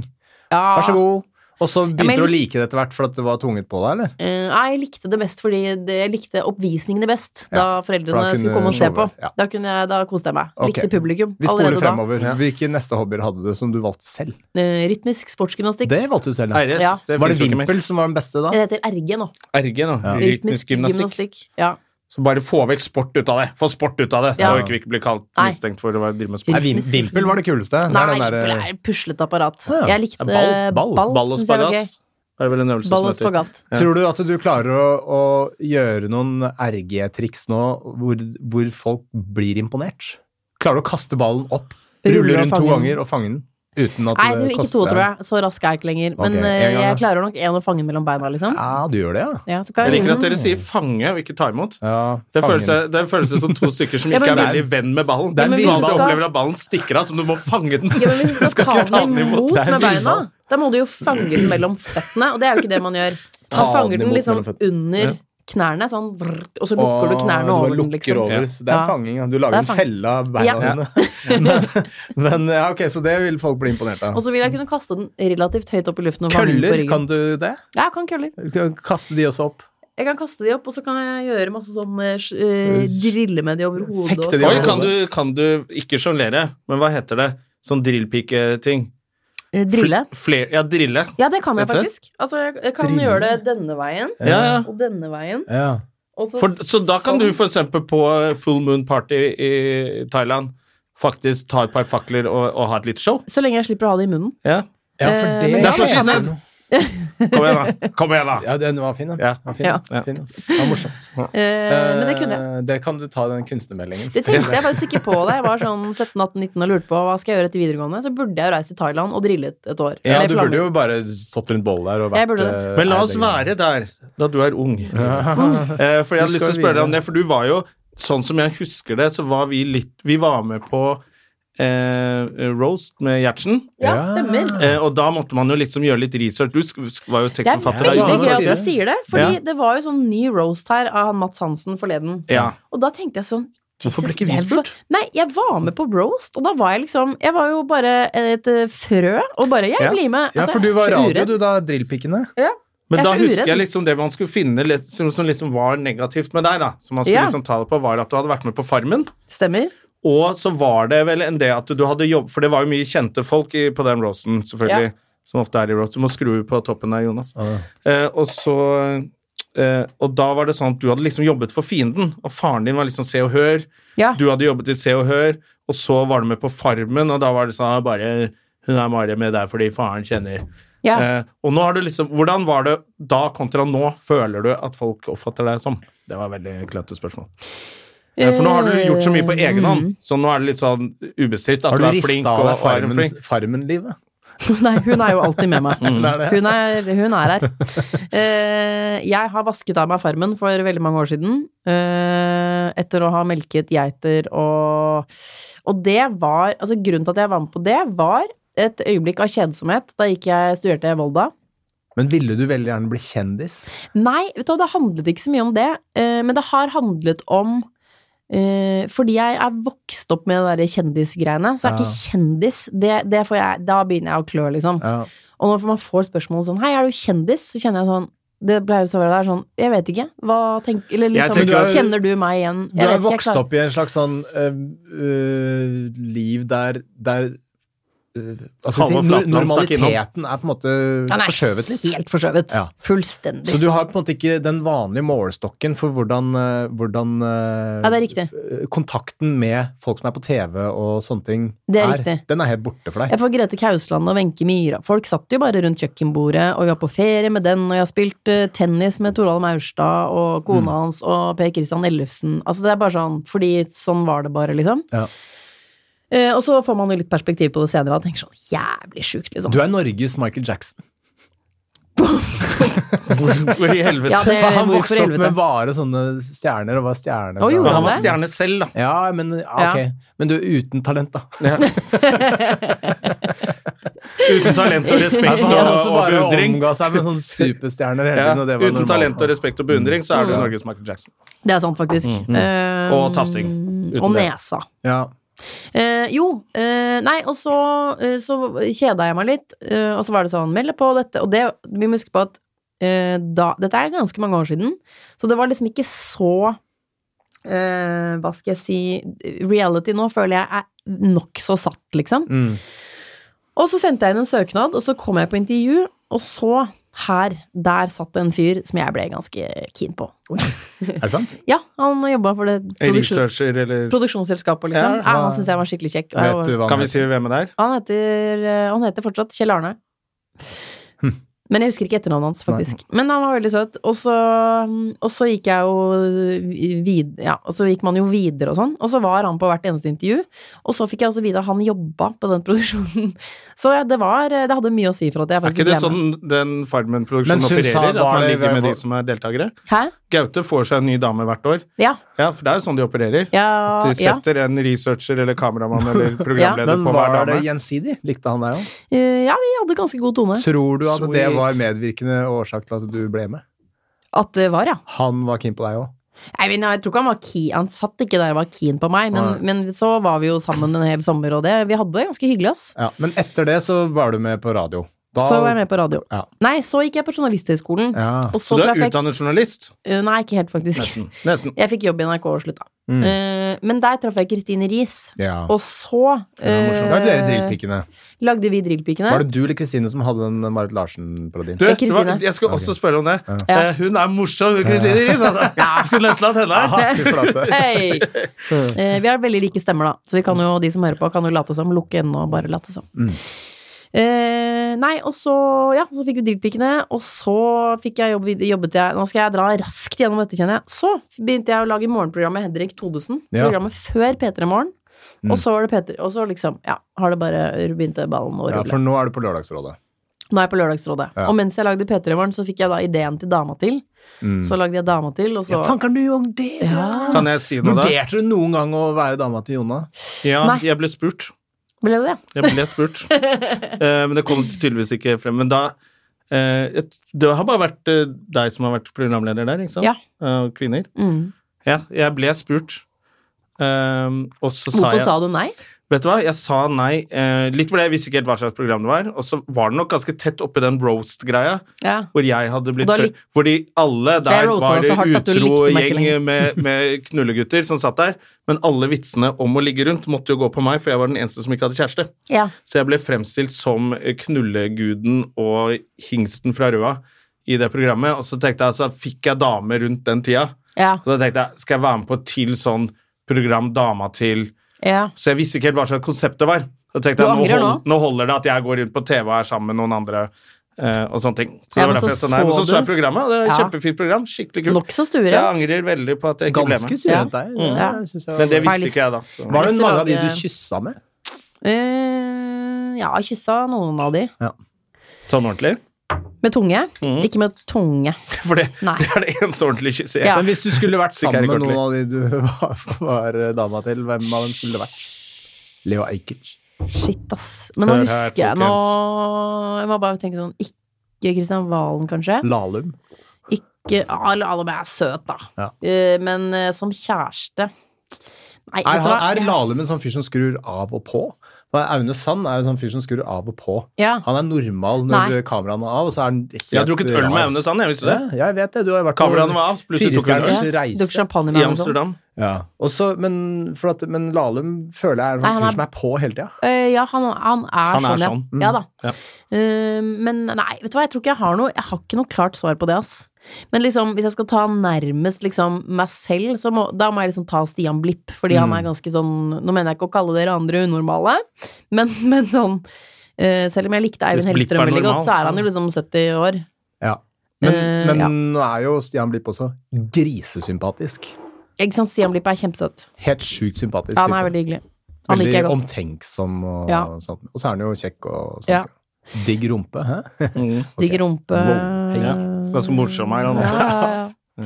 [SPEAKER 4] Ja.
[SPEAKER 2] Vær så god. Og så begynte
[SPEAKER 4] Ah. men-
[SPEAKER 2] du å like det etter hvert for at det var tvunget på deg, eller?
[SPEAKER 4] Eh, nei, jeg likte det best fordi det, jeg likte oppvisningene best da
[SPEAKER 2] Ja,
[SPEAKER 4] foreldrene
[SPEAKER 2] for da kunne
[SPEAKER 4] skulle komme og se
[SPEAKER 2] du
[SPEAKER 4] på.
[SPEAKER 2] showe, ja.
[SPEAKER 4] Da, kunne jeg, da koste jeg meg.
[SPEAKER 2] Ok.
[SPEAKER 4] Likte publikum
[SPEAKER 2] Vi spoler
[SPEAKER 4] allerede da.
[SPEAKER 2] fremover. Hvilke neste hobbyer hadde du som du valgte selv?
[SPEAKER 4] Eh, rytmisk sportgymnastikk.
[SPEAKER 2] Det valgte du selv, ja.
[SPEAKER 1] RS,
[SPEAKER 4] Ja.
[SPEAKER 1] det
[SPEAKER 2] Var det
[SPEAKER 1] finnes jo ikke mer.
[SPEAKER 2] vimpel som var den beste da?
[SPEAKER 4] Det heter RG nå.
[SPEAKER 1] RG nå.
[SPEAKER 2] Ja.
[SPEAKER 1] Rytmisk gymnastikk.
[SPEAKER 4] Ja.
[SPEAKER 1] Så bare få vekk sport ut av det. Få sport ut av det.
[SPEAKER 4] Ja.
[SPEAKER 1] Da orker vi ikke bli kalt
[SPEAKER 4] Nei.
[SPEAKER 1] mistenkt for å være- drive med
[SPEAKER 2] Nei,
[SPEAKER 1] sport.
[SPEAKER 2] vim,
[SPEAKER 4] Rytmisk
[SPEAKER 2] vimpel var det kuleste. Det
[SPEAKER 4] Nei,
[SPEAKER 2] er den
[SPEAKER 4] det
[SPEAKER 2] der, eh,
[SPEAKER 4] er et puslet apparat.
[SPEAKER 2] Ja.
[SPEAKER 4] Jeg likte eh,
[SPEAKER 2] Det er ball,
[SPEAKER 4] ball.
[SPEAKER 2] ball.
[SPEAKER 1] Ball og
[SPEAKER 4] synes jeg var
[SPEAKER 1] spagat er vel en øvelse
[SPEAKER 4] gøy. Ball og
[SPEAKER 1] som heter.
[SPEAKER 4] spagat.
[SPEAKER 1] Ja.
[SPEAKER 2] Tror du at du klarer å, å gjøre noen RG-triks nå hvor, hvor folk blir imponert? Klarer du å kaste ballen opp, rulle
[SPEAKER 4] Rulle og
[SPEAKER 2] rundt to
[SPEAKER 4] fange den.
[SPEAKER 2] ganger og fange den? Uten at
[SPEAKER 4] Nei, jeg tror
[SPEAKER 2] det
[SPEAKER 4] ikke
[SPEAKER 2] koster
[SPEAKER 4] to,
[SPEAKER 2] deg?
[SPEAKER 4] tror jeg. Så rask er jeg ikke lenger. Men
[SPEAKER 2] Ok, en
[SPEAKER 4] eh,
[SPEAKER 2] gang,
[SPEAKER 4] jeg
[SPEAKER 2] da.
[SPEAKER 4] klarer nok én å fange mellom beina, liksom.
[SPEAKER 2] Ja, du gjør det, ja.
[SPEAKER 4] Ja, så kan
[SPEAKER 1] Jeg
[SPEAKER 4] jeg
[SPEAKER 1] liker at dere sier 'fange' og ikke 'ta imot'.
[SPEAKER 2] ja
[SPEAKER 1] Det
[SPEAKER 2] fange
[SPEAKER 1] føles,
[SPEAKER 2] den.
[SPEAKER 1] det føles som to stykker som
[SPEAKER 4] Ja,
[SPEAKER 1] ikke
[SPEAKER 4] men
[SPEAKER 1] er veldig
[SPEAKER 4] hvis-
[SPEAKER 1] venn med ballen.
[SPEAKER 2] Ja,
[SPEAKER 1] Det er
[SPEAKER 2] men
[SPEAKER 1] de
[SPEAKER 2] hvis
[SPEAKER 1] som
[SPEAKER 2] du
[SPEAKER 4] skal-
[SPEAKER 1] opplever at ballen stikker av, så du må fange den.
[SPEAKER 4] Ja, men hvis du skal ta den imot
[SPEAKER 2] Det er en
[SPEAKER 4] med beina,
[SPEAKER 2] vindball.
[SPEAKER 4] da må du jo fange den mellom føttene, og det er jo ikke det man gjør. Man
[SPEAKER 2] Ta den
[SPEAKER 4] fanger den
[SPEAKER 2] imot
[SPEAKER 4] liksom
[SPEAKER 2] mellom føttene.
[SPEAKER 4] under
[SPEAKER 1] Ja.
[SPEAKER 4] knærne, sånn, vrrt, og så lukker du
[SPEAKER 2] Åh,
[SPEAKER 4] knærne
[SPEAKER 2] bare
[SPEAKER 4] over den,
[SPEAKER 2] lukker
[SPEAKER 4] liksom.
[SPEAKER 2] over. Så Det er
[SPEAKER 4] Ja.
[SPEAKER 2] fanging. ja. Du lager
[SPEAKER 4] Det er
[SPEAKER 2] en
[SPEAKER 4] fang-
[SPEAKER 2] felle av beina
[SPEAKER 4] Ja.
[SPEAKER 2] dine. men, men ja, ok, så det vil folk bli imponert av.
[SPEAKER 4] Og så vil jeg kunne kaste den relativt høyt opp i luften og fange den på
[SPEAKER 2] Køller,
[SPEAKER 4] ryggen.
[SPEAKER 2] kan du det?
[SPEAKER 4] Ja, jeg kan køller.
[SPEAKER 2] Kaste de også opp?
[SPEAKER 4] Jeg kan kaste de opp, og så kan jeg gjøre masse sånn eh, sj- eh, drille med de over hodet.
[SPEAKER 2] Fekte
[SPEAKER 4] og
[SPEAKER 2] de
[SPEAKER 4] sånn.
[SPEAKER 1] Oi, kan du, kan du ikke sjonglere, men hva heter det? Sånn drillpike-ting.
[SPEAKER 4] Eh, Drille.
[SPEAKER 1] Fl- fler- ja, drille.
[SPEAKER 4] Ja, det kan jeg
[SPEAKER 1] Vet du?
[SPEAKER 4] faktisk. Altså, jeg jeg kan
[SPEAKER 2] Drille.
[SPEAKER 4] gjøre det denne veien
[SPEAKER 1] Ja, ja.
[SPEAKER 4] og denne veien.
[SPEAKER 2] Ja.
[SPEAKER 4] Og så, sånn.
[SPEAKER 1] For, så da kan du for eksempel på eh, full moon party i Thailand faktisk ta et par fakler og, og ha et lite show.
[SPEAKER 4] Så lenge jeg slipper å ha det i munnen.
[SPEAKER 1] Ja.
[SPEAKER 2] ja, for
[SPEAKER 4] Eh,
[SPEAKER 2] det
[SPEAKER 4] men
[SPEAKER 1] That's what she
[SPEAKER 2] Ja,
[SPEAKER 1] said. Kom igjen, da. Kom igjen, da.
[SPEAKER 2] Ja, den var fin, den.
[SPEAKER 1] Ja.
[SPEAKER 2] Den var fin,
[SPEAKER 4] Ja.
[SPEAKER 2] den var fin, den. Det var morsomt.
[SPEAKER 4] Eh, men det kunne jeg.
[SPEAKER 2] Eh, Det kan du ta den kunstnermeldingen.
[SPEAKER 4] Det tenkte jeg faktisk ikke på da jeg var sånn 17-18-19 og lurte på hva skal jeg gjøre etter videregående. Så burde jeg jo reist til Thailand og drillet et år.
[SPEAKER 2] Ja,
[SPEAKER 4] Eller
[SPEAKER 2] du
[SPEAKER 4] flamme.
[SPEAKER 2] burde jo bare sånn.
[SPEAKER 4] Altså,
[SPEAKER 2] stått rundt bollet der og vært
[SPEAKER 4] Jeg burde det.
[SPEAKER 2] eh,
[SPEAKER 1] Men la oss
[SPEAKER 2] eilig.
[SPEAKER 1] være der da du er ung. Eh, for jeg
[SPEAKER 2] Du
[SPEAKER 1] hadde lyst til å
[SPEAKER 2] skal
[SPEAKER 1] spørre deg om
[SPEAKER 2] videre.
[SPEAKER 1] det, for du var jo, sånn som jeg husker det, så var vi litt Vi var med på eh, Roast med Gjertsen,
[SPEAKER 4] Ja, stemmer.
[SPEAKER 1] eh, og da måtte man jo liksom gjøre litt research. Du sk sk var jo
[SPEAKER 4] Det er
[SPEAKER 1] tekstforfatter. da,
[SPEAKER 4] veldig
[SPEAKER 1] Jonas.
[SPEAKER 4] gøy at du sier det, fordi
[SPEAKER 1] Ja.
[SPEAKER 4] det var jo sånn ny roast her av han Mats Hansen forleden.
[SPEAKER 1] Ja.
[SPEAKER 4] Og da tenkte jeg sånn
[SPEAKER 2] Hvorfor ble
[SPEAKER 4] Jesus,
[SPEAKER 2] ikke vi
[SPEAKER 4] jeg var-
[SPEAKER 2] spurt?
[SPEAKER 4] Nei, jeg var med på roast, og da var jeg liksom Jeg var jo bare et eh, frø, og bare Jeg
[SPEAKER 1] Ja.
[SPEAKER 4] blir med.
[SPEAKER 2] Ja,
[SPEAKER 4] Altså,
[SPEAKER 2] for du
[SPEAKER 4] jeg er
[SPEAKER 2] var
[SPEAKER 4] så
[SPEAKER 2] radio,
[SPEAKER 4] uredd.
[SPEAKER 2] du, da, drillpikkene.
[SPEAKER 1] Men
[SPEAKER 4] Jeg
[SPEAKER 1] da
[SPEAKER 4] er så
[SPEAKER 1] husker
[SPEAKER 4] uredd.
[SPEAKER 1] jeg liksom det man skulle finne litt, som, som liksom var negativt med deg, da. Som man skulle
[SPEAKER 4] Ja.
[SPEAKER 1] liksom ta det på, var at du hadde vært med på Farmen.
[SPEAKER 4] Stemmer.
[SPEAKER 1] Og så var det vel en det at du hadde jobb For det var jo mye kjente folk i, på den roasten, selvfølgelig. Som ofte er i roast. Du må skru på toppen der, Jonas. Eh, og så eh, Og da var det sånn at du hadde liksom jobbet for fienden, og faren din var liksom Se og Hør.
[SPEAKER 4] Ja.
[SPEAKER 1] Du hadde jobbet i Se og Hør, og så var du med på Farmen, og da var det sånn ah, bare Hun er bare med deg fordi faren kjenner.
[SPEAKER 4] ja.
[SPEAKER 1] Eh, og nå har du liksom Hvordan var det da kontra nå, føler du at folk oppfatter deg som? Det var et veldig klønete spørsmål. Eh, For nå har du gjort så mye på egen hånd, så nå er det litt sånn ubestridt at
[SPEAKER 2] Har
[SPEAKER 1] du,
[SPEAKER 2] du
[SPEAKER 1] er flink.
[SPEAKER 2] rista av
[SPEAKER 1] Og,
[SPEAKER 2] deg
[SPEAKER 1] og er en flink.
[SPEAKER 2] farmen- farmen-livet?
[SPEAKER 4] Nei, hun er jo alltid med meg.
[SPEAKER 2] Det er det.
[SPEAKER 4] Hun er, hun er her. Eh, jeg har vasket av meg farmen for veldig mange år siden. eh, etter å ha melket geiter og Og det var Altså, grunnen til at jeg var med på det, var et øyeblikk av kjedsomhet. Da gikk jeg studerte i Volda.
[SPEAKER 2] Men ville du veldig gjerne bli kjendis?
[SPEAKER 4] Nei, vet du hva, det handlet ikke så mye om det. eh, men det har handlet om eh, fordi jeg er vokst opp med det der kjendisgreiene, så er
[SPEAKER 2] Ja.
[SPEAKER 4] ikke kjendis det, det får jeg, Da begynner jeg å klø, liksom.
[SPEAKER 2] Ja.
[SPEAKER 4] Og når man får spørsmål sånn Hei, er du kjendis? Så kjenner jeg sånn Det pleier å være der sånn Jeg vet ikke. Hva tenk, eller
[SPEAKER 1] Jeg
[SPEAKER 4] liksom,
[SPEAKER 1] tenker
[SPEAKER 2] at-
[SPEAKER 4] Kjenner du meg igjen?
[SPEAKER 2] Du har
[SPEAKER 4] Jeg vet ikke, jeg
[SPEAKER 2] vokst
[SPEAKER 4] klarer-
[SPEAKER 2] opp i en slags sånn eh, eh, liv der, der eh, altså, si,
[SPEAKER 1] Halvor
[SPEAKER 2] nor-
[SPEAKER 1] Flatland stakk
[SPEAKER 2] Normaliteten er på en måte
[SPEAKER 4] Han er
[SPEAKER 2] forskjøvet litt.
[SPEAKER 4] helt forskjøvet.
[SPEAKER 2] Ja.
[SPEAKER 4] Fullstendig.
[SPEAKER 2] Så du har på en måte ikke den vanlige målestokken for hvordan, eh, hvordan eh,
[SPEAKER 4] Ja, det er riktig.
[SPEAKER 2] eh, kontakten med folk som er på TV og sånne ting
[SPEAKER 4] Det er riktig.
[SPEAKER 2] Den er helt borte for deg.
[SPEAKER 4] Ja, for Grete Kausland og Wenche Myhra Folk satt jo bare rundt kjøkkenbordet, og vi var på ferie med den, og jeg har spilt eh, tennis med Toralv Maurstad og kona
[SPEAKER 2] Mm.
[SPEAKER 4] hans og Per Christian Ellefsen. Altså, det er bare sånn, fordi sånn var det bare, liksom.
[SPEAKER 2] Ja.
[SPEAKER 4] Eh, og så får man jo litt perspektiv på det senere, og tenker sånn jævlig sjukt, liksom.
[SPEAKER 2] Du er Norges Michael Jackson.
[SPEAKER 1] Hvorfor i helvete?
[SPEAKER 4] Ja, det-
[SPEAKER 2] For han
[SPEAKER 4] hvorfor
[SPEAKER 2] vokste opp
[SPEAKER 4] helvete?
[SPEAKER 2] med bare sånne stjerner, og var stjerne.
[SPEAKER 4] Å, gjorde
[SPEAKER 1] Men han
[SPEAKER 2] fra-
[SPEAKER 1] var stjerne selv, da.
[SPEAKER 2] Ja, men ja, ok. Men du er uten talent, da.
[SPEAKER 1] Uten talent og
[SPEAKER 2] Nei,
[SPEAKER 1] respekt
[SPEAKER 2] for
[SPEAKER 1] og,
[SPEAKER 2] han også
[SPEAKER 1] og
[SPEAKER 2] bare
[SPEAKER 1] beundring.
[SPEAKER 2] omga seg med sånne superstjerner hele
[SPEAKER 1] Ja,
[SPEAKER 2] tiden, og det var
[SPEAKER 1] uten
[SPEAKER 2] normalt.
[SPEAKER 1] talent og respekt og beundring, så er du Norges Michael Jackson.
[SPEAKER 4] Det er sant, faktisk. Eh,
[SPEAKER 1] Mm, Og tafsing. Uten
[SPEAKER 4] Og
[SPEAKER 1] det.
[SPEAKER 4] nesa.
[SPEAKER 2] Ja.
[SPEAKER 4] Eh, jo. eh, nei, og så, eh, så kjeda jeg meg litt, eh, og så var det sånn Meld deg på dette. Og det, vi må huske på at eh, da, dette er ganske mange år siden, så det var liksom ikke så eh, Hva skal jeg si Reality nå føler jeg er nokså satt, liksom.
[SPEAKER 2] Mm.
[SPEAKER 4] Og så sendte jeg inn en søknad, og så kom jeg på intervju, og så her, der satt det en fyr som jeg ble ganske keen på.
[SPEAKER 2] Er det sant?
[SPEAKER 4] Ja, han jobba for det produksjon,
[SPEAKER 1] Researcher, eller
[SPEAKER 4] produksjonsselskapet, liksom.
[SPEAKER 1] Ja,
[SPEAKER 4] Ja, han syntes jeg var skikkelig kjekk. og jeg var-
[SPEAKER 2] Vet du hva
[SPEAKER 1] Kan
[SPEAKER 2] han
[SPEAKER 1] vi si
[SPEAKER 2] heter?
[SPEAKER 1] hvem det er?
[SPEAKER 4] Han heter, eh, han heter fortsatt Kjell Arne.
[SPEAKER 1] Hm.
[SPEAKER 4] Men jeg husker ikke etternavnet hans, faktisk. Men han var veldig søt. Og så, og så gikk jeg jo vid, ja, og så gikk man jo videre og sånn. Og så var han på hvert eneste intervju. Og så fikk jeg også vite at han jobba på den produksjonen. Så ja, det var eh, Det hadde mye å si for at jeg
[SPEAKER 1] Er
[SPEAKER 4] faktisk
[SPEAKER 1] ikke det
[SPEAKER 4] ble
[SPEAKER 1] sånn
[SPEAKER 4] med.
[SPEAKER 1] den Farmen-produksjonen
[SPEAKER 2] Men syns
[SPEAKER 1] opererer?
[SPEAKER 2] han
[SPEAKER 1] At
[SPEAKER 2] var
[SPEAKER 1] man
[SPEAKER 2] det-
[SPEAKER 1] ligger med de som er deltakere?
[SPEAKER 4] Hæ?
[SPEAKER 1] Gaute får seg en ny dame hvert år.
[SPEAKER 4] Ja.
[SPEAKER 1] Ja, for det er jo sånn de opererer.
[SPEAKER 4] Ja.
[SPEAKER 1] De
[SPEAKER 4] ja.
[SPEAKER 1] setter en researcher eller kameramann eller programleder
[SPEAKER 2] Men
[SPEAKER 1] på hver
[SPEAKER 2] var det
[SPEAKER 1] dame.
[SPEAKER 2] gjensidig? Likte han deg òg?
[SPEAKER 4] Eh, ja, vi hadde ganske god tone.
[SPEAKER 2] Tror du at det
[SPEAKER 1] Sweet.
[SPEAKER 2] var medvirkende årsak til at du ble med?
[SPEAKER 4] At det var, ja.
[SPEAKER 2] Han var keen på deg òg.
[SPEAKER 4] Nei, men jeg tror ikke han var keen. Han satt ikke der og var keen på meg, men, men så var vi jo sammen en hel sommer, og det Vi hadde det ganske hyggelig, ass.
[SPEAKER 2] Ja. Men etter det så var du med på radio. Da-
[SPEAKER 4] Så var jeg med på radio.
[SPEAKER 2] Ja.
[SPEAKER 4] Nei, så gikk jeg på Journalisthøgskolen.
[SPEAKER 2] Ja.
[SPEAKER 4] Og
[SPEAKER 1] Så
[SPEAKER 4] så
[SPEAKER 1] du er
[SPEAKER 4] traff jeg
[SPEAKER 1] utdannet journalist?
[SPEAKER 4] Eh, Nei, ikke helt, faktisk.
[SPEAKER 1] Nesten. Nesten.
[SPEAKER 4] Jeg fikk jobb i NRK og slutta.
[SPEAKER 2] Mm.
[SPEAKER 4] Eh, men der traff jeg Kristine Riis.
[SPEAKER 2] ja.
[SPEAKER 4] Og så
[SPEAKER 2] ja, morsomt. Hva er dere
[SPEAKER 4] eh,
[SPEAKER 2] drillpikkene?
[SPEAKER 4] lagde vi Drillpikene.
[SPEAKER 2] Var det du eller Kristine som hadde den Marit Larsen-parodien?
[SPEAKER 1] Du,
[SPEAKER 4] Det er
[SPEAKER 1] det var,
[SPEAKER 4] Eh, Kristine.
[SPEAKER 1] jeg skulle også spørre om det.
[SPEAKER 4] Ja.
[SPEAKER 1] Eh, hun er morsom, hun Kristine Riis, altså. Skulle nesten hatt henne her.
[SPEAKER 2] Ah, Fy flate.
[SPEAKER 4] Hei! Eh, vi har veldig like stemmer, da. Så vi kan jo, de som hører på, kan jo late som. Lukke øynene og bare late som.
[SPEAKER 2] Mm.
[SPEAKER 4] Eh, nei, og så Ja, så fikk vi Drillpikene, og så fikk jeg jobb, jobbet jeg Nå skal jeg dra raskt gjennom dette, kjenner jeg. Så begynte jeg å lage morgenprogrammet Henrik Thodesen.
[SPEAKER 2] Ja. Mm.
[SPEAKER 4] Programmet før P3 Morgen. Og så var det Peter, og så liksom, ja, har det bare begynte ballen å rulle.
[SPEAKER 2] Ja, for nå er du på Lørdagsrådet.
[SPEAKER 4] Nå er jeg på Lørdagsrådet.
[SPEAKER 2] Ja.
[SPEAKER 4] Og mens jeg lagde P3 Morgen, så fikk jeg da ideen til Dama til.
[SPEAKER 2] Mm.
[SPEAKER 4] Så lagde jeg Dama til, og så
[SPEAKER 2] Ja, faen, kan du gjøre det?
[SPEAKER 4] Ja.
[SPEAKER 1] Kan jeg si noe da?
[SPEAKER 2] Vurderte du noen gang å være dama til Jonna?
[SPEAKER 1] Ja,
[SPEAKER 4] Nei.
[SPEAKER 1] jeg ble spurt.
[SPEAKER 4] ble det det.
[SPEAKER 1] Jeg ble spurt. Eh, men det kom tydeligvis ikke frem. Men da eh, jeg- Det har bare vært eh, deg som har vært programleder der, ikke sant?
[SPEAKER 4] Ja.
[SPEAKER 1] Eh, og kvinner.
[SPEAKER 4] Mm.
[SPEAKER 1] Ja, jeg ble spurt. Eh, og så sa
[SPEAKER 4] Hvorfor
[SPEAKER 1] jeg
[SPEAKER 4] sa du nei?
[SPEAKER 1] Vet du hva, jeg sa nei. Eh, litt fordi jeg visste ikke helt hva slags program det var. Og så var det nok ganske tett oppi den roast-greia.
[SPEAKER 4] Ja.
[SPEAKER 1] Hvor jeg hadde blitt
[SPEAKER 4] Og da
[SPEAKER 1] fø-
[SPEAKER 4] lik-
[SPEAKER 1] Fordi alle der
[SPEAKER 4] Jeg roasta
[SPEAKER 1] var
[SPEAKER 4] deg så altså, hardt at du
[SPEAKER 1] utro
[SPEAKER 4] likte meg ikke
[SPEAKER 1] gjeng
[SPEAKER 4] lenger.
[SPEAKER 1] med, med knullegutter som satt der. Men alle vitsene om å ligge rundt måtte jo gå på meg, for jeg var den eneste som ikke hadde kjæreste.
[SPEAKER 4] ja.
[SPEAKER 1] Så jeg ble fremstilt som knulleguden og hingsten fra Røa i det programmet. Og så tenkte jeg, så fikk jeg dame rundt den tida.
[SPEAKER 4] Ja.
[SPEAKER 1] Og da tenkte jeg, skal jeg være med på et til sånn program dama til?
[SPEAKER 4] ja.
[SPEAKER 1] Så jeg visste ikke helt hva slags konsept det var. Da tenkte
[SPEAKER 4] Du
[SPEAKER 1] jeg, nå,
[SPEAKER 4] angrer
[SPEAKER 1] hold, nå holder det at jeg går rundt på TV og er sammen med noen andre. eh, og sånne ting. Så det var
[SPEAKER 4] Ja, men
[SPEAKER 1] derfor
[SPEAKER 4] så
[SPEAKER 1] jeg sa nei. Men så
[SPEAKER 4] så
[SPEAKER 1] så jeg
[SPEAKER 4] du-
[SPEAKER 1] programmet, og det er et
[SPEAKER 4] Ja.
[SPEAKER 1] kjempefint program. Skikkelig kult.
[SPEAKER 4] Nokså
[SPEAKER 1] Så jeg
[SPEAKER 4] sture.
[SPEAKER 1] angrer veldig på at jeg ikke ble
[SPEAKER 2] Ganske
[SPEAKER 1] med. Mm.
[SPEAKER 2] surrete deg. det
[SPEAKER 4] Ja.
[SPEAKER 2] synes jeg var-
[SPEAKER 1] Men det
[SPEAKER 4] Har
[SPEAKER 1] visste
[SPEAKER 4] lyst-
[SPEAKER 1] ikke jeg da. Så.
[SPEAKER 2] Var det
[SPEAKER 4] Lyst til å
[SPEAKER 2] mange av de
[SPEAKER 4] lage-
[SPEAKER 2] Mm. du kyssa med?
[SPEAKER 4] Eh, ja, jeg kyssa noen av de.
[SPEAKER 1] Sånn ordentlig. Mm.
[SPEAKER 4] Med tunge. Ikke med tunge.
[SPEAKER 1] For det,
[SPEAKER 4] Nei.
[SPEAKER 1] det er det eneste ordentlige kysset jeg
[SPEAKER 4] Ja.
[SPEAKER 2] Men hvis du skulle vært
[SPEAKER 1] Ikke er
[SPEAKER 2] sammen
[SPEAKER 1] det kort
[SPEAKER 2] med noen av de du var, var eh, dama til, hvem av dem skulle det vært? Leo Ajkic.
[SPEAKER 4] Shit, ass. Men nå
[SPEAKER 1] Hør her,
[SPEAKER 4] husker jeg nå
[SPEAKER 1] folkens.
[SPEAKER 4] Jeg må bare tenke sånn Ikke Kristian Valen, kanskje?
[SPEAKER 2] Mm. Lahlum.
[SPEAKER 4] Ikke Alle, alle er søt, da.
[SPEAKER 2] Ja.
[SPEAKER 4] Eh, men eh, som kjæreste Nei,
[SPEAKER 2] Er,
[SPEAKER 4] vet du hva?
[SPEAKER 2] han- er Lahlum en sånn fyr som skrur av og på? Hva er- Aune Sand er jo en sånn fyr som skrur av og på.
[SPEAKER 4] Ja.
[SPEAKER 2] Han er normal når
[SPEAKER 4] Nei.
[SPEAKER 2] kameraene er av, og så er han helt
[SPEAKER 1] Jeg har drukket øl med Aune Sand, jeg visste det.
[SPEAKER 2] Ja, jeg vet det. Du har jo vært
[SPEAKER 1] Kameraene var av, plutselig tok hun øl.
[SPEAKER 2] Firestjerners
[SPEAKER 4] Ja, Dukk
[SPEAKER 2] reise.
[SPEAKER 4] champagne
[SPEAKER 1] I
[SPEAKER 4] med han og sånn.
[SPEAKER 1] Amsterdam.
[SPEAKER 2] Ja. Og så- men, for at- men Lahlum føler jeg er en
[SPEAKER 4] Nei,
[SPEAKER 2] sånn
[SPEAKER 4] han
[SPEAKER 2] fyr
[SPEAKER 4] er-
[SPEAKER 2] som er på hele tida.
[SPEAKER 4] Eh, Eh, ja, han, han er
[SPEAKER 1] Han er
[SPEAKER 4] sånn.
[SPEAKER 1] sånn.
[SPEAKER 4] Ja. ja da.
[SPEAKER 1] Ja.
[SPEAKER 4] Eh, men nei, vet du hva, jeg tror ikke jeg har noe Jeg har ikke noe klart svar på det, ass. Men liksom, hvis jeg skal ta nærmest liksom meg selv, så må, da må jeg liksom ta Stian Blipp. Fordi
[SPEAKER 1] Mm.
[SPEAKER 4] han er ganske sånn Nå mener jeg ikke å kalle dere andre unormale, men, men sånn eh, Selv om jeg likte Eivind
[SPEAKER 1] Hvis Blipp er
[SPEAKER 4] Hellstrøm veldig
[SPEAKER 1] normal,
[SPEAKER 4] godt, så
[SPEAKER 1] så-
[SPEAKER 4] er han jo liksom 70 år.
[SPEAKER 2] Ja. Men,
[SPEAKER 4] Eh,
[SPEAKER 2] men
[SPEAKER 4] ja.
[SPEAKER 2] nå er jo Stian Blipp også grisesympatisk.
[SPEAKER 4] Ikke sant? Stian Blipp er kjempesøt.
[SPEAKER 2] Helt sjukt sympatisk.
[SPEAKER 4] Ja, han er
[SPEAKER 2] type.
[SPEAKER 4] veldig hyggelig. Han liker jeg
[SPEAKER 2] veldig Sånn.
[SPEAKER 4] godt.
[SPEAKER 2] omtenksom og
[SPEAKER 4] Ja.
[SPEAKER 2] sånt. Og så er han jo kjekk og sånt.
[SPEAKER 4] Ja.
[SPEAKER 2] Digg rumpe, hæ?
[SPEAKER 1] Mm.
[SPEAKER 4] Digg rumpe.
[SPEAKER 2] Wow.
[SPEAKER 1] Ja. Ganske morsom er han også.
[SPEAKER 4] Ja, ja, ja.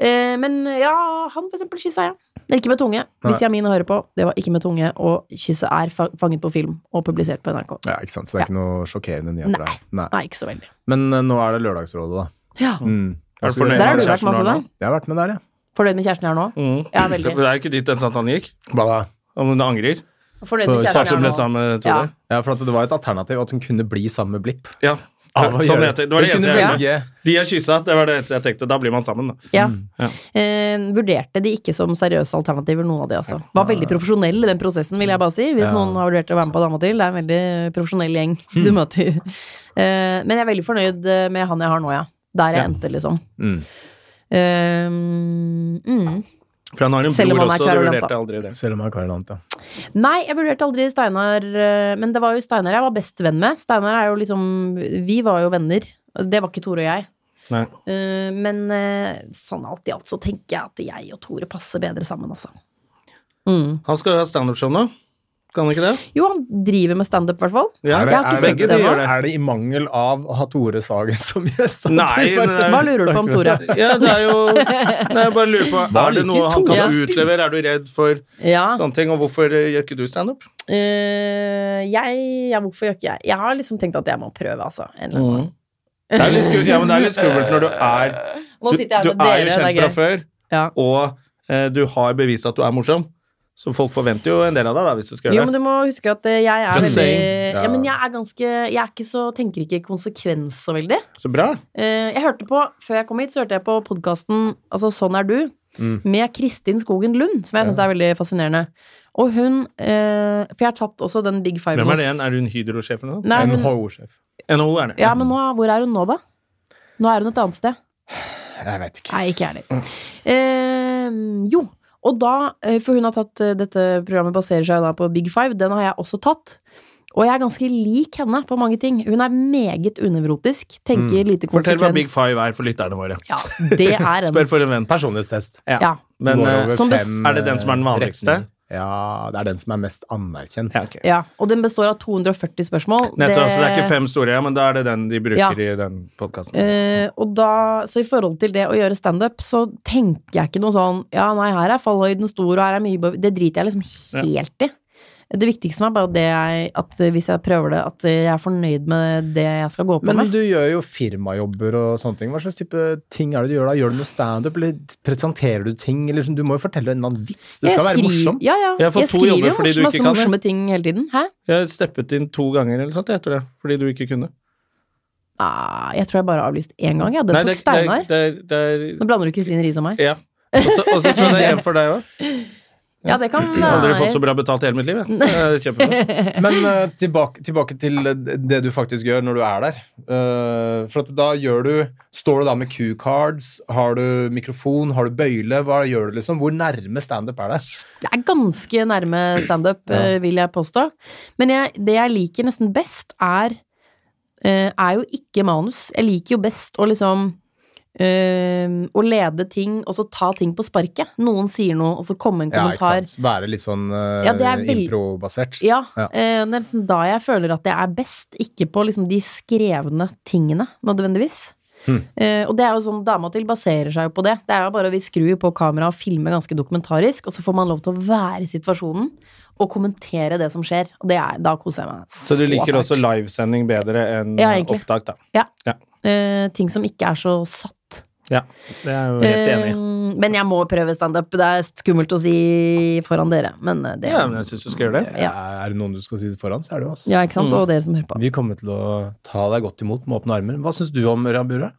[SPEAKER 4] Eh, Men ja, han for eksempel kyssa jeg. Men ikke med tunge. Hvis
[SPEAKER 2] Nei.
[SPEAKER 4] Jamin hører på, det var ikke med tunge, og kysset er fa- fanget på film og publisert på NRK.
[SPEAKER 2] Ja, ikke sant? Så det er ikke noe sjokkerende nyhet for deg. Nei.
[SPEAKER 4] Nei, ikke så veldig.
[SPEAKER 2] Men eh, nå er det Lørdagsrådet, da.
[SPEAKER 4] Ja.
[SPEAKER 2] Mm.
[SPEAKER 1] Er du fornøyd
[SPEAKER 4] Der har
[SPEAKER 1] med
[SPEAKER 4] du vært
[SPEAKER 1] kjæresten
[SPEAKER 4] masse,
[SPEAKER 1] du
[SPEAKER 4] da.
[SPEAKER 1] har nå?
[SPEAKER 2] Jeg har vært med der, jeg.
[SPEAKER 4] Fornøyd med kjæresten jeg har nå?
[SPEAKER 1] Mm.
[SPEAKER 4] Ja, veldig.
[SPEAKER 1] Det er jo ikke dit den sant han gikk.
[SPEAKER 2] Hva da?
[SPEAKER 1] Om hun angrer.
[SPEAKER 4] Fornøyd med
[SPEAKER 2] For
[SPEAKER 1] Kjæresten
[SPEAKER 4] kjæresten
[SPEAKER 1] ble
[SPEAKER 4] jeg har nå?
[SPEAKER 1] sammen med
[SPEAKER 4] Ja.
[SPEAKER 1] Tore.
[SPEAKER 2] Ja, for at det var et alternativ at hun kunne bli sammen med Blipp.
[SPEAKER 1] Ja.
[SPEAKER 2] Av å
[SPEAKER 1] sånn jeg
[SPEAKER 2] gjøre-
[SPEAKER 1] tenkte. Det var det
[SPEAKER 2] Hun
[SPEAKER 1] eneste
[SPEAKER 2] kunne
[SPEAKER 1] jeg gjorde.
[SPEAKER 2] velge
[SPEAKER 1] De har kyssa, det var det eneste jeg tenkte. Da blir man sammen, da.
[SPEAKER 4] Ja.
[SPEAKER 1] Ja.
[SPEAKER 4] Eh, vurderte de ikke som seriøse alternativer, noen av de, altså. Var veldig profesjonell i den prosessen, vil jeg bare si. Hvis
[SPEAKER 2] Ja.
[SPEAKER 4] noen har vurdert å være med på Dama til. Det er en veldig profesjonell gjeng du møter. Eh, men jeg er veldig fornøyd eh, med han jeg har nå, ja. Der jeg
[SPEAKER 1] Ja.
[SPEAKER 4] endte, liksom.
[SPEAKER 2] Mm.
[SPEAKER 4] Eh, mm.
[SPEAKER 1] For han har en
[SPEAKER 4] Selv om
[SPEAKER 1] bror
[SPEAKER 4] han er
[SPEAKER 1] også, du
[SPEAKER 4] kverulant,
[SPEAKER 1] vurderte
[SPEAKER 4] da.
[SPEAKER 1] aldri det.
[SPEAKER 2] Selv om jeg har kverulant, ja.
[SPEAKER 4] Nei, jeg vurderte aldri Steinar, eh, men det var jo Steinar jeg var best venn med. Steinar er jo liksom Vi var jo venner. Det var ikke Tore og jeg.
[SPEAKER 1] Nei.
[SPEAKER 4] Eh, Men eh, sånn alt i alt så tenker jeg at jeg og Tore passer bedre sammen, altså. Mm.
[SPEAKER 1] Han skal jo ha standup-show nå. Kan han ikke det?
[SPEAKER 4] Jo, han driver med standup, i hvert fall.
[SPEAKER 1] Ja.
[SPEAKER 2] Er det,
[SPEAKER 4] Jeg har ikke
[SPEAKER 2] er,
[SPEAKER 4] sett
[SPEAKER 2] det,
[SPEAKER 4] det
[SPEAKER 1] ennå.
[SPEAKER 2] er det i mangel av å ha Tore Sagen som gjest? at
[SPEAKER 1] Nei,
[SPEAKER 2] du bare-
[SPEAKER 1] men eh, det er-
[SPEAKER 4] Hva lurer du på om Tore?
[SPEAKER 1] Ja, det er jo Nei, jeg bare lurer på
[SPEAKER 2] Hva
[SPEAKER 1] Er det
[SPEAKER 2] liker
[SPEAKER 1] noe han
[SPEAKER 2] Tore
[SPEAKER 1] kan
[SPEAKER 4] å
[SPEAKER 1] utlevere? Er du redd for
[SPEAKER 4] Ja.
[SPEAKER 1] sånne ting? Og hvorfor eh, gjør ikke du standup?
[SPEAKER 4] Eh, jeg ja, Hvorfor gjør ikke jeg Jeg har liksom tenkt at jeg må prøve, altså. En eller annen.
[SPEAKER 1] Mm. Det er litt skummelt, ja, men det er litt skummelt når du er
[SPEAKER 4] Nå
[SPEAKER 1] Du,
[SPEAKER 4] sitter jeg
[SPEAKER 1] du
[SPEAKER 4] her med
[SPEAKER 1] er jo
[SPEAKER 4] dere, det
[SPEAKER 1] kjent
[SPEAKER 4] er
[SPEAKER 1] fra
[SPEAKER 4] gøy.
[SPEAKER 1] før,
[SPEAKER 4] Ja.
[SPEAKER 1] og eh, du har bevist at du er morsom. Så folk forventer jo en del av deg da, hvis du skal
[SPEAKER 4] Jo,
[SPEAKER 1] gjøre
[SPEAKER 4] men
[SPEAKER 1] det.
[SPEAKER 4] du må huske at eh, jeg er
[SPEAKER 2] Just
[SPEAKER 4] veldig
[SPEAKER 2] saying.
[SPEAKER 4] ja.
[SPEAKER 2] Ja.
[SPEAKER 4] men jeg er ganske Jeg er ikke så, tenker ikke konsekvens så veldig.
[SPEAKER 1] Så bra.
[SPEAKER 4] Eh, jeg hørte på, Før jeg kom hit, så hørte jeg på podkasten altså, 'Sånn er du'
[SPEAKER 2] Mm.
[SPEAKER 4] med Kristin Skogen Lund, som jeg syns er veldig fascinerende. Og hun eh, For jeg har tatt også den Big Five
[SPEAKER 1] Hvem er det igjen? Er hun Hydro-sjef eller noe?
[SPEAKER 4] Nei, hun,
[SPEAKER 2] NHO-sjef.
[SPEAKER 1] NHO er det.
[SPEAKER 4] ja, men nå, hvor er hun nå, da? Nå er hun et annet sted.
[SPEAKER 2] Jeg vet ikke.
[SPEAKER 4] Nei, ikke jeg heller. Eh, jo. Og da, eh, for hun har tatt eh, Dette programmet baserer seg da på Big Five. Den har jeg også tatt. Og jeg er ganske lik henne på mange ting. Hun er meget unevrotisk. Tenker lite konsekvens.
[SPEAKER 1] Mm. Fortell hva Big Five er for lytterne våre.
[SPEAKER 4] Ja, det er en.
[SPEAKER 1] Spør for en venn.
[SPEAKER 2] Personlighetstest.
[SPEAKER 4] Ja.
[SPEAKER 1] Men
[SPEAKER 2] Går
[SPEAKER 1] eh,
[SPEAKER 2] over
[SPEAKER 4] som bes-
[SPEAKER 2] fem,
[SPEAKER 1] er det den som er den
[SPEAKER 2] eh,
[SPEAKER 1] vanligste?
[SPEAKER 2] retninger. Ja, det er den som er mest anerkjent.
[SPEAKER 1] ja, ok.
[SPEAKER 4] ja. Og den består av 240 spørsmål.
[SPEAKER 1] Nettopp, så det er ikke fem store, ja, men da er det den de bruker
[SPEAKER 4] Ja.
[SPEAKER 1] i den podkasten.
[SPEAKER 4] Eh, og da, så i forhold til det å gjøre standup, så tenker jeg ikke noe sånn Ja, nei, her er fallhøyden stor, og her er mye Det driter jeg liksom helt i. Det viktigste er bare det jeg, at hvis jeg prøver det, at jeg er fornøyd med det jeg skal gå på
[SPEAKER 2] Men
[SPEAKER 4] med.
[SPEAKER 2] du gjør jo firmajobber og sånne ting. Hva slags type ting er det du gjør da? Gjør du noe standup, eller presenterer du ting? Eller sånn? du må jo fortelle en eller annen vits. Det skal
[SPEAKER 4] Jeg
[SPEAKER 2] være
[SPEAKER 4] skriver-
[SPEAKER 2] morsomt.
[SPEAKER 4] Ja, ja.
[SPEAKER 1] Jeg har fått
[SPEAKER 4] Jeg
[SPEAKER 1] to
[SPEAKER 4] skriver
[SPEAKER 1] jobber
[SPEAKER 4] jo
[SPEAKER 1] fordi du ikke
[SPEAKER 4] masse, masse
[SPEAKER 1] kan det.
[SPEAKER 4] morsomme ting hele tiden. Hæ?
[SPEAKER 1] Jeg steppet inn to ganger eller sånt, jeg tror det, fordi du ikke kunne.
[SPEAKER 4] Ah, jeg tror jeg bare har avlyst én gang, jeg. Den
[SPEAKER 1] Nei,
[SPEAKER 4] tok
[SPEAKER 1] det,
[SPEAKER 4] Steinar.
[SPEAKER 1] det, er- det er
[SPEAKER 4] Nå blander du Kristine Riis og meg.
[SPEAKER 1] Ja. Og så og så tror jeg det er en for deg òg.
[SPEAKER 4] Ja, det kan eh,
[SPEAKER 1] Jeg har aldri fått så
[SPEAKER 4] være.
[SPEAKER 1] bra betalt i hele mitt liv. Jeg. Eh, Kjempebra.
[SPEAKER 2] Men eh, tilbake, tilbake til eh, det du faktisk gjør når du er der. Eh, for at da gjør du Står du da med Q-cards? Har du mikrofon? Har du bøyle? Hva gjør du, liksom? Hvor nærme standup er det?
[SPEAKER 4] Det er ganske nærme standup, eh, vil jeg påstå. Men jeg, det jeg liker nesten best, er, eh, er jo ikke manus. Jeg liker jo best å liksom eh, Å lede ting, og så ta ting på sparket. Noen sier noe, og så komme en
[SPEAKER 2] Ja, ikke
[SPEAKER 4] kommentar.
[SPEAKER 2] sant. Være litt sånn eh,
[SPEAKER 4] Ja, det er vel-
[SPEAKER 2] improbasert.
[SPEAKER 4] Ja,
[SPEAKER 2] Ja.
[SPEAKER 4] eh, det er liksom da jeg føler at jeg er best, ikke på liksom de skrevne tingene, nødvendigvis.
[SPEAKER 2] Hmm.
[SPEAKER 4] Eh, og det er jo sånn, Dama til baserer seg jo på det. Det er jo bare Vi skrur jo på kameraet og filmer ganske dokumentarisk, og så får man lov til å være i situasjonen og kommentere det som skjer. Og det er, da koser jeg meg.
[SPEAKER 1] Så du liker
[SPEAKER 4] fælt.
[SPEAKER 1] også livesending bedre enn
[SPEAKER 4] Ja,
[SPEAKER 1] eh,
[SPEAKER 4] egentlig.
[SPEAKER 1] opptak, da.
[SPEAKER 4] Eh, ting som ikke er så satt.
[SPEAKER 1] Ja, det er jeg jo helt enig i.
[SPEAKER 4] Eh, men jeg må prøve standup. Det er skummelt å si foran dere, men eh, det
[SPEAKER 1] Ja, men jeg syns du skal gjøre det.
[SPEAKER 2] Ja, Er det noen du skal si det foran, så er det jo oss.
[SPEAKER 1] Mm.
[SPEAKER 4] Ja, ikke sant? Og dere som hører på.
[SPEAKER 2] Vi kommer til å ta deg godt imot med åpne armer. Hva syns du om Rabura?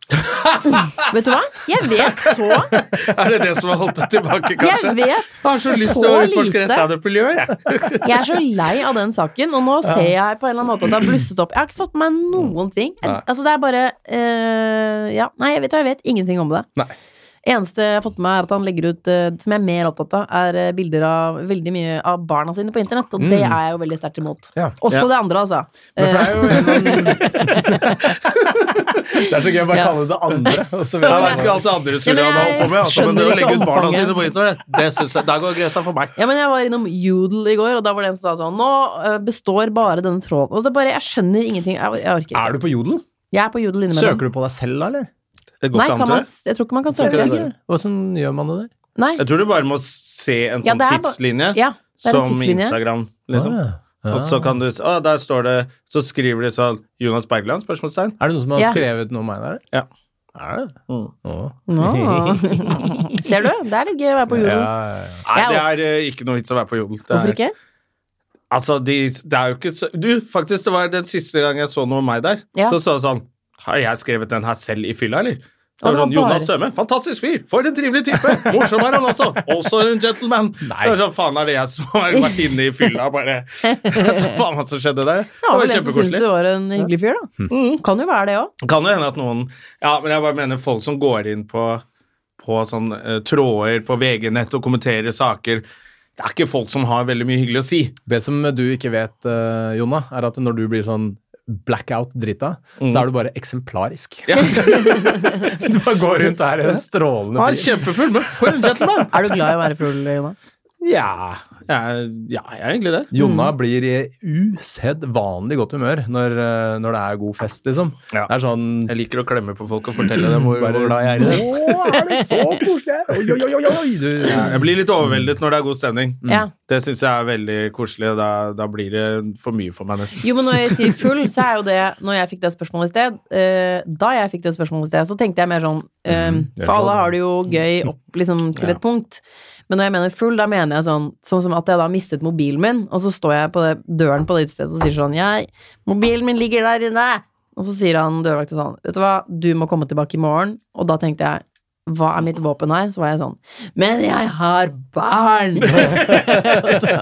[SPEAKER 4] Vet du hva? Jeg vet så
[SPEAKER 1] Er det det som har holdt deg tilbake, kanskje?
[SPEAKER 4] Jeg vet
[SPEAKER 1] Jeg har så lyst til
[SPEAKER 4] så
[SPEAKER 1] å utforske det
[SPEAKER 4] lite.
[SPEAKER 1] standup-miljøet, jeg.
[SPEAKER 4] Jeg er så lei av den saken, og nå ser jeg på en eller annen måte at det har blusset opp. Jeg har ikke fått med meg noen ting.
[SPEAKER 1] Mm. Nei.
[SPEAKER 4] Altså, det er bare eh, Ja, nei, jeg vet, jeg vet ingenting om det.
[SPEAKER 1] Nei.
[SPEAKER 4] Eneste jeg har fått med meg, er at han legger ut eh, Det som jeg er mer opptatt av, er eh, bilder av veldig mye av barna sine på internett, og det
[SPEAKER 2] Mm.
[SPEAKER 4] er jeg jo veldig sterkt imot.
[SPEAKER 2] Ja.
[SPEAKER 4] Også
[SPEAKER 1] Ja.
[SPEAKER 4] det andre, altså.
[SPEAKER 2] Men for det er jo en av Det er så gøy å bare
[SPEAKER 4] Ja.
[SPEAKER 2] kalle det det andre. Og så vet
[SPEAKER 1] Jeg
[SPEAKER 2] man-
[SPEAKER 1] vet ikke alt det andre
[SPEAKER 4] Ja, men
[SPEAKER 1] Surian har holdt på med, altså, men
[SPEAKER 4] jeg
[SPEAKER 1] det å
[SPEAKER 4] skjønner
[SPEAKER 1] legge ut
[SPEAKER 4] ikke
[SPEAKER 1] barna
[SPEAKER 4] omfanget.
[SPEAKER 1] sine på internett, det synes jeg, der går grensa for meg.
[SPEAKER 4] Ja, men jeg var innom Jodel i går, og da var det en som sa sånn Nå eh, består bare denne tråden. Og det er bare, jeg skjønner ingenting. Jeg, jeg
[SPEAKER 1] Ah.
[SPEAKER 4] orker
[SPEAKER 2] Er
[SPEAKER 4] ikke.
[SPEAKER 2] du på Jodel?
[SPEAKER 4] Jeg er på Jodel innimellom.
[SPEAKER 2] Søker du på deg selv, da, eller?
[SPEAKER 1] Det går
[SPEAKER 4] Nei,
[SPEAKER 1] ikke an
[SPEAKER 4] kan
[SPEAKER 1] til
[SPEAKER 4] man, altså,
[SPEAKER 1] det.
[SPEAKER 4] jeg tror ikke man kan
[SPEAKER 2] Jeg
[SPEAKER 4] søke.
[SPEAKER 2] vet ikke. Hvordan gjør man det der?
[SPEAKER 4] Nei.
[SPEAKER 1] Jeg tror du bare må se en
[SPEAKER 4] Ja,
[SPEAKER 1] sånn
[SPEAKER 4] det er bare-
[SPEAKER 1] tidslinje,
[SPEAKER 4] Ja, det er en
[SPEAKER 1] som
[SPEAKER 4] tidslinje.
[SPEAKER 1] Instagram, liksom.
[SPEAKER 2] Ah, ja.
[SPEAKER 1] Og så kan du Å, der står det Så skriver de sånn Jonas Bergland? spørsmålstegn.
[SPEAKER 2] Er det noen som har
[SPEAKER 4] Ja.
[SPEAKER 2] skrevet noe om meg der?
[SPEAKER 1] Ja.
[SPEAKER 2] Er det?
[SPEAKER 1] Mm.
[SPEAKER 2] Å.
[SPEAKER 4] Nå. Ser du? Det er litt gøy å være på jorden.
[SPEAKER 2] Ja, ja, ja.
[SPEAKER 1] Nei, det
[SPEAKER 4] Jeg
[SPEAKER 1] er eh, ikke noe vits å være på Jodel. Det er-
[SPEAKER 4] Hvorfor ikke?
[SPEAKER 1] Altså, de, det er jo ikke så Du, faktisk, det var den siste gang jeg så noe om meg der,
[SPEAKER 4] Ja.
[SPEAKER 1] så sa det sånn Har jeg skrevet den her selv i fylla, eller? Det var
[SPEAKER 4] det var
[SPEAKER 1] sånn, Jonas
[SPEAKER 4] bare-
[SPEAKER 1] Søme, fantastisk fyr! For en trivelig type! Morsom er han også! Også en gentleman!
[SPEAKER 2] Nei.
[SPEAKER 1] Så det var sånn, faen, er det jeg som har vært inne i fylla og bare Ta faen hva som skjedde der?
[SPEAKER 4] Ja,
[SPEAKER 1] Det var
[SPEAKER 4] vel, jeg syns du
[SPEAKER 1] kjempekoselig. Mm.
[SPEAKER 4] var en hyggelig fyr, da. Kan jo være det òg.
[SPEAKER 1] Kan jo hende at noen Ja, men jeg bare mener folk som går inn på på sånn eh, tråder på VG-nett og kommenterer saker Det er ikke folk som har veldig mye hyggelig å si.
[SPEAKER 2] Det som du ikke vet, eh, Jonna, er at når du blir sånn blackout-drita, så er du bare eksemplarisk.
[SPEAKER 1] Ja.
[SPEAKER 2] Du bare går rundt der i en strålende
[SPEAKER 1] Han er
[SPEAKER 2] fyr.
[SPEAKER 1] kjempefull, men for en gentleman!
[SPEAKER 4] Er du glad i å være full, Jonna?
[SPEAKER 1] Ja, jeg, ja, jeg er egentlig det.
[SPEAKER 2] Jonna blir i usedvanlig godt humør når, eh, når det er god fest, liksom.
[SPEAKER 1] Ja.
[SPEAKER 2] Det er sånn
[SPEAKER 1] Jeg liker å klemme på folk og fortelle dem hvor, hvor glad jeg er i dem.
[SPEAKER 2] Å, er det så koselig her? Oi, oi, oi, oi, oi! Du,
[SPEAKER 1] Ja, Jeg blir litt overveldet når det er god stemning.
[SPEAKER 4] Ja.
[SPEAKER 1] Det syns jeg er veldig koselig. Da, da blir det for mye for meg, nesten.
[SPEAKER 4] Jo, men når jeg sier full, så er jo det Når jeg fikk det spørsmålet i sted eh, Da jeg fikk det spørsmålet i sted, så tenkte jeg mer sånn eh,
[SPEAKER 2] det er
[SPEAKER 4] For alle
[SPEAKER 2] sånn.
[SPEAKER 4] har det jo gøy opp liksom, til et punkt. Men når jeg mener full, da mener jeg sånn Sånn som at jeg da har mistet mobilen min, og så står jeg på det, døren på det utestedet og sier sånn Jeg, mobilen min ligger der inne! Og så sier han dørvakten sånn Vet du hva, du må komme tilbake i morgen. Og da tenkte jeg hva er mitt våpen her? Så var jeg sånn Men jeg har barn! Altså,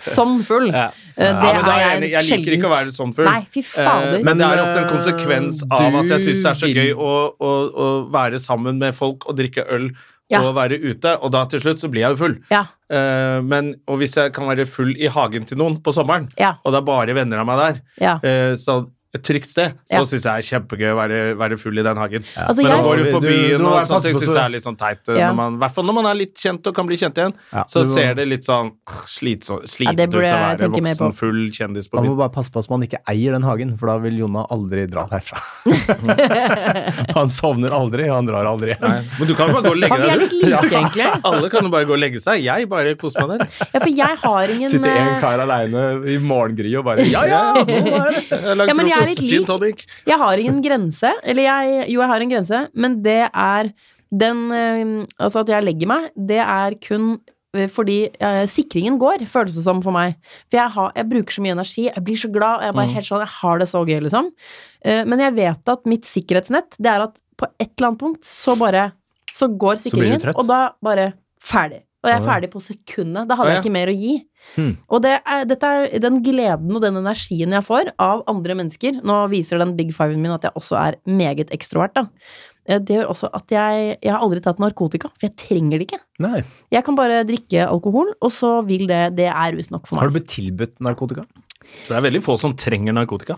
[SPEAKER 4] som full.
[SPEAKER 1] Ja.
[SPEAKER 4] Eh, Det
[SPEAKER 1] Ja, men da er
[SPEAKER 4] er jeg
[SPEAKER 1] jeg, enig. jeg liker ikke å være sånn full.
[SPEAKER 4] Nei, fy fader.
[SPEAKER 1] Eh, men det er
[SPEAKER 2] Men,
[SPEAKER 1] ofte en konsekvens
[SPEAKER 2] eh,
[SPEAKER 1] av
[SPEAKER 2] du
[SPEAKER 1] at jeg syns det er så
[SPEAKER 2] vil-
[SPEAKER 1] gøy å, å, å være sammen med folk og drikke øl
[SPEAKER 4] Ja.
[SPEAKER 1] og være ute, og da til slutt så blir jeg jo full.
[SPEAKER 4] Ja,
[SPEAKER 1] Eh, men, og hvis jeg kan være full i hagen til noen på sommeren,
[SPEAKER 4] Ja.
[SPEAKER 1] og det er bare venner av meg der,
[SPEAKER 4] ja.
[SPEAKER 1] eh, så et trygt sted, så
[SPEAKER 4] Ja.
[SPEAKER 1] synes syns jeg er kjempegøy å være, være full i den hagen.
[SPEAKER 4] Altså,
[SPEAKER 1] Men å
[SPEAKER 4] jeg-
[SPEAKER 1] gå ut på
[SPEAKER 2] Du- du-
[SPEAKER 1] byen
[SPEAKER 2] du
[SPEAKER 1] og
[SPEAKER 2] må være
[SPEAKER 1] sånt,
[SPEAKER 2] passe
[SPEAKER 1] jeg
[SPEAKER 2] på
[SPEAKER 1] syns
[SPEAKER 2] så-
[SPEAKER 1] det er litt sånn teit. eh,
[SPEAKER 4] Ja.
[SPEAKER 1] når man- I hvert fall når man er litt kjent og kan bli kjent igjen,
[SPEAKER 2] Ja,
[SPEAKER 1] så
[SPEAKER 2] du må-
[SPEAKER 1] ser det litt sånn eh, slitsom-
[SPEAKER 4] Ja,
[SPEAKER 1] slitent
[SPEAKER 4] det
[SPEAKER 1] ut å
[SPEAKER 4] burde jeg
[SPEAKER 1] være
[SPEAKER 4] tenke mer på.
[SPEAKER 1] voksen, full kjendis på
[SPEAKER 2] Man må
[SPEAKER 1] byen.
[SPEAKER 2] bare passe på at man ikke eier den hagen, for da vil Jonna aldri dra derfra. han sovner aldri, han drar aldri.
[SPEAKER 1] Nei, Men du kan jo bare gå og legge
[SPEAKER 4] Faen, vi er
[SPEAKER 1] deg,
[SPEAKER 4] litt
[SPEAKER 1] du.
[SPEAKER 4] like, egentlig.
[SPEAKER 1] Alle kan jo bare gå og legge seg. Jeg bare koser meg der.
[SPEAKER 4] Ja, for jeg har ingen
[SPEAKER 2] Sitter en
[SPEAKER 4] eh,
[SPEAKER 2] kar aleine i morgengry og bare Ja, ja!
[SPEAKER 1] nå er det. Jeg har lagd
[SPEAKER 4] Ja, men jeg
[SPEAKER 1] frokost,
[SPEAKER 4] er litt
[SPEAKER 1] sånn gin
[SPEAKER 4] lik.
[SPEAKER 1] tonic.
[SPEAKER 4] Jeg har ingen grense. Eller jeg Jo, jeg har en grense, men det er den eh, Altså at jeg legger meg, det er kun eh, fordi eh, sikringen går, føles det som for meg. For jeg, har, jeg bruker så mye energi, jeg blir så glad, og jeg, er
[SPEAKER 2] Mm.
[SPEAKER 4] bare, helt sånn, jeg har det så gøy, liksom. Eh, men jeg vet at mitt sikkerhetsnett, det er at på et eller annet punkt så bare Så går
[SPEAKER 2] Så blir du
[SPEAKER 4] sikringen,
[SPEAKER 2] trøtt.
[SPEAKER 4] og da bare ferdig. Og jeg er
[SPEAKER 2] Ah, ja.
[SPEAKER 4] ferdig på sekundet. Da
[SPEAKER 1] Ah,
[SPEAKER 4] hadde
[SPEAKER 1] ja.
[SPEAKER 4] jeg ikke mer å gi.
[SPEAKER 2] Hmm.
[SPEAKER 4] Og det er, dette er den gleden og den energien jeg får av andre mennesker. Nå viser den big fiven min at jeg også er meget ekstrovert, da. Eh, Det gjør også at jeg, jeg har aldri tatt narkotika, for jeg trenger det ikke.
[SPEAKER 2] Nei.
[SPEAKER 4] Jeg kan bare drikke alkohol, og så vil det Det er rus nok for
[SPEAKER 2] Har
[SPEAKER 4] meg.
[SPEAKER 2] du blitt tilbudt narkotika?
[SPEAKER 1] Så det er veldig få som trenger narkotika.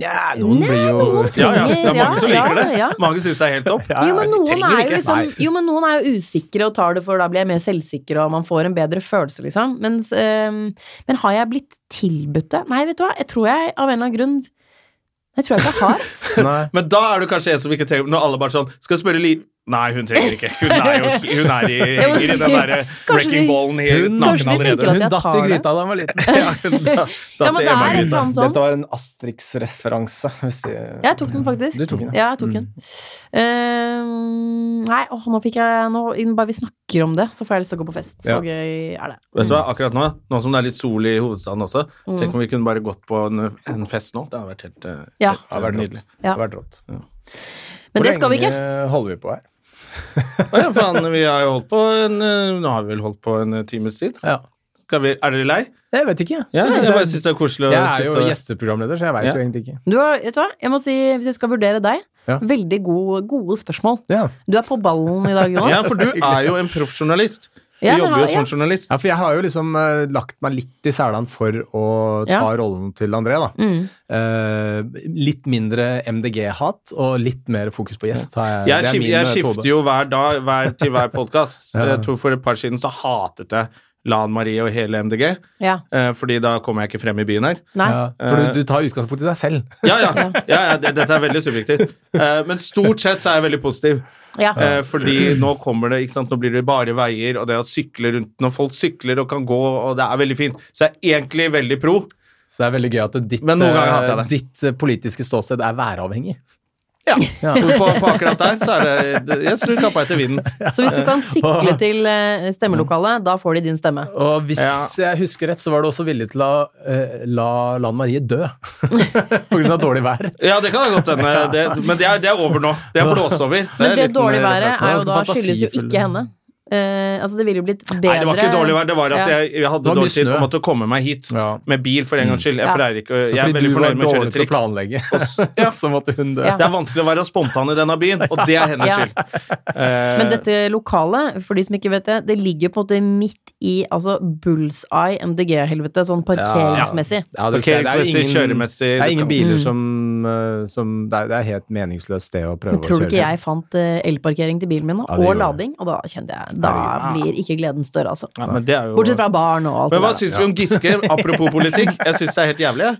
[SPEAKER 2] Nja, noen blir jo
[SPEAKER 1] Ja, ja. Det er mange som
[SPEAKER 4] Ja,
[SPEAKER 1] liker det.
[SPEAKER 4] ja, ja.
[SPEAKER 1] Mange syns det er helt topp.
[SPEAKER 2] Ja,
[SPEAKER 4] Jo men,
[SPEAKER 2] ja,
[SPEAKER 4] noen
[SPEAKER 1] trenger
[SPEAKER 4] er jo
[SPEAKER 1] ikke.
[SPEAKER 4] liksom,
[SPEAKER 2] Nei.
[SPEAKER 4] jo, men noen er jo usikre og tar det for da blir jeg mer selvsikker, og man får en bedre følelse, liksom. Mens, ehm, men har jeg blitt tilbudt det? Nei, vet du hva, jeg tror jeg av en eller annen grunn Jeg tror jeg ikke har, ass.
[SPEAKER 2] Nei.
[SPEAKER 1] Men da er du kanskje en som ikke trenger Når alle bare sånn Skal jeg spørre Liv Nei, hun trenger ikke. Hun er jo hun er i,
[SPEAKER 4] men-
[SPEAKER 1] henger i den derre
[SPEAKER 4] Kanskje
[SPEAKER 1] wrecking
[SPEAKER 4] de-
[SPEAKER 1] ballen helt
[SPEAKER 2] Hun-
[SPEAKER 1] naken
[SPEAKER 4] kanskje de
[SPEAKER 1] allerede.
[SPEAKER 4] tenker at
[SPEAKER 2] Hun
[SPEAKER 4] jeg
[SPEAKER 2] datt i
[SPEAKER 4] tar det.
[SPEAKER 2] gryta da hun var liten.
[SPEAKER 1] Ja, hun da- da
[SPEAKER 4] Ja, men
[SPEAKER 1] til
[SPEAKER 4] det er et eller
[SPEAKER 1] Emma-gryta.
[SPEAKER 4] annet sånn.
[SPEAKER 2] var en Astrix-referanse. hvis det-
[SPEAKER 4] Jeg tok den faktisk.
[SPEAKER 2] Du tok den,
[SPEAKER 4] ja. jeg tok den.
[SPEAKER 1] Mm.
[SPEAKER 4] Ehm, nei, åh, nå fikk jeg nå, innen Bare vi snakker om det, så får jeg lyst til å gå på fest. Så
[SPEAKER 2] Ja.
[SPEAKER 4] gøy er det.
[SPEAKER 1] Vet du hva,
[SPEAKER 4] Mm.
[SPEAKER 1] akkurat nå, nå som det er litt sol i hovedstaden også, tenk om vi kunne bare gått på en, en fest nå. Det hadde vært helt eh,
[SPEAKER 4] Ja.
[SPEAKER 1] helt, eh, nydelig.
[SPEAKER 2] Det har vært rått.
[SPEAKER 4] Men det skal vi ikke.
[SPEAKER 5] Hvor lenge holder vi på her?
[SPEAKER 1] Å ja, faen, vi har jo holdt på en eh, Nå har vi vel holdt på en eh, times tid.
[SPEAKER 5] Ja.
[SPEAKER 1] Skal vi, er dere lei?
[SPEAKER 5] Jeg vet ikke.
[SPEAKER 1] Ja, jeg
[SPEAKER 5] det-
[SPEAKER 1] bare syns det er koselig å
[SPEAKER 5] jeg er jo
[SPEAKER 1] sitte og
[SPEAKER 5] gjesteprogramleder, så jeg veit
[SPEAKER 1] Ja.
[SPEAKER 5] jo egentlig ikke.
[SPEAKER 4] Du har, vet du hva, jeg må si, hvis jeg skal vurdere deg,
[SPEAKER 5] Ja.
[SPEAKER 4] veldig gode, gode spørsmål.
[SPEAKER 5] Ja.
[SPEAKER 4] Du er på ballen i dag, Jonas.
[SPEAKER 1] Ja, for du er jo en proffjournalist. Du
[SPEAKER 4] Ja, men
[SPEAKER 1] jobber jo
[SPEAKER 4] hva-
[SPEAKER 1] som
[SPEAKER 4] ja.
[SPEAKER 1] journalist.
[SPEAKER 5] Ja, for jeg har jo liksom eh, lagt meg litt i selene for å ta
[SPEAKER 4] Ja.
[SPEAKER 5] rollen til André, da.
[SPEAKER 4] Mm.
[SPEAKER 5] Eh, litt mindre MDG-hat og litt mer fokus på gjest. Har jeg,
[SPEAKER 1] Jeg,
[SPEAKER 5] det er
[SPEAKER 1] skif
[SPEAKER 5] min eh,
[SPEAKER 1] jeg
[SPEAKER 5] metode.
[SPEAKER 1] skifter jo hver dag hver, til hver podkast.
[SPEAKER 5] Ja.
[SPEAKER 1] Jeg tror For et par siden så hatet jeg Lan Marie og hele MDG,
[SPEAKER 4] Ja.
[SPEAKER 1] eh, fordi da kommer jeg ikke frem i byen her.
[SPEAKER 4] Nei.
[SPEAKER 5] Ja, for du, du tar utgangspunkt i deg selv.
[SPEAKER 1] Ja, ja. ja, ja det, dette er veldig subjektivt. Eh, men stort sett så er jeg veldig positiv.
[SPEAKER 4] Ja.
[SPEAKER 1] Eh, fordi nå kommer det, ikke sant, nå blir det bare veier, og det å sykle rundt Når folk sykler og kan gå, og det er veldig fint. Så jeg er egentlig veldig pro.
[SPEAKER 5] Så det er veldig gøy at ditt,
[SPEAKER 1] Men noen ganger hater jeg
[SPEAKER 5] eh,
[SPEAKER 1] det.
[SPEAKER 5] ditt eh, politiske ståsted er væravhengig.
[SPEAKER 1] Ja. På, på akkurat der så er det Jeg snur kappa etter vinden.
[SPEAKER 4] Så hvis du kan sikle til eh, stemmelokalet, da får de din stemme.
[SPEAKER 5] Og hvis
[SPEAKER 1] Ja.
[SPEAKER 5] jeg husker rett, så var du også villig til å eh, la Lan Marie dø på grunn av dårlig vær.
[SPEAKER 1] Ja, det kan det godt hende. Det, men det er, det er over nå. Det er blåst over. Så jeg
[SPEAKER 4] Men
[SPEAKER 1] er
[SPEAKER 4] det
[SPEAKER 1] litt
[SPEAKER 4] dårlige
[SPEAKER 1] mer
[SPEAKER 4] været
[SPEAKER 1] refleksen.
[SPEAKER 4] er jo
[SPEAKER 5] ganske
[SPEAKER 4] da skyldes jo
[SPEAKER 5] fantasifull.
[SPEAKER 4] ikke henne. Eh, altså, det ville jo blitt bedre
[SPEAKER 1] Nei, det var ikke dårlig vær. Det var at
[SPEAKER 4] Ja.
[SPEAKER 1] jeg, jeg hadde
[SPEAKER 5] var mye
[SPEAKER 1] dårlig tid
[SPEAKER 5] snø.
[SPEAKER 1] og måtte komme meg hit
[SPEAKER 5] Ja.
[SPEAKER 1] med bil for en gangs skyld. Jeg
[SPEAKER 4] Ja.
[SPEAKER 1] pleier ikke å
[SPEAKER 5] Så
[SPEAKER 1] Jeg er
[SPEAKER 5] fordi
[SPEAKER 1] veldig
[SPEAKER 5] du var
[SPEAKER 1] fornøyd med å kjøre
[SPEAKER 5] dårlig til å
[SPEAKER 1] trikk.
[SPEAKER 5] planlegge, så måtte hun dø.
[SPEAKER 4] Ja.
[SPEAKER 1] Det er vanskelig å være spontan i denne byen, og det er hennes
[SPEAKER 4] Ja.
[SPEAKER 1] skyld. Eh,
[SPEAKER 4] Men dette lokalet, for de som ikke vet det, det ligger på en måte midt i altså bullseye MDG-helvete, sånn parkeringsmessig.
[SPEAKER 5] Ja, det, det er
[SPEAKER 1] Parkeringsmessig,
[SPEAKER 5] ingen,
[SPEAKER 1] kjøremessig
[SPEAKER 5] det Mm. er
[SPEAKER 1] du kan-
[SPEAKER 5] ingen biler som, eh, som det, er, det er helt meningsløst sted å
[SPEAKER 4] Men
[SPEAKER 5] prøve
[SPEAKER 4] tror
[SPEAKER 5] å
[SPEAKER 4] du
[SPEAKER 5] kjøre.
[SPEAKER 4] ikke jeg fant eh, elparkering til bilen min, da,
[SPEAKER 5] Ja,
[SPEAKER 4] og
[SPEAKER 5] det gjorde jeg.
[SPEAKER 4] lading? Og da kjente jeg Da
[SPEAKER 1] Herregud.
[SPEAKER 4] blir ikke gleden større, altså.
[SPEAKER 1] ja, men det er jo
[SPEAKER 4] Bortsett fra barn og alt
[SPEAKER 1] Men hva
[SPEAKER 4] det
[SPEAKER 1] syns
[SPEAKER 4] der.
[SPEAKER 1] vi om Giske, apropos politikk? Jeg syns det er helt jævlig jeg.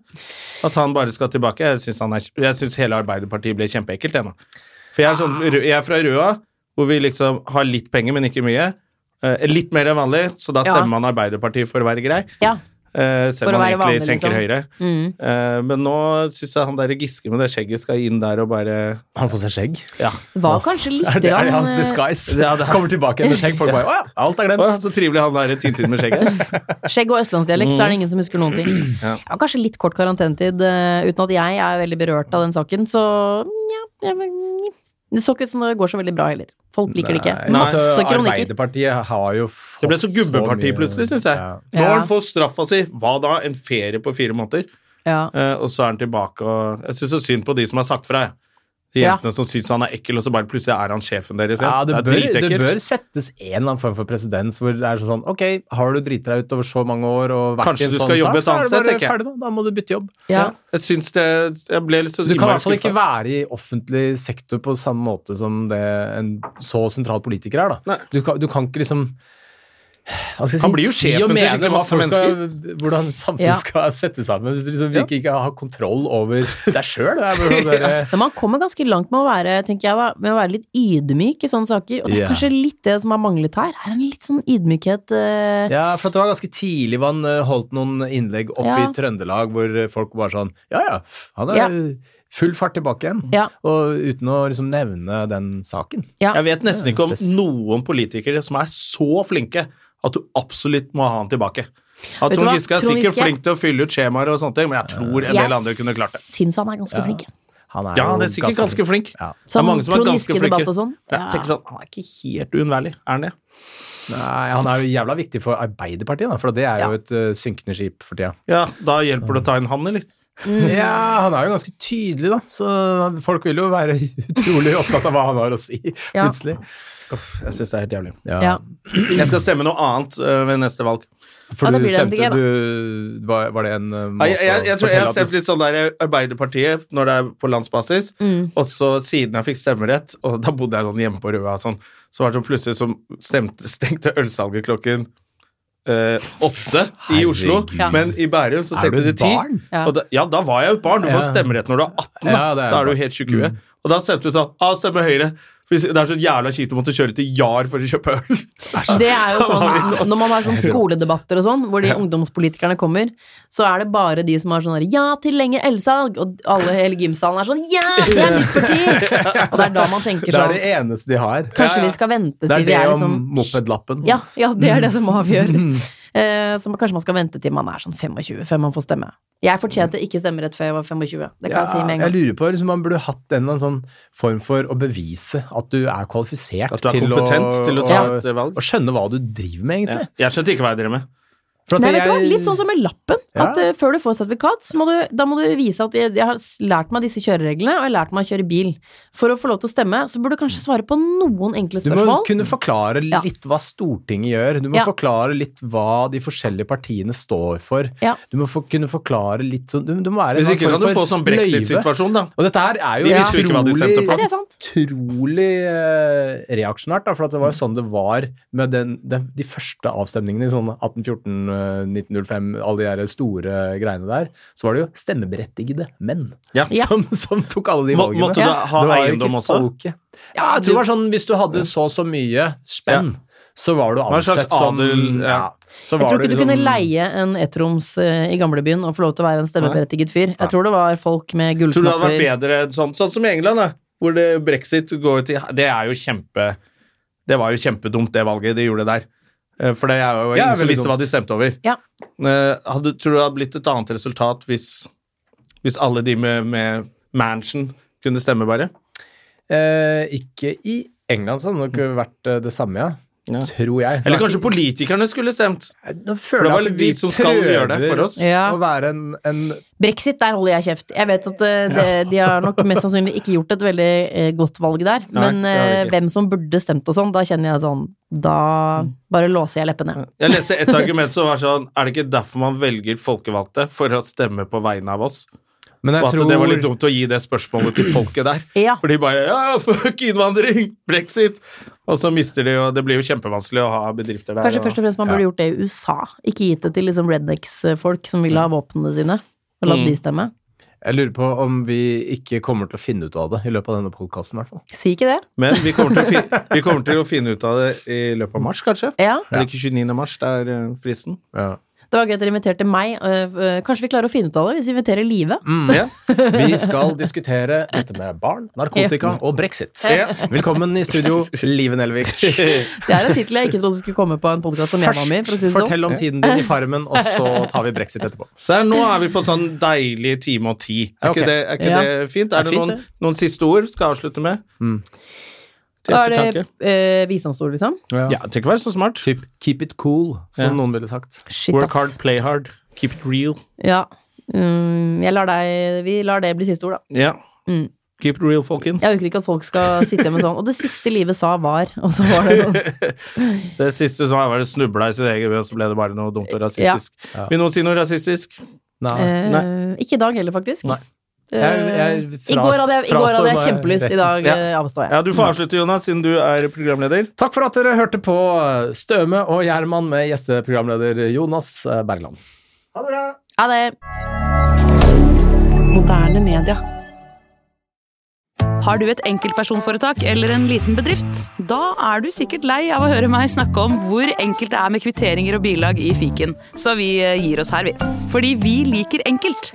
[SPEAKER 1] at han bare skal tilbake. Jeg syns, han er, jeg syns hele Arbeiderpartiet ble kjempeekkelt jeg, nå. For jeg er,
[SPEAKER 4] Ah.
[SPEAKER 1] sånn, jeg er fra Røa, hvor vi liksom har litt penger, men ikke mye. Eh, litt mer enn vanlig, så da
[SPEAKER 4] Ja.
[SPEAKER 1] stemmer man Arbeiderpartiet for å være grei.
[SPEAKER 4] Ja.
[SPEAKER 1] Eh, selv
[SPEAKER 4] For å
[SPEAKER 1] om man
[SPEAKER 4] være
[SPEAKER 1] egentlig
[SPEAKER 4] vanlig,
[SPEAKER 1] tenker
[SPEAKER 4] liksom.
[SPEAKER 1] Høyre.
[SPEAKER 4] Mm.
[SPEAKER 1] Eh, men nå syns jeg han der Giske med det skjegget skal inn der og bare
[SPEAKER 5] Han får seg skjegg.
[SPEAKER 1] Ja,
[SPEAKER 4] Var kanskje litt
[SPEAKER 5] Er det, er det hans
[SPEAKER 4] grann, eh,
[SPEAKER 5] disguise?
[SPEAKER 1] Ja, det er-
[SPEAKER 5] Kommer tilbake igjen med skjegg. Folk bare Å ja, alt er
[SPEAKER 1] Å,
[SPEAKER 5] glemt.
[SPEAKER 1] så trivelig han der Tintin med skjegget.
[SPEAKER 4] Skjegg og østlandsdialekt,
[SPEAKER 5] Mm.
[SPEAKER 4] så er det ingen som husker noen ting.
[SPEAKER 1] Ja.
[SPEAKER 4] Ja, kanskje litt kort karantenetid, eh, uten at jeg er veldig berørt av den saken, så ja, jeg, men- Det så ikke ut som det går så veldig bra heller. Folk liker det ikke.
[SPEAKER 5] Nei,
[SPEAKER 4] Masse
[SPEAKER 5] altså,
[SPEAKER 4] kronikker.
[SPEAKER 5] Arbeiderpartiet har jo fått
[SPEAKER 1] Det ble så gubbeparti
[SPEAKER 5] mye-
[SPEAKER 1] plutselig, syns jeg.
[SPEAKER 5] Ja.
[SPEAKER 1] Nå har
[SPEAKER 4] Ja.
[SPEAKER 1] han fått straffa si. Hva da? En ferie på fire måneder?
[SPEAKER 4] Ja.
[SPEAKER 1] Eh, og så er han tilbake og Jeg syns så synd på de som har sagt fra. jeg. De
[SPEAKER 4] Ja.
[SPEAKER 1] jentene som syns han er ekkel, og så bare plutselig er han sjefen deres igjen.
[SPEAKER 5] Ja, det,
[SPEAKER 1] er
[SPEAKER 5] bør, det
[SPEAKER 1] dritekkelt.
[SPEAKER 5] bør settes en eller annen form for presedens hvor det er sånn Ok, har du driti deg ut over så mange år og vært
[SPEAKER 1] Kanskje
[SPEAKER 5] i en
[SPEAKER 1] du
[SPEAKER 5] sånn
[SPEAKER 1] skal jobbe et
[SPEAKER 5] sak, så
[SPEAKER 1] annet
[SPEAKER 5] er det bare
[SPEAKER 1] sted, tenker jeg.
[SPEAKER 5] ferdig, da. Da må du bytte jobb.
[SPEAKER 4] ja.
[SPEAKER 1] Jeg syns det Jeg ble litt så
[SPEAKER 5] Du kan i
[SPEAKER 1] innmari
[SPEAKER 5] hvert fall ikke
[SPEAKER 1] skuffet.
[SPEAKER 5] være i offentlig sektor på samme måte som det en så sentral politiker er, da.
[SPEAKER 1] Nei.
[SPEAKER 5] Du kan, du kan ikke liksom hva skal jeg
[SPEAKER 1] Han blir jo sjefen
[SPEAKER 5] og
[SPEAKER 1] til
[SPEAKER 5] mene
[SPEAKER 1] skikkelig
[SPEAKER 5] hva
[SPEAKER 1] masse
[SPEAKER 5] folk Skal, hvordan samfunnet
[SPEAKER 4] Ja.
[SPEAKER 5] skal sette sammen. Hvis du liksom virkelig ikke har kontroll over deg sjøl. Det er bare sånn der-
[SPEAKER 4] Men man kommer ganske langt med å være tenker jeg da, med å være litt ydmyk i sånne saker. Og det er
[SPEAKER 5] Ja.
[SPEAKER 4] kanskje litt det som har manglet her. Er en litt sånn ydmykhet eh,
[SPEAKER 5] Ja, for at det var ganske tidlig hvor han eh, holdt noen innlegg opp
[SPEAKER 4] Ja.
[SPEAKER 5] i Trøndelag hvor eh, folk bare sånn Ja, ja, han er
[SPEAKER 4] Ja.
[SPEAKER 5] full fart tilbake igjen.
[SPEAKER 4] Ja.
[SPEAKER 5] Og uten å liksom nevne den saken.
[SPEAKER 1] Jeg vet nesten ikke om
[SPEAKER 5] Spes.
[SPEAKER 1] noen politikere som er så flinke at du absolutt må ha han tilbake. At
[SPEAKER 4] Vet du
[SPEAKER 1] Trond
[SPEAKER 4] hva?
[SPEAKER 1] Giske er
[SPEAKER 4] Trond
[SPEAKER 1] sikkert
[SPEAKER 4] Giske-
[SPEAKER 1] flink til å fylle ut skjemaer og sånne ting, men jeg tror en del andre kunne klart det.
[SPEAKER 4] syns han er ganske flink. jeg.
[SPEAKER 5] Han er
[SPEAKER 1] Ja,
[SPEAKER 5] jo
[SPEAKER 1] han er sikkert ganske flink.
[SPEAKER 5] Ja.
[SPEAKER 1] Det er
[SPEAKER 4] Sånn
[SPEAKER 1] mange som er ganske
[SPEAKER 4] kroniske-debatt
[SPEAKER 1] flinke.
[SPEAKER 4] og sånn.
[SPEAKER 1] Jeg tenker sånn, Han er ikke helt uunnværlig, er han det?
[SPEAKER 5] Nei, han er jo jævla viktig for Arbeiderpartiet, da, for det er jo
[SPEAKER 4] Ja.
[SPEAKER 5] et eh, synkende skip for tida.
[SPEAKER 1] Ja, da hjelper det å ta inn han, eller?
[SPEAKER 4] Mm.
[SPEAKER 5] Ja, han er jo ganske tydelig, da, så folk vil jo være utrolig opptatt av hva han har å si,
[SPEAKER 4] Ja.
[SPEAKER 5] plutselig.
[SPEAKER 1] Uff, jeg syns det er helt jævlig.
[SPEAKER 4] Ja.
[SPEAKER 1] Jeg skal stemme noe annet øh, ved neste valg.
[SPEAKER 5] For
[SPEAKER 4] Ja, da
[SPEAKER 5] du
[SPEAKER 4] blir det
[SPEAKER 5] stemte
[SPEAKER 4] MDG, da.
[SPEAKER 5] du var, var det en eh, måte
[SPEAKER 1] Nei, jeg, jeg, jeg tror
[SPEAKER 5] å
[SPEAKER 1] jeg
[SPEAKER 5] fortelle
[SPEAKER 1] har
[SPEAKER 5] at du-
[SPEAKER 1] stemt litt sånn der Arbeiderpartiet når det er på landsbasis, og så siden jeg fikk stemmerett, og da bodde jeg sånn hjemme på Røa og sånn, så var det sånn plutselig som stemte, stengte ølsalget klokken eh, åtte i Oslo,
[SPEAKER 5] Herregud.
[SPEAKER 1] men i Bærum så
[SPEAKER 5] Er du
[SPEAKER 1] stengte det
[SPEAKER 5] et
[SPEAKER 1] ti.
[SPEAKER 5] barn?
[SPEAKER 4] Ja.
[SPEAKER 1] Og da, ja, da var jeg jo et barn. Du får
[SPEAKER 5] Ja.
[SPEAKER 1] stemmerett når du er 18, da.
[SPEAKER 2] sånn.
[SPEAKER 5] Ja, det Mm. er
[SPEAKER 1] da er du
[SPEAKER 5] bra.
[SPEAKER 1] helt tjukk i huet. Og da stemte du sånn ah, stemmer Høyre. For Det er så jævla kjipt å måtte kjøre til Jar for å kjøpe øl.
[SPEAKER 4] Det er jo
[SPEAKER 1] Da var vi
[SPEAKER 4] sånn,
[SPEAKER 1] sånn.
[SPEAKER 4] Når man har sånn skoledebatter og sånn, hvor de ungdomspolitikerne kommer, så er det bare de som har sånn her, 'ja til lenger elsalg', og alle hele gymsalen er sånn 'ja, det er nytt parti'! Og det er da man tenker
[SPEAKER 5] Det er
[SPEAKER 4] sånn
[SPEAKER 5] det eneste de har.
[SPEAKER 1] Ja,
[SPEAKER 4] Kanskje
[SPEAKER 1] ja.
[SPEAKER 4] vi skal vente
[SPEAKER 5] Det
[SPEAKER 4] til vi
[SPEAKER 5] er det
[SPEAKER 4] er
[SPEAKER 5] om
[SPEAKER 4] liksom
[SPEAKER 5] mopedlappen.
[SPEAKER 2] Mm.
[SPEAKER 4] ja, ja, det er det som avgjør. Eh, så kanskje man skal vente til man er sånn 25 før man får stemme. Jeg fortjente ikke stemmerett før jeg var 25. Det kan jeg si med en
[SPEAKER 2] jeg
[SPEAKER 4] gang.
[SPEAKER 2] lurer på liksom, Man burde hatt en eller annen sånn form for å bevise at du er kvalifisert
[SPEAKER 1] At du er kompetent til å ta et eh, valg.
[SPEAKER 2] og skjønne hva du driver med,
[SPEAKER 1] Ja.
[SPEAKER 2] egentlig.
[SPEAKER 1] Jeg skjønte ikke hva jeg drev med.
[SPEAKER 2] For at
[SPEAKER 4] Nei, vet du hva?
[SPEAKER 2] jeg-
[SPEAKER 4] Litt sånn som med lappen.
[SPEAKER 2] Ja.
[SPEAKER 4] At eh, Før du får sertifikat, så må du, da må du vise at jeg, jeg har s- lært meg disse kjørereglene, og jeg har lært meg å kjøre bil. For å få lov til å stemme, så burde du kanskje svare på noen enkle
[SPEAKER 2] Du må
[SPEAKER 4] spørsmål.
[SPEAKER 2] kunne forklare
[SPEAKER 4] Ja.
[SPEAKER 2] litt hva Stortinget gjør. Du må
[SPEAKER 4] Ja.
[SPEAKER 2] forklare litt hva de forskjellige partiene står for.
[SPEAKER 4] Ja.
[SPEAKER 2] Du må få, kunne forklare litt sånn du, du må være en
[SPEAKER 1] Hvis
[SPEAKER 2] eller
[SPEAKER 1] ikke
[SPEAKER 2] annen
[SPEAKER 1] kan du
[SPEAKER 2] form
[SPEAKER 1] få
[SPEAKER 2] for
[SPEAKER 1] sånn
[SPEAKER 2] løyve.
[SPEAKER 1] brexit-situasjon, da.
[SPEAKER 2] Og dette her er jo
[SPEAKER 1] De visste jo ikke hva de stemte på.
[SPEAKER 4] Nei, det er sant.
[SPEAKER 2] utrolig eh, reaksjonært, da, for at det var jo sånn det var med den, den, de første avstemningene i sånn 1814, eh, 1905, alle de der store greiene der. Så var det jo stemmeberettigede menn
[SPEAKER 1] Ja.
[SPEAKER 4] Ja.
[SPEAKER 2] som, som tok alle de
[SPEAKER 1] Må-
[SPEAKER 2] valgene.
[SPEAKER 1] måtte du
[SPEAKER 2] Ja.
[SPEAKER 1] ha
[SPEAKER 2] Det var jo
[SPEAKER 1] eiendom
[SPEAKER 2] ikke
[SPEAKER 1] også?
[SPEAKER 2] folket. Ja, jeg tror det var sånn hvis du hadde så og så mye spenn, så var du
[SPEAKER 1] var en slags
[SPEAKER 2] ansett som
[SPEAKER 1] adel, ja.
[SPEAKER 2] så
[SPEAKER 4] Jeg
[SPEAKER 2] var
[SPEAKER 4] tror ikke du
[SPEAKER 2] liksom-
[SPEAKER 4] kunne leie en ettroms eh, i gamlebyen og få lov til å være en stemmeberettiget fyr. Jeg tror det var folk med
[SPEAKER 1] Tror du det hadde
[SPEAKER 4] gullknapper.
[SPEAKER 1] vært bedre sånn, sånn som i England, da, hvor det, brexit går til Det er jo kjempe Det var jo kjempedumt, det valget de gjorde der. Eh, For det er jo
[SPEAKER 2] Ja,
[SPEAKER 1] ingen som
[SPEAKER 2] veldig
[SPEAKER 1] visste hva
[SPEAKER 2] dumt.
[SPEAKER 1] de stemte over.
[SPEAKER 4] Ja.
[SPEAKER 1] Eh, Hadde, tror du det hadde blitt et annet resultat hvis, hvis alle de med, med mansion kunne stemme, bare?
[SPEAKER 2] Eh, ikke i England, så hadde det nok vært eh, det samme, ja.
[SPEAKER 1] Ja.
[SPEAKER 2] Tror jeg.
[SPEAKER 1] Eller kanskje politikerne skulle stemt?
[SPEAKER 2] Nå føler
[SPEAKER 1] det
[SPEAKER 2] jeg
[SPEAKER 1] var
[SPEAKER 2] at
[SPEAKER 1] vi som skal gjøre det for oss.
[SPEAKER 4] Ja.
[SPEAKER 2] å være en, en
[SPEAKER 4] Brexit, der holder jeg kjeft. Jeg vet at eh, det, de har nok mest sannsynlig ikke gjort et veldig eh, godt valg der.
[SPEAKER 1] Nei,
[SPEAKER 4] men
[SPEAKER 1] det har de
[SPEAKER 4] eh,
[SPEAKER 1] ikke.
[SPEAKER 4] hvem som burde stemt og sånn, da kjenner jeg sånn Da bare låser jeg leppene.
[SPEAKER 1] Jeg leste et argument som var sånn Er det ikke derfor man velger folkevalgte? For å stemme på vegne av oss? Og
[SPEAKER 2] Men jeg
[SPEAKER 1] at
[SPEAKER 2] tror
[SPEAKER 1] det var litt dumt å gi det spørsmålet til folket der.
[SPEAKER 4] Ja.
[SPEAKER 1] For de bare Ja, fuck innvandring! Brexit! Og så mister de jo Det blir jo kjempevanskelig å ha bedrifter der.
[SPEAKER 4] Kanskje
[SPEAKER 1] og-
[SPEAKER 4] først og fremst man burde gjort det i USA. Ikke gitt det til liksom rednecks-folk som vil ha våpnene sine. Og
[SPEAKER 1] Mm.
[SPEAKER 4] latt de stemme.
[SPEAKER 2] Jeg lurer på om vi ikke kommer til å finne ut av det i løpet av denne podkasten, i hvert fall.
[SPEAKER 4] Si ikke det.
[SPEAKER 1] Men vi kommer, til å fin- vi kommer til å finne ut av det i løpet av mars, kanskje?
[SPEAKER 4] Ja.
[SPEAKER 1] Eller ikke 29. mars, det er eh, fristen.
[SPEAKER 4] Det var gøy at dere inviterte meg. eh, eh, Kanskje vi klarer å finne ut av det hvis vi inviterer Live.
[SPEAKER 2] Mm.
[SPEAKER 1] Ja.
[SPEAKER 2] Vi skal diskutere dette med barn, narkotika og brexit.
[SPEAKER 1] Ja.
[SPEAKER 2] Velkommen i studio, Live Nelvik.
[SPEAKER 4] Det er en tittel jeg ikke trodde skulle komme på en podkast som jeg var med i. For å si det sånn.
[SPEAKER 2] fortell om tiden din i Farmen, og så tar vi brexit etterpå.
[SPEAKER 1] Så her, nå er vi på sånn deilig time og ti. Er
[SPEAKER 2] Ok.
[SPEAKER 1] ikke, det, er ikke
[SPEAKER 4] Ja.
[SPEAKER 1] det fint? Er
[SPEAKER 4] Det er
[SPEAKER 1] det
[SPEAKER 4] fint,
[SPEAKER 1] noen, noen siste ord vi skal avslutte med?
[SPEAKER 2] Mm.
[SPEAKER 1] Til
[SPEAKER 4] sånn. Da er
[SPEAKER 1] ettertanke.
[SPEAKER 4] det eh, visdomsord, liksom.
[SPEAKER 1] Ja, det trenger ikke være så smart.
[SPEAKER 2] Typ keep it cool, som
[SPEAKER 1] Ja.
[SPEAKER 2] noen ville sagt.
[SPEAKER 4] Shit,
[SPEAKER 1] Work
[SPEAKER 4] ass.
[SPEAKER 1] hard, play hard. Keep it real.
[SPEAKER 4] Ja. Mm, jeg lar deg, vi lar det bli siste ord, da.
[SPEAKER 1] Ja.
[SPEAKER 4] Mm.
[SPEAKER 1] Keep it real, folkens.
[SPEAKER 4] Jeg orker ikke at folk skal sitte med sånn Og det siste livet sa var Og så var det noe.
[SPEAKER 1] Det siste som var, var det snubla i sitt eget ved, og så ble det bare noe dumt og rasistisk.
[SPEAKER 2] Ja.
[SPEAKER 1] Vil noen si noe rasistisk?
[SPEAKER 2] Nei.
[SPEAKER 4] Eh, Ikke i dag heller, faktisk.
[SPEAKER 2] Nei.
[SPEAKER 4] Eh,
[SPEAKER 2] Jeg- jeg
[SPEAKER 4] I går hadde jeg, i går
[SPEAKER 2] frastår
[SPEAKER 4] hadde jeg
[SPEAKER 2] meg
[SPEAKER 4] kjempelyst. I
[SPEAKER 2] retten.
[SPEAKER 4] dag
[SPEAKER 1] Ja.
[SPEAKER 4] eh, avstår jeg.
[SPEAKER 1] Ja, du får avslutte, Jonas, siden du er programleder.
[SPEAKER 2] Takk for at dere hørte på Støme og Gjerman med gjesteprogramleder Jonas eh, Bergland.
[SPEAKER 4] Ha det.
[SPEAKER 6] Moderne media.
[SPEAKER 5] Har du et enkeltpersonforetak eller en liten bedrift? Da er du sikkert lei av å høre meg snakke om hvor enkelt det er med kvitteringer og bilag i fiken, så vi eh, gir oss her, vi. Fordi vi liker enkelt.